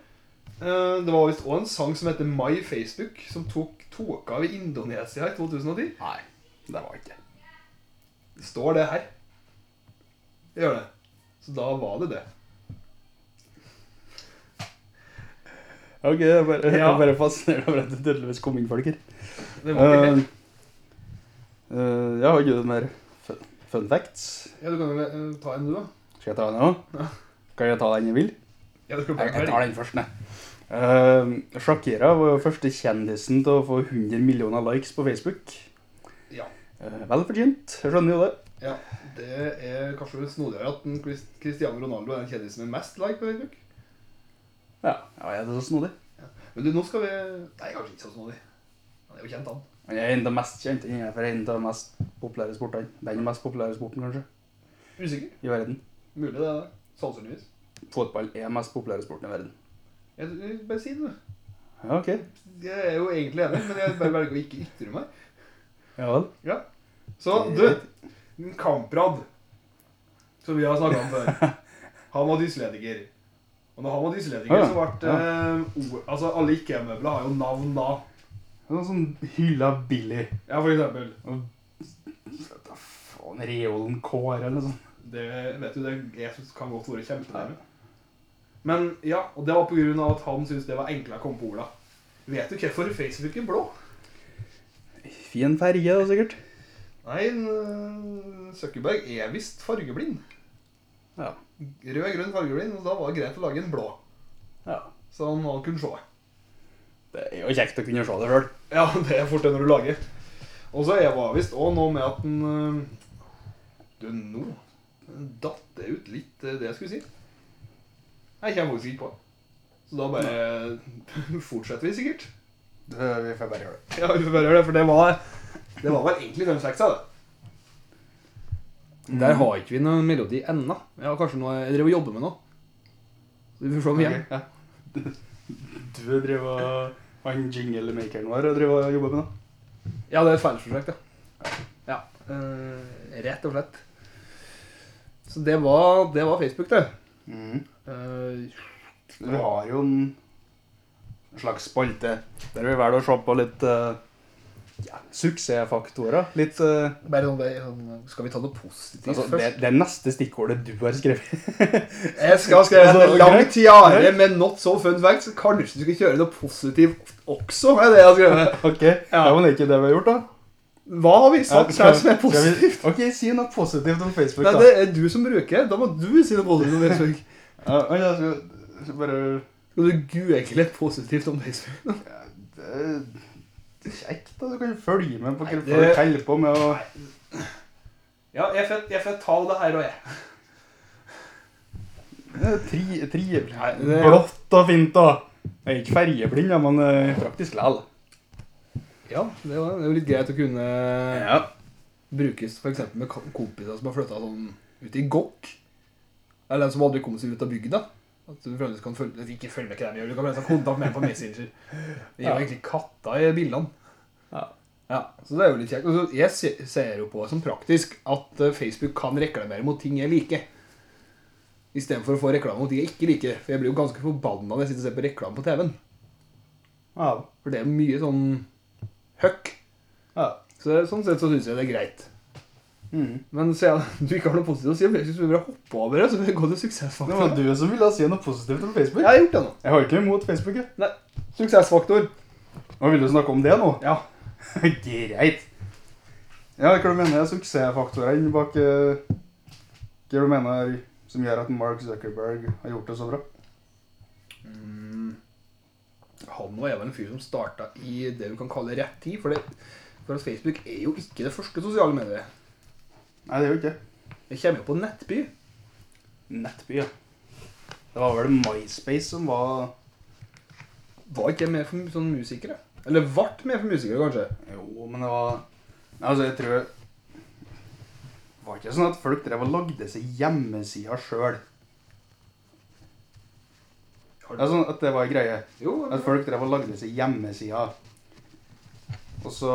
A: Eh, Det var visst òg en sang som heter My Facebook, som tok tok av i Indonesia i 2010.
B: Nei, det var ikke
A: Står det her. Det gjør det. Så da var det det.
B: Ok, jeg er bare, jeg
A: Ja.
B: er bare fascinert over at det tydeligvis kom inn folk her.
A: det var ikke
B: Uh,
A: helt.
B: jeg eh, har ikke noe mer fun, fun facts.
A: Ja, du kan jo eh, ta en, du, da.
B: Skal jeg ta den òg?
A: Ja.
B: Kan jeg ta den jeg vil?
A: Ja, du skal
B: Jeg,
A: bare
B: jeg tar den først, nei. Eh, Shakira var jo første kjendisen til å få 100 millioner likes på Facebook.
A: Ja.
B: Eh, vel fortjent, jeg skjønner jo det.
A: ja. Det er kanskje snodigere at en Chris- Cristiano Ronaldo er den kjendisen med mest like på Facebook.
B: Ja, ja er det så snodig?
A: Men du, nå skal vi Nei, kanskje ikke så snodig. Han er jo kjent, han.
B: Han er en av de mest kjente innenfor en av de mest populære sportene. Den mest populære sporten, kanskje,
A: Usikker.
B: i verden.
A: Mulig det er det. Sannsynligvis.
B: Fotball er den mest populære sporten i verden.
A: Jeg, jeg, bare si det, du.
B: Ja, ok.
A: Jeg er jo egentlig enig, men jeg bare velger å ikke ytre meg.
B: Ja vel.
A: Ja. Så, du en Kamprad, som vi har snakka om før, han var dyslediker. Og når han var dyslediker,
B: Ja, ja.
A: så ble eh, o- Altså, alle ikke-møbler har jo navn da.
B: Sånn som hylla Billy.
A: Ja, for eksempel.
B: Vet da faen, Reolen Kåre eller noe sånt.
A: Det vet du, det er, kan godt være kjempenærme. Men ja, og det var på grunn av at han syntes det var enklere å komme på orda. Vet du hvorfor Facebook er blå?
B: Fin ferge, da, sikkert.
A: Nei, n- Zuckerberg er visst fargeblind.
B: Ja.
A: Rød, grønn fargeblind, og da var det greit å lage en blå.
B: ja.
A: Så han må kunne se.
B: Det er jo kjekt å kunne se det sjøl.
A: Ja, det er fort det når du lager. Og så er det visst òg noe med at den øh, Du, nå datt det ut litt øh, det jeg skulle si. Jeg kommer faktisk ikke på det. Så da bare fortsetter vi sikkert.
B: Vi får bare gjøre det.
A: Ja, vi får bare gjøre det, for det var Det var vel egentlig fem seks, det. Mm. Der har ikke vi noen melodi ennå. Ja, kanskje noe Jeg driver og jobber med noe. Så vi får se om vi igjen.
B: Ok, ja. Du driver og Han jinglemakeren vår og driver og jobber med det?
A: Ja, det er et fellesprosjekt, ja. ja. eh, rett og slett. Så det var, det var Facebook, det.
B: Mm.
A: Eh,
B: Vi har jo en slags spalte der vi velger å se på litt eh, ja, suksessfaktorer. Litt eh,
A: bare sånn, det- sånn, skal vi ta noe positivt
B: altså, det,
A: først?
B: det er neste stikkordet du har skrevet.
A: Jeg skal skrive
B: Altså,
A: en lang
B: greit,
A: tiare
B: greit.
A: med not so fun facts. Kanskje du skal kjøre noe positivt også? er det jeg har skrevet.
B: Ok, Det var ikke det vi har gjort, da.
A: Hva har vi sagt
B: Ja,
A: her som er
B: skal vi-
A: positivt?
B: Ok, Si noe positivt om Facebook,
A: Nei,
B: da.
A: det er du som bruker. Da må du si noe positivt om Facebook.
B: Ja, oi, jeg skal- skal bare
A: Skal du google positivt om Facebook?
B: ja, det er Kjekt, da. Du kan jo følge med på hva
A: Nei, det-
B: folk holder på med. Og...
A: Ja, jeg får, jeg får ta det her og jeg.
B: Det er Tri, trivelig.
A: Nei, det-
B: Blått og fint, da. Jeg er ikke ferjeblind, da, men eh, praktisk likevel.
A: Ja, det, var, det er jo litt greit å kunne brukes for eksempel med kom- kompiser som har flytta sånn ut i gokk. Eller som aldri kommer seg ut av bygda. At du fremdeles kan følge, ikke følge med hva de gjør, du kan fremdeles ha kontakt med dem på Messenger. Det gir jo
B: Ja.
A: egentlig katta i bildene.
B: Ja.
A: Ja, så det er jo litt kjekt. Og så- Jeg se- ser jo på det som praktisk at eh, Facebook kan reklamere mot ting jeg liker. Istedenfor å få reklame mot ting jeg ikke liker. For jeg blir jo ganske forbanna når jeg sitter og ser på reklame på TV-en.
B: Ja.
A: For det er mye sånn høkk.
B: ja.
A: Så det- sånn sett så syns jeg det er greit.
B: Mm.
A: Men siden du ikke har noe positivt å si om Facebook, så vil vi bare hoppe over det. Så vil vi gå til
B: Det var
A: suksessfaktor.
B: du som ville si noe positivt om Facebook.
A: Jeg har gjort det nå.
B: Jeg har ikke noe imot Facebook. jeg.
A: Nei. Suksessfaktor.
B: Nå vil du snakke om det nå?
A: Ja.
B: Greit. Ja, hva du mener er suksessfaktorene bak eh, Hva du mener som gjør at Mark Zuckerberg har gjort det så bra?
A: Mm. Han var vel en fyr som starta i det vi kan kalle rett tid. For, det, for at Facebook er jo ikke det første sosiale mediet.
B: Nei, det er jo ikke
A: Det kommer jo på nettby.
B: Nettby, ja. Det var vel MySpace som var
A: Var ikke det mer for sånn musikere? Eller ble mer for musikere, kanskje?
B: Jo, men det var Nei, altså, jeg tror Var ikke sånn at folk drev og lagde seg hjemmesider sjøl? Det er sånn at det var en greie.
A: Jo.
B: At folk drev og lagde seg hjemmesider. Og så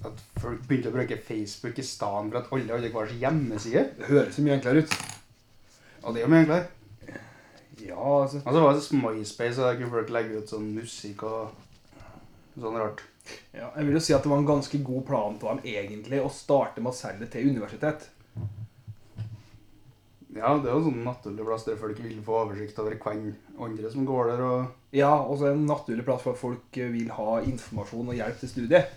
B: At folk begynte å bruke Facebook i stedet for at alle hadde hver sin hjemmeside.
A: Det høres jo mye enklere ut.
B: Og det er jo mye enklere.
A: Ja, altså.
B: Og så var det sånn MySpace, og der kunne folk legge ut sånn musikk og sånn rart.
A: Ja, jeg vil jo si at det var en ganske god plan til ham egentlig å starte med å selge til universitet.
B: Ja, det er jo sånn naturlig plass der folk vil få oversikt over hvem andre som går der, og
A: Ja, og så er det en naturlig plass for at folk eh, vil ha informasjon og hjelp til studiet.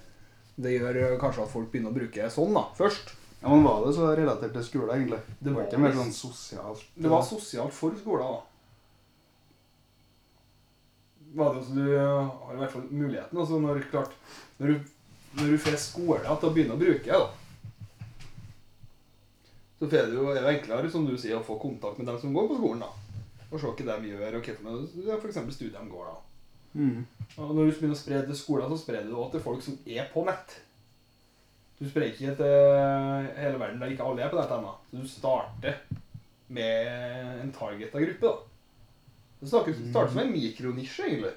A: Det gjør eh, kanskje at folk begynner å bruke sånn da, først.
B: Ja, men var det så relatert til skole, egentlig?
A: Det
B: Det var
A: var
B: ikke mer
A: visst-
B: sånn sosialt
A: Det var sosialt for skolen da. Var det også du eh, har i hvert fall muligheten, altså når, klart, når du, når du får skole at du begynner å bruke det da. Så får det jo, er det jo enklere, som du sier, å få kontakt med dem som går på skolen da. Og se hva de gjør, og hva for- for eksempel studiet de går da.
B: Mm.
A: Og når du begynner å spre det til skolen, så sprer du det også til folk som er på nett. Du sprer ikke til eh, hele verden der ikke alle er på nett ennå. Så du starter med en targeta gruppe, da. Det snakker-
B: Mm.
A: starter som en mikronisje, egentlig.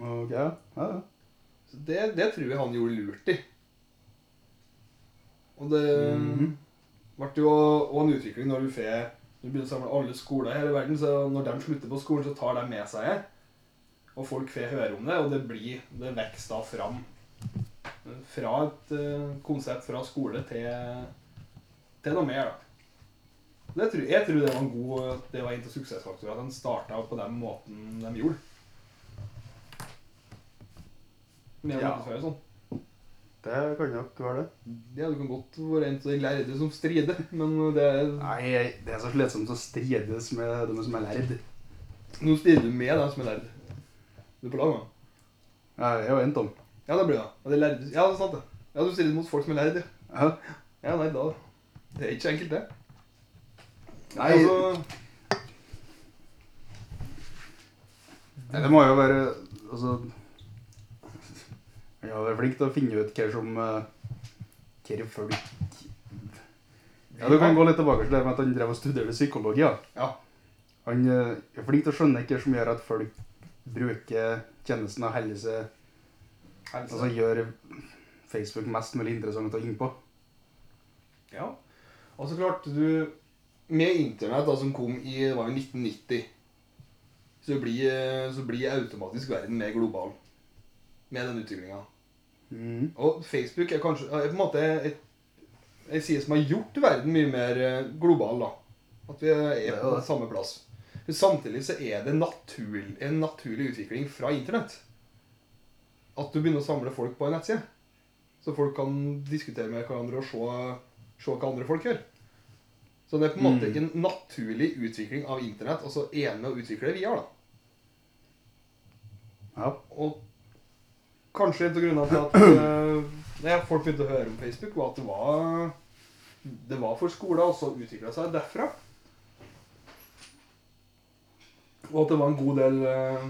B: Ok, ja. ja. ja.
A: Så det, det tror jeg han gjorde lurt i. Og det
B: Mhm.
A: ble jo også en utvikling når du får Du begynner å samle alle skoler i hele verden, så når de slutter på skolen, så tar de med seg det. Og folk får høre om det, og det blir Det vokser da fram. Fra et eh, konsept fra skole til, til noe mer, da. Det tror, jeg tror det var en god Det var en av suksessfaktorene. At de starta på den måten de gjorde. Med
B: Ja.
A: markedsføring og sånn.
B: Det kan nok være det.
A: Ja, du kan godt være en av de lærde som strider, men det er
B: Nei, det er så slitsomt å strides med dem som er lærd.
A: Nå strider du med dem som er lærde. Du er på lag med dem.
B: Ja, jeg er jo en tom.
A: Ja, det blir det. Og det er lærde. Ja, det er sant det. Ja, du strider mot folk som er lærde.
B: Ja.
A: Ja, nei, da. Det er ikke så enkelt, det.
B: Nei,
A: altså,
B: Nei, det må jo være Altså Man må være flink til å finne ut hva som eh, Hva folk Ja, du kan gå litt tilbake til det med at han drev og studerte psykologi. Ja.
A: Ja.
B: Han eh, er flink til å skjønne hva som gjør at folk bruker tjenesten av helse Altså
A: Altså,
B: gjør Facebook mest mulig interessant å inn på.
A: ja. Og så klart, du Med internett, da, som kom i det var jo 1990, så blir, så blir automatisk verden mer global med den utviklinga.
B: Mm.
A: Og Facebook er kanskje er på en måte et, en side som har gjort verden mye mer eh, global, da. At vi
B: Det
A: er
B: er jo
A: på
B: det.
A: samme plass. Men Samtidig så er det naturl, en naturlig utvikling fra internett. At du begynner å samle folk på en nettside. Så folk kan diskutere med hverandre og se, se hva andre folk gjør. Så det er på en måte
B: Mm.
A: en naturlig utvikling av internett. Og så er en med å utvikle det vi har, da.
B: Ja.
A: Og kanskje en av grunnene til at eh, det folk begynte å høre om Facebook, var at det var, det var for skolen, og så utvikla seg derfra. Og at det var en god del eh,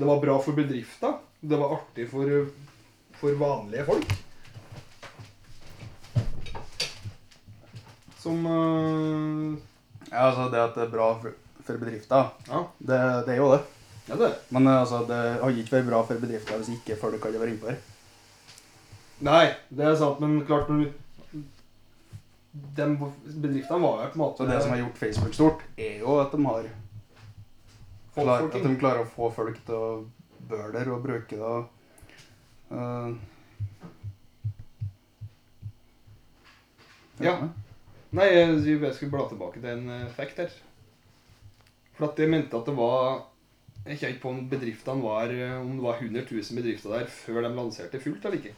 A: Det var bra for bedrifter. Det var artig for, for vanlige folk. Som eh,
B: ja, altså det at det er bra for, for bedrifter,
A: Ja,
B: det, det er jo det.
A: ja det er det.
B: Men eh, altså, det hadde ikke vært bra for bedrifter hvis ikke folk hadde vært innpå her.
A: Nei, det er sant, men klart når de bedriftene var jo på en måte
B: Så det som har gjort Facebook stort, er jo at de har
A: Fått
B: klar,
A: folk
B: At
A: inn.
B: de klarer å få folk til å børe der og bruke det. og, eh,
A: Ja. Nei, jeg, jeg skulle bla tilbake til en eh, fact her. For at jeg mente at det var Jeg kjente ikke på om bedriftene var eh, Om det var 100 000 bedrifter der før de lanserte fullt eller ikke.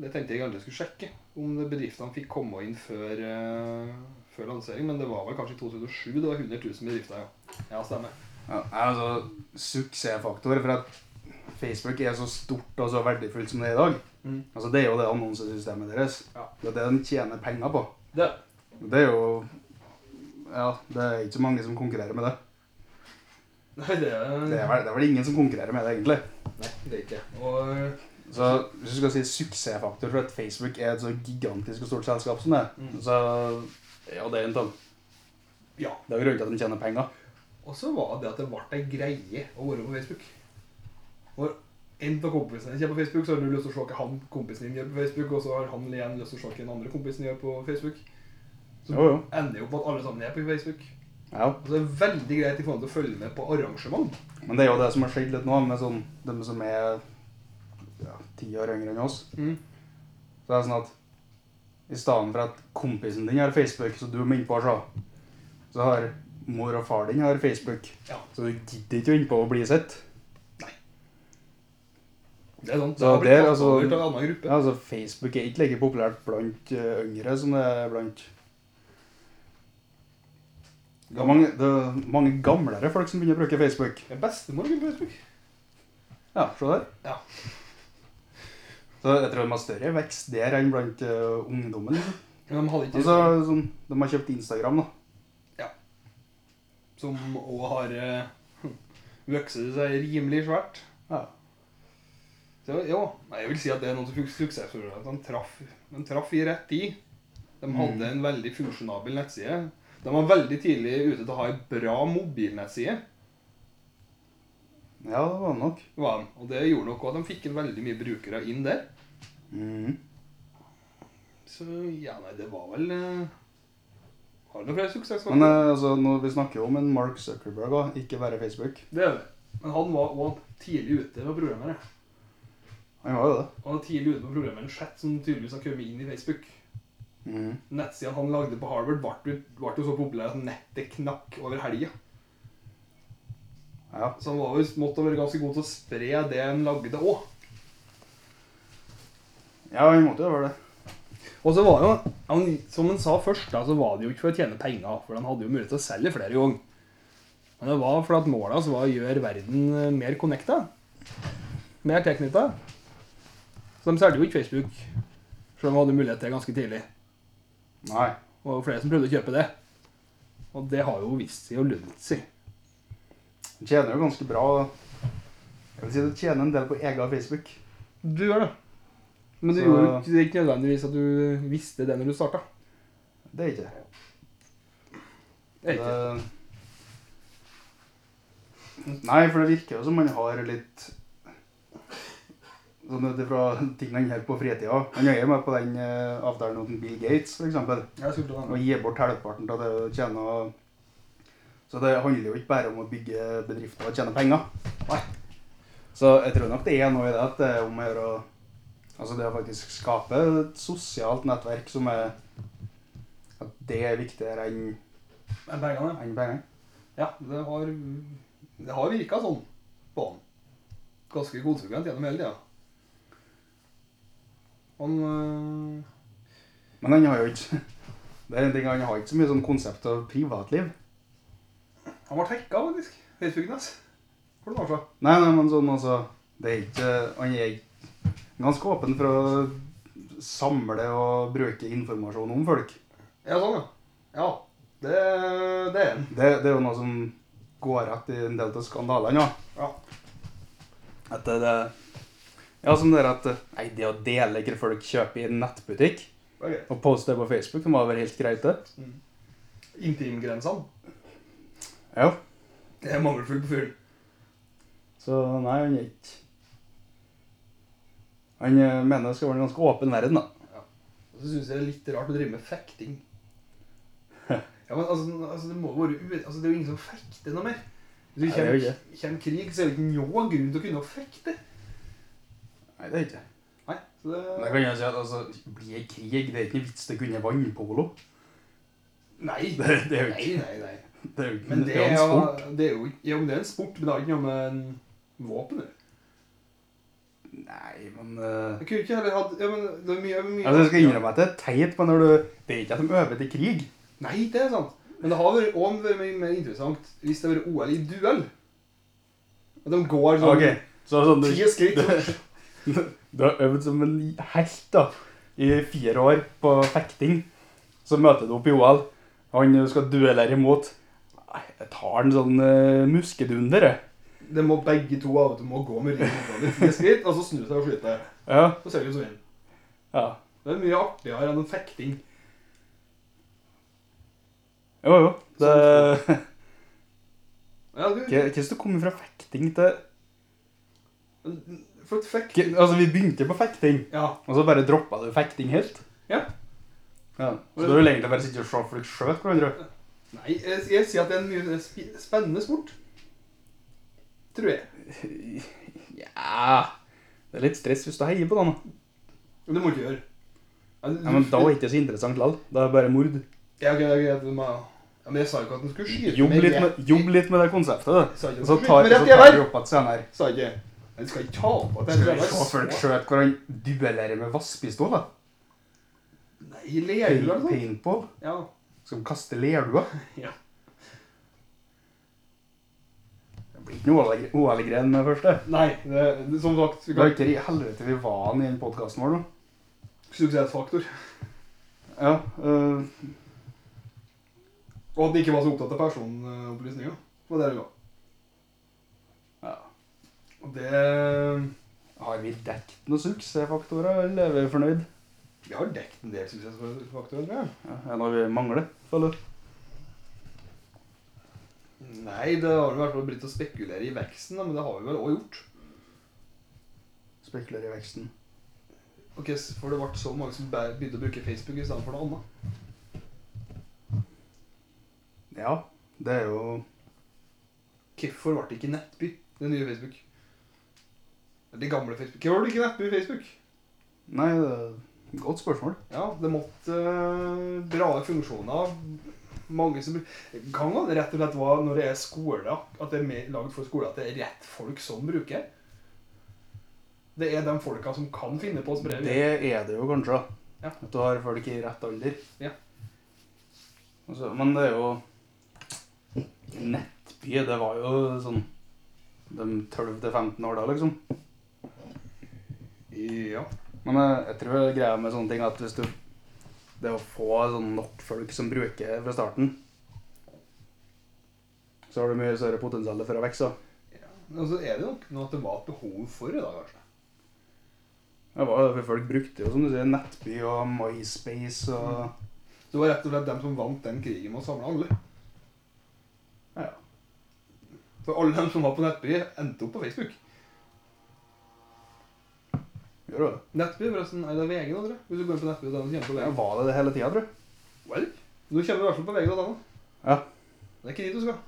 A: Det tenkte jeg aldri skulle sjekke, om det- bedriftene fikk komme inn før, eh, før lansering. Men det var vel kanskje i 2007 det var 100 000 bedrifter, ja. Ja, stemmer.
B: Ja, nei, altså, suksessfaktor for at Facebook er så stort og så verdifullt som det er i dag.
A: Mm.
B: Altså, det er jo det annonsesystemet deres.
A: Ja.
B: Det er det de tjener penger på.
A: Det.
B: Det er jo Ja, det er ikke så mange som konkurrerer med det.
A: Nei, det,
B: Det er vel, det er vel ingen som konkurrerer med det, egentlig.
A: Nei, det er ikke Og
B: Så hvis du skal si suksessfaktor for at Facebook er et så gigantisk og stort selskap som det,
A: Mm.
B: så ja, det er en tann.
A: ja.
B: Det er jo grunnen til at de tjener penger.
A: Og så var det at det ble ei greie å være på Facebook. Når en av kompisene kommer på Facebook, så har du lyst til å se hva han kompisen din gjør på Facebook, og så har han igjen lyst til å se hva den andre kompisen gjør på Facebook. Så
B: Jo, jo.
A: ender jo på at alle sammen er på Facebook.
B: Ja.
A: Og så er det veldig greit i forhold til å følge med på arrangement.
B: Men det er jo det som har skjedd litt nå, med sånn, dem som er ja, ti år yngre enn oss. Så det er sånn at i stedet for at kompisen din har Facebook, så du må inn på og se, så har mor og far din har Facebook.
A: Ja.
B: Så du gidder ikke å inn på å bli sett.
A: Det er sånn.
B: Ja, det er altså-
A: over til en annen gruppe.
B: Ja, altså Facebook er ikke like populært blant eh, yngre som det er blant det er, mange, det er mange gamlere folk som begynner å bruke Facebook.
A: Min bestemor begynte på Facebook.
B: Ja, se der.
A: Ja.
B: Så jeg tror de har større vekst der enn blant eh, ungdommen. liksom.
A: Men de hadde ikke
B: Altså, sånn, de har kjøpt Instagram, da.
A: Som òg har eh, vokst seg rimelig svært.
B: Ja.
A: Så jo, nei, jeg vil si at det er noe som fikk suksess for at de traff, de traff i rett tid.
B: Mm.
A: De hadde en veldig funksjonabel nettside. De var veldig tidlig ute til å ha en bra mobilnettside.
B: ja, det var det nok.
A: Var de. Og det gjorde nok også at de fikk veldig mye brukere inn der.
B: Mhm.
A: Så ja, nei, det var vel eh, Har noe flere suksess.
B: Men eh, altså, nå, vi snakker jo om en Mark Zuckerberg, da, ikke bare Facebook.
A: det er det. Men han var òg tidlig ute med programmere.
B: Han var jo det.
A: Han var tidlig ute med programmeren Chat, som tydeligvis har kommet inn i Facebook. Mm.
B: Mhm.
A: Nettsidene han lagde på Harvard, ble ble jo så populære at nettet knakk over helga.
B: Ja.
A: Så han var jo måtte være ganske god til å spre det han lagde òg.
B: Ja, vi måtte jo gjøre det.
A: Og så var jo, han, som han sa først, da, så var det jo ikke for å tjene penger, for han hadde jo mulighet til å selge flere ganger. Men det var for at målet hans var å gjøre verden eh, mer connecta. Mer tilknytta. Så de solgte jo ikke Facebook, selv om de hadde mulighet til det ganske tidlig.
B: Nei.
A: Og det var flere som prøvde å kjøpe det. Og det har jo vist seg å lønne seg.
B: Du tjener jo ganske bra. Jeg vil si du tjener en del på egen Facebook.
A: Du gjør det. Men du
B: Så-
A: gjorde jo ikke, det er ikke nødvendigvis at du visste det når du starta.
B: Det er ikke det.
A: Det er ikke.
B: Det- Nei, for det virker jo som man har litt Sånn ut ifra ting han gjør på fritida. Han er jo med på den eh, avtalen med Bill Gates, f.eks. Og
A: Jeg skulle ta den.
B: gir bort halvparten av det du tjener. Så det handler jo ikke bare om å bygge bedrifter og tjene penger. Nei. Så jeg tror nok det er noe i det at det er om å gjøre å Altså det å faktisk skape et sosialt nettverk som er At det er viktigere enn
A: Men pengene,
B: enn pengene.
A: Ja, det har, det har virka sånn på han. Ganske konsekvent gjennom hele tida. Han øh,
B: Men han har jo ikke Det er en ting, han har ikke så mye sånn konsept av privatliv.
A: Han ble hacka, faktisk. Facebooken hans. For noen år siden.
B: Nei, nei, men sånn altså Det er ikke Han er ikke- ganske åpen for å samle og bruke informasjon om folk.
A: Ja, sånn, ja. Ja, det, det er han.
B: Det, det er jo noe som går igjen i en del av skandalene. Ja.
A: Ja.
B: At det, det Ja, som det er at Nei, det å dele hva folk kjøper i en nettbutikk,
A: det er greit.
B: og poste det på Facebook, det må være helt greit, det?
A: Mm. Intimgrensene.
B: Ja.
A: Det er mangelfullt på fyren.
B: Så nei, han er ikke Han eh, mener det skal være en ganske åpen verden, da.
A: Og så syns jeg det er litt rart å drive med fekting. Ja, men altså, altså Det må jo være u... Altså, det er jo ingen som fekter noe mer. Hvis det
B: Nei, det er jo
A: kommer, kommer krig, så er det ikke noen grunn til å kunne fekte.
B: Nei, det er ikke det.
A: Nei, så det...
B: Men Da kan jeg si at altså, blir det krig, det er ikke noe vits til å kunne vannpolo.
A: Nei.
B: Det, det er jo
A: Nei,
B: ikke
A: nei, nei.
B: det er jo ikke
A: Men det
B: jo
A: er
B: en
A: jo,
B: sport.
A: det er jo ja, men det er en sport, men det har ikke noe med en våpen å gjøre.
B: Nei, men eh,
A: Jeg kunne ikke heller hatt ja, men det er mye, mye
B: altså, Jeg skal innrømme at det er teit, men når du Det er ikke at de øver til krig.
A: Nei, det er sant. Men det har vært, også vært mye mer interessant hvis det har vært OL i duell. At de går sånn
B: Ok, så sånn du,
A: ti skritt sånn.
B: du har øvd som en helt, da, i fire år på fekting. Så møter du opp i OL. Han du skal duellere imot. Nei, Jeg tar en sånn eh, muskedunder, jeg.
A: Det må begge to av og til må gå med ryggen framover ti skritt, og så snu seg og skyte.
B: Ja,
A: Så ser du som vinner.
B: ja.
A: Det er mye artigere enn en fekting.
B: Jo, jo. Det...
A: Ja, du,
B: Hvordan du kommer fra fekting til
A: for et fekt...
B: Ikke- Altså, vi begynte på fekting,
A: Ja.
B: og så bare droppa du fekting helt.
A: Ja.
B: ja. Så da vil du egentlig bare sitte og se folk skjøte hverandre.
A: Nei, jeg, jeg sier at det er en mye sp- spennende sport. Tror jeg.
B: Ja Det er litt stress hvis du heier på noen. da.
A: Men det må du ikke gjøre. Ja,
B: Ja, men da er det ikke så interessant likevel. Da er det bare mord.
A: Ja, ok, det er greit, du må... ja, men jeg sa jo ikke at den skulle skyte.
B: Jobb
A: meg
B: litt
A: rett-
B: med, jobb litt med det konseptet, da.
A: Jeg sa ikke
B: Og
A: at
B: så
A: den skulle
B: tar,
A: skyte meg rett
B: så
A: i
B: tar vi
A: her.
B: opp igjen senere.
A: Sa jeg ikke. Men du skal ikke ta på at
B: Skal
A: jeg
B: vi se folk
A: så-
B: skjøte hverandre duellerer med vasspistol? da?
A: Nei, lerduer eller
B: Pain-
A: sånt.
B: Paintball?
A: Ja.
B: Skal de kaste lerduer?
A: Ja.
B: Det blir ikke noe OL-gren med det første.
A: Nei, det, det, som sagt,
B: Det
A: vi
B: var
A: kan
B: ikke i helvete vi var an i den podkasten vår nå.
A: suksessfaktor.
B: Ja, øh,
A: Og at de ikke var så opptatt av personopplysninger. Det var det det var.
B: ja.
A: Og det...
B: Har vi dekket noen suksessfaktorer, eller er vi fornøyd?
A: Vi har dekt en del suksessfaktorer, tror jeg.
B: Ja, er det noe vi mangler, føler du?
A: Nei, det har i hvert fall blitt å spekulere i veksten, da, men det har vi vel også gjort.
B: Spekulerer i veksten.
A: Ok, s- for det ble så mange som bæ- begynte å bruke Facebook i stedet for noe annet.
B: Ja, det er jo
A: Hvorfor ble det ikke Nettby, det nye Facebook? Eller det gamle Facebook. Hvorfor ble det ikke Nettby Facebook?
B: Nei, det er et godt spørsmål.
A: Ja, det måtte eh, bra funksjoner. Mange som... bruk- Kan man rett og slett være når det er skole, at det er mer laget for skole, at det er rett folk som bruker? Det er de folka som kan finne på å spre
B: Det er det jo kanskje. da.
A: Ja.
B: At du har folk i rett alder.
A: Ja.
B: Altså, men det er jo Nettby, det var jo sånn de 12-15 år da, liksom.
A: Ja.
B: Men jeg, jeg tror greia med sånne ting er at hvis du Det å få sånn nok folk som bruker det fra starten, så har du mye større potensial for å vokse. da.
A: Og så er det nok noe at det var et behov for det, da, kanskje.
B: Det var jo det folk brukte jo, som du sier, Nettby og MySpace og
A: Det var rett og slett dem som vant den krigen med å samle alle.
B: Ja.
A: For alle dem som var på Nettby, endte opp på Facebook.
B: Gjør jo det.
A: Nettby, forresten, er det VG nå, tror jeg? Hvis du går inn på Nettby, da kommer du på
B: Ja,
A: VG.
B: Var det det hele tida, tror du?
A: Well, du kommer i hvert fall på VG da, da.
B: Ja.
A: Det er ikke dit du skal.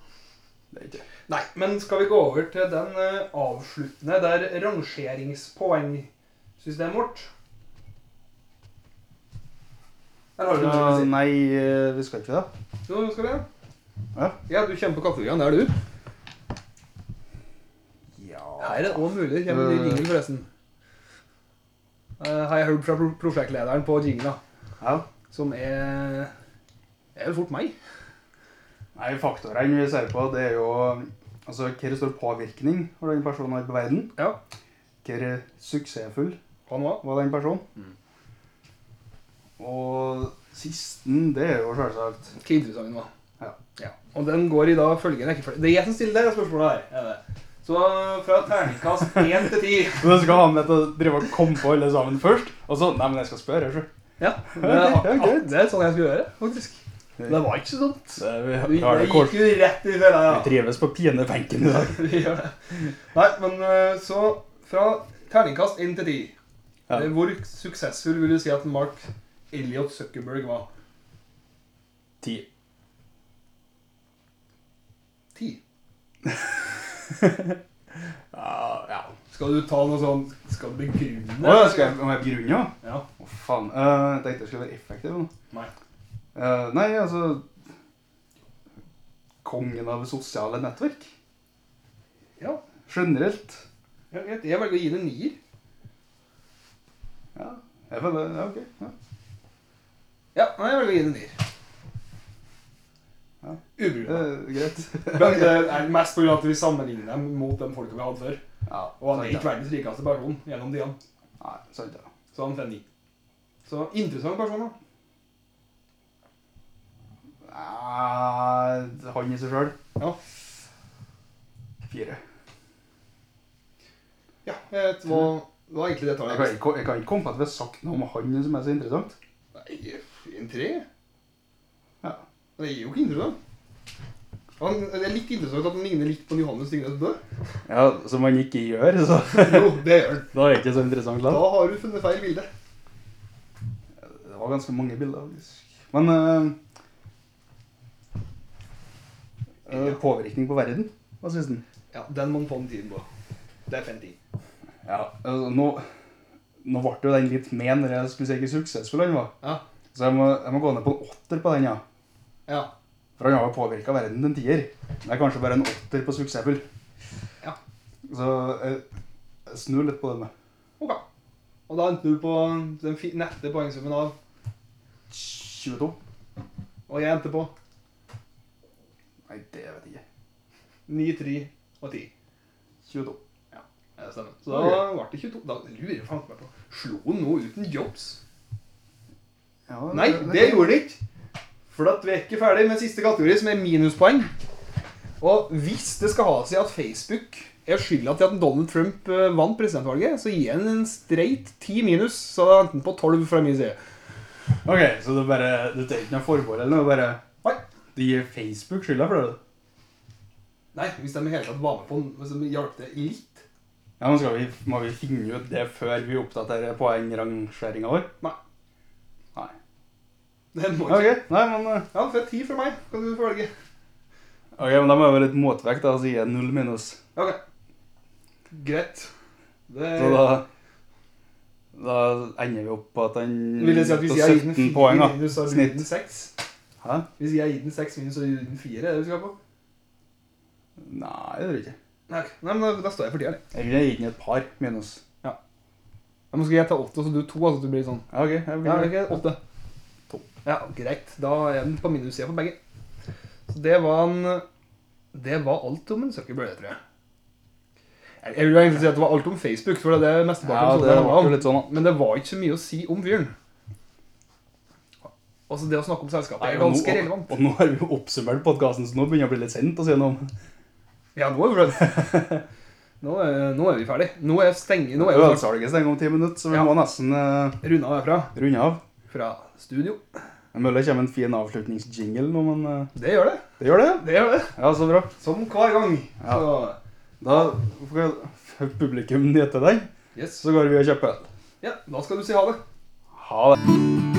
B: Det er ikke
A: Nei, men skal vi gå over til den eh, avsluttende der rangeringspoengsystemet vårt? Der har du noe å
B: Ja,
A: si.
B: nei, eh, vi skal ikke det.
A: Jo, skal vi?
B: Ja.
A: ja, du kommer på kategorien. Der, du.
B: Ja.
A: Her er det òg mulig. Det kommer en ny jingle, forresten. Eh, har jeg hørt fra pro prosjektlederen på jingla,
B: Ja.
A: som er Det er vel fort meg.
B: Nei, faktorene vi ser på, det er jo altså, hva det står påvirkning for den personen her på verden.
A: Ja.
B: Hva er suksessfull
A: Han var.
B: var den personen.
A: Mm.
B: Og sisten, det er jo selvsagt
A: Hva interessant den var.
B: Ja.
A: Og den går i da følgende rekkefølge. Det er jeg som stiller deg spørsmålet her. Er det. Så fra terningkast 1 til 10
B: Du skal ha med til å drive og komme på alle sammen først, og så Nei, men jeg skal spørre, jeg, sjø.
A: Ja, det er,
B: Ok, ja, greit.
A: det er sånn jeg skulle gjøre, faktisk. Det var ikke så dumt.
B: Så vi
A: Du,
B: har
A: det
B: det
A: gikk
B: kort.
A: jo rett i fella,
B: Vi
A: ja.
B: trives på pinebenken i dag.
A: Vi gjør det. Nei, men eh, så fra terningkast 1 til 10
B: Ja.
A: Eh, Hvor suksessfull vil du si at Mark Elliot Zuckerberg var?
B: Ti.
A: 10.
B: Ja, ja.
A: Skal du ta noe sånn Skal du begrunne?
B: Å, ja, skal jeg, må jeg begrunne, ja?
A: Ja.
B: Å, faen. Eh, jeg tenkte jeg skulle være effektiv. nå.
A: Nei.
B: Eh, nei, altså Kongen av sosiale nettverk.
A: Ja.
B: Generelt.
A: ja, greit. Jeg velger å gi det en nier.
B: Ja, jeg føler Ja, OK. Ja.
A: Ja, nei, jeg velger å gi den en nier.
B: Ja.
A: Ubrukelig.
B: Eh, greit.
A: Men det er mest pga. at vi sammenligner dem mot de folka vi hadde før.
B: Ja,
A: Og han er
B: sant,
A: ikke
B: ja.
A: verdens rikeste person gjennom tida.
B: Nei, sant, ja.
A: Så han får en ni. Så interessant person, da.
B: Eh, han i seg sjøl.
A: Ja.
B: Fire.
A: Ja, jeg vet hva, hva er egentlig det
B: Jeg
A: tallet
B: kan, ikke, jeg kan ikke komme på at vi har sagt noe om han som er så interessant.
A: Nei, en tre?
B: Ja.
A: Det er jo ikke interessant. Han, det er litt interessant at han ligner litt på Johannes Tingnes Bø.
B: ja, Som han ikke gjør, så
A: Jo, det gjør han.
B: da er det ikke så interessant.
A: Da har du funnet feil bilde.
B: Det var ganske mange bilder. faktisk. Men eh, eh, Påvirkning på verden, hva syns den?
A: Ja, den må han få en tid på. Det er fem ti.
B: Ja, altså, nå, nå ble jo den litt med når jeg skulle si hvor suksessfull han var.
A: Ja.
B: Så jeg må, jeg må gå ned på en åtter på den, ja.
A: Ja.
B: For han har jo påvirka verden en tier. Det er kanskje bare en åtter på suksessfull.
A: Ja.
B: Så jeg, jeg snur litt på den. da.
A: Ok. Og da endte du på den fi- nette poengsummen av,
B: 22?
A: og jeg endte på
B: Nei, det vet jeg ikke.
A: 9, 3 og 10.
B: 22.
A: Ja, det stemmer. Så da ble det 22. Da lurer jeg faen meg på Slo han nå uten jobs?
B: Ja,
A: Nei, det gjorde det ikke. For at vi er ikke ferdig med siste kategori, som er minuspoeng. Og hvis det skal ha seg at Facebook er skylda til at Donald Trump eh, vant presidentvalget, så gir han en streit 10 minus, så det er enten på 12 fra min side.
B: Ok, Så du bare, du tar ikke noe forbehold eller noe? bare...
A: Nei,
B: Du gir Facebook skylda for det?
A: Nei hvis de i hele tatt var med på den, hvis de hjalp det litt
B: Ja, men skal vi, Må vi finne ut det før vi oppdaterer poengrangeringa vår?
A: Nei.
B: Nei.
A: Det må ikke.
B: Ok, nei, men, eh,
A: Ja, det er 10 fra meg. Kan du få velge?
B: ok, men da må jeg være litt motvekt, da, så gir jeg null minus.
A: Ok. Greit. Det
B: Så da Da ender vi opp på at han
A: vil jeg si at hvis
B: på
A: jeg har gitt den
B: 17
A: 4
B: poeng, da.
A: minus, så har du
B: Snitt.
A: gitt den 6.
B: Hæ?
A: Hvis jeg har gitt den 6 minus, så har du gitt den 4. Er det det vi skal på?
B: Nei, det tror jeg ikke.
A: Nei, ok. Nei, men da, da står jeg for 10 her, det.
B: Jeg ville gitt den et par minus.
A: Ja. Ja, men skal jeg ta åtte, så du to? Altså, du blir sånn.
B: Ja, ok. Jeg
A: Ja, er det
B: blir...
A: ikke åtte?
B: To.
A: Ja, greit. Da er den på minussida på begge. Så det var en Det var alt om en Zuckerberg, det tror jeg. Jeg- Jeg vil egentlig si at det var alt om Facebook, for det er det meste
B: ja,
A: bakom
B: det
A: handla
B: var
A: om.
B: jo litt sånn, da.
A: Men det var ikke så mye å si om fyren. Altså, det å snakke om selskapet er
B: og nå-
A: ganske relevant.
B: Og, og nå har vi jo oppsummert podkasten, så nå begynner jeg å bli litt sint å si noe om.
A: Ja, nå er vi ferdig. Nå er, nå er vi ferdig. Nå er stenger, nå er vi snart
B: Ølsalget stenger om ti minutter, så vi
A: Ja.
B: må nesten eh,
A: runda herfra.
B: runde av.
A: Fra studio.
B: Mulig det kommer en fin avslutningsjingle nå, men eh,
A: Det gjør det.
B: det gjør det.
A: Det gjør det.
B: Ja, så bra.
A: Som hver gang.
B: Ja.
A: Så,
B: Da får får publikum nyte deg,
A: yes.
B: så går vi og kjøper øl.
A: Ja, da skal du si ha det.
B: Ha det.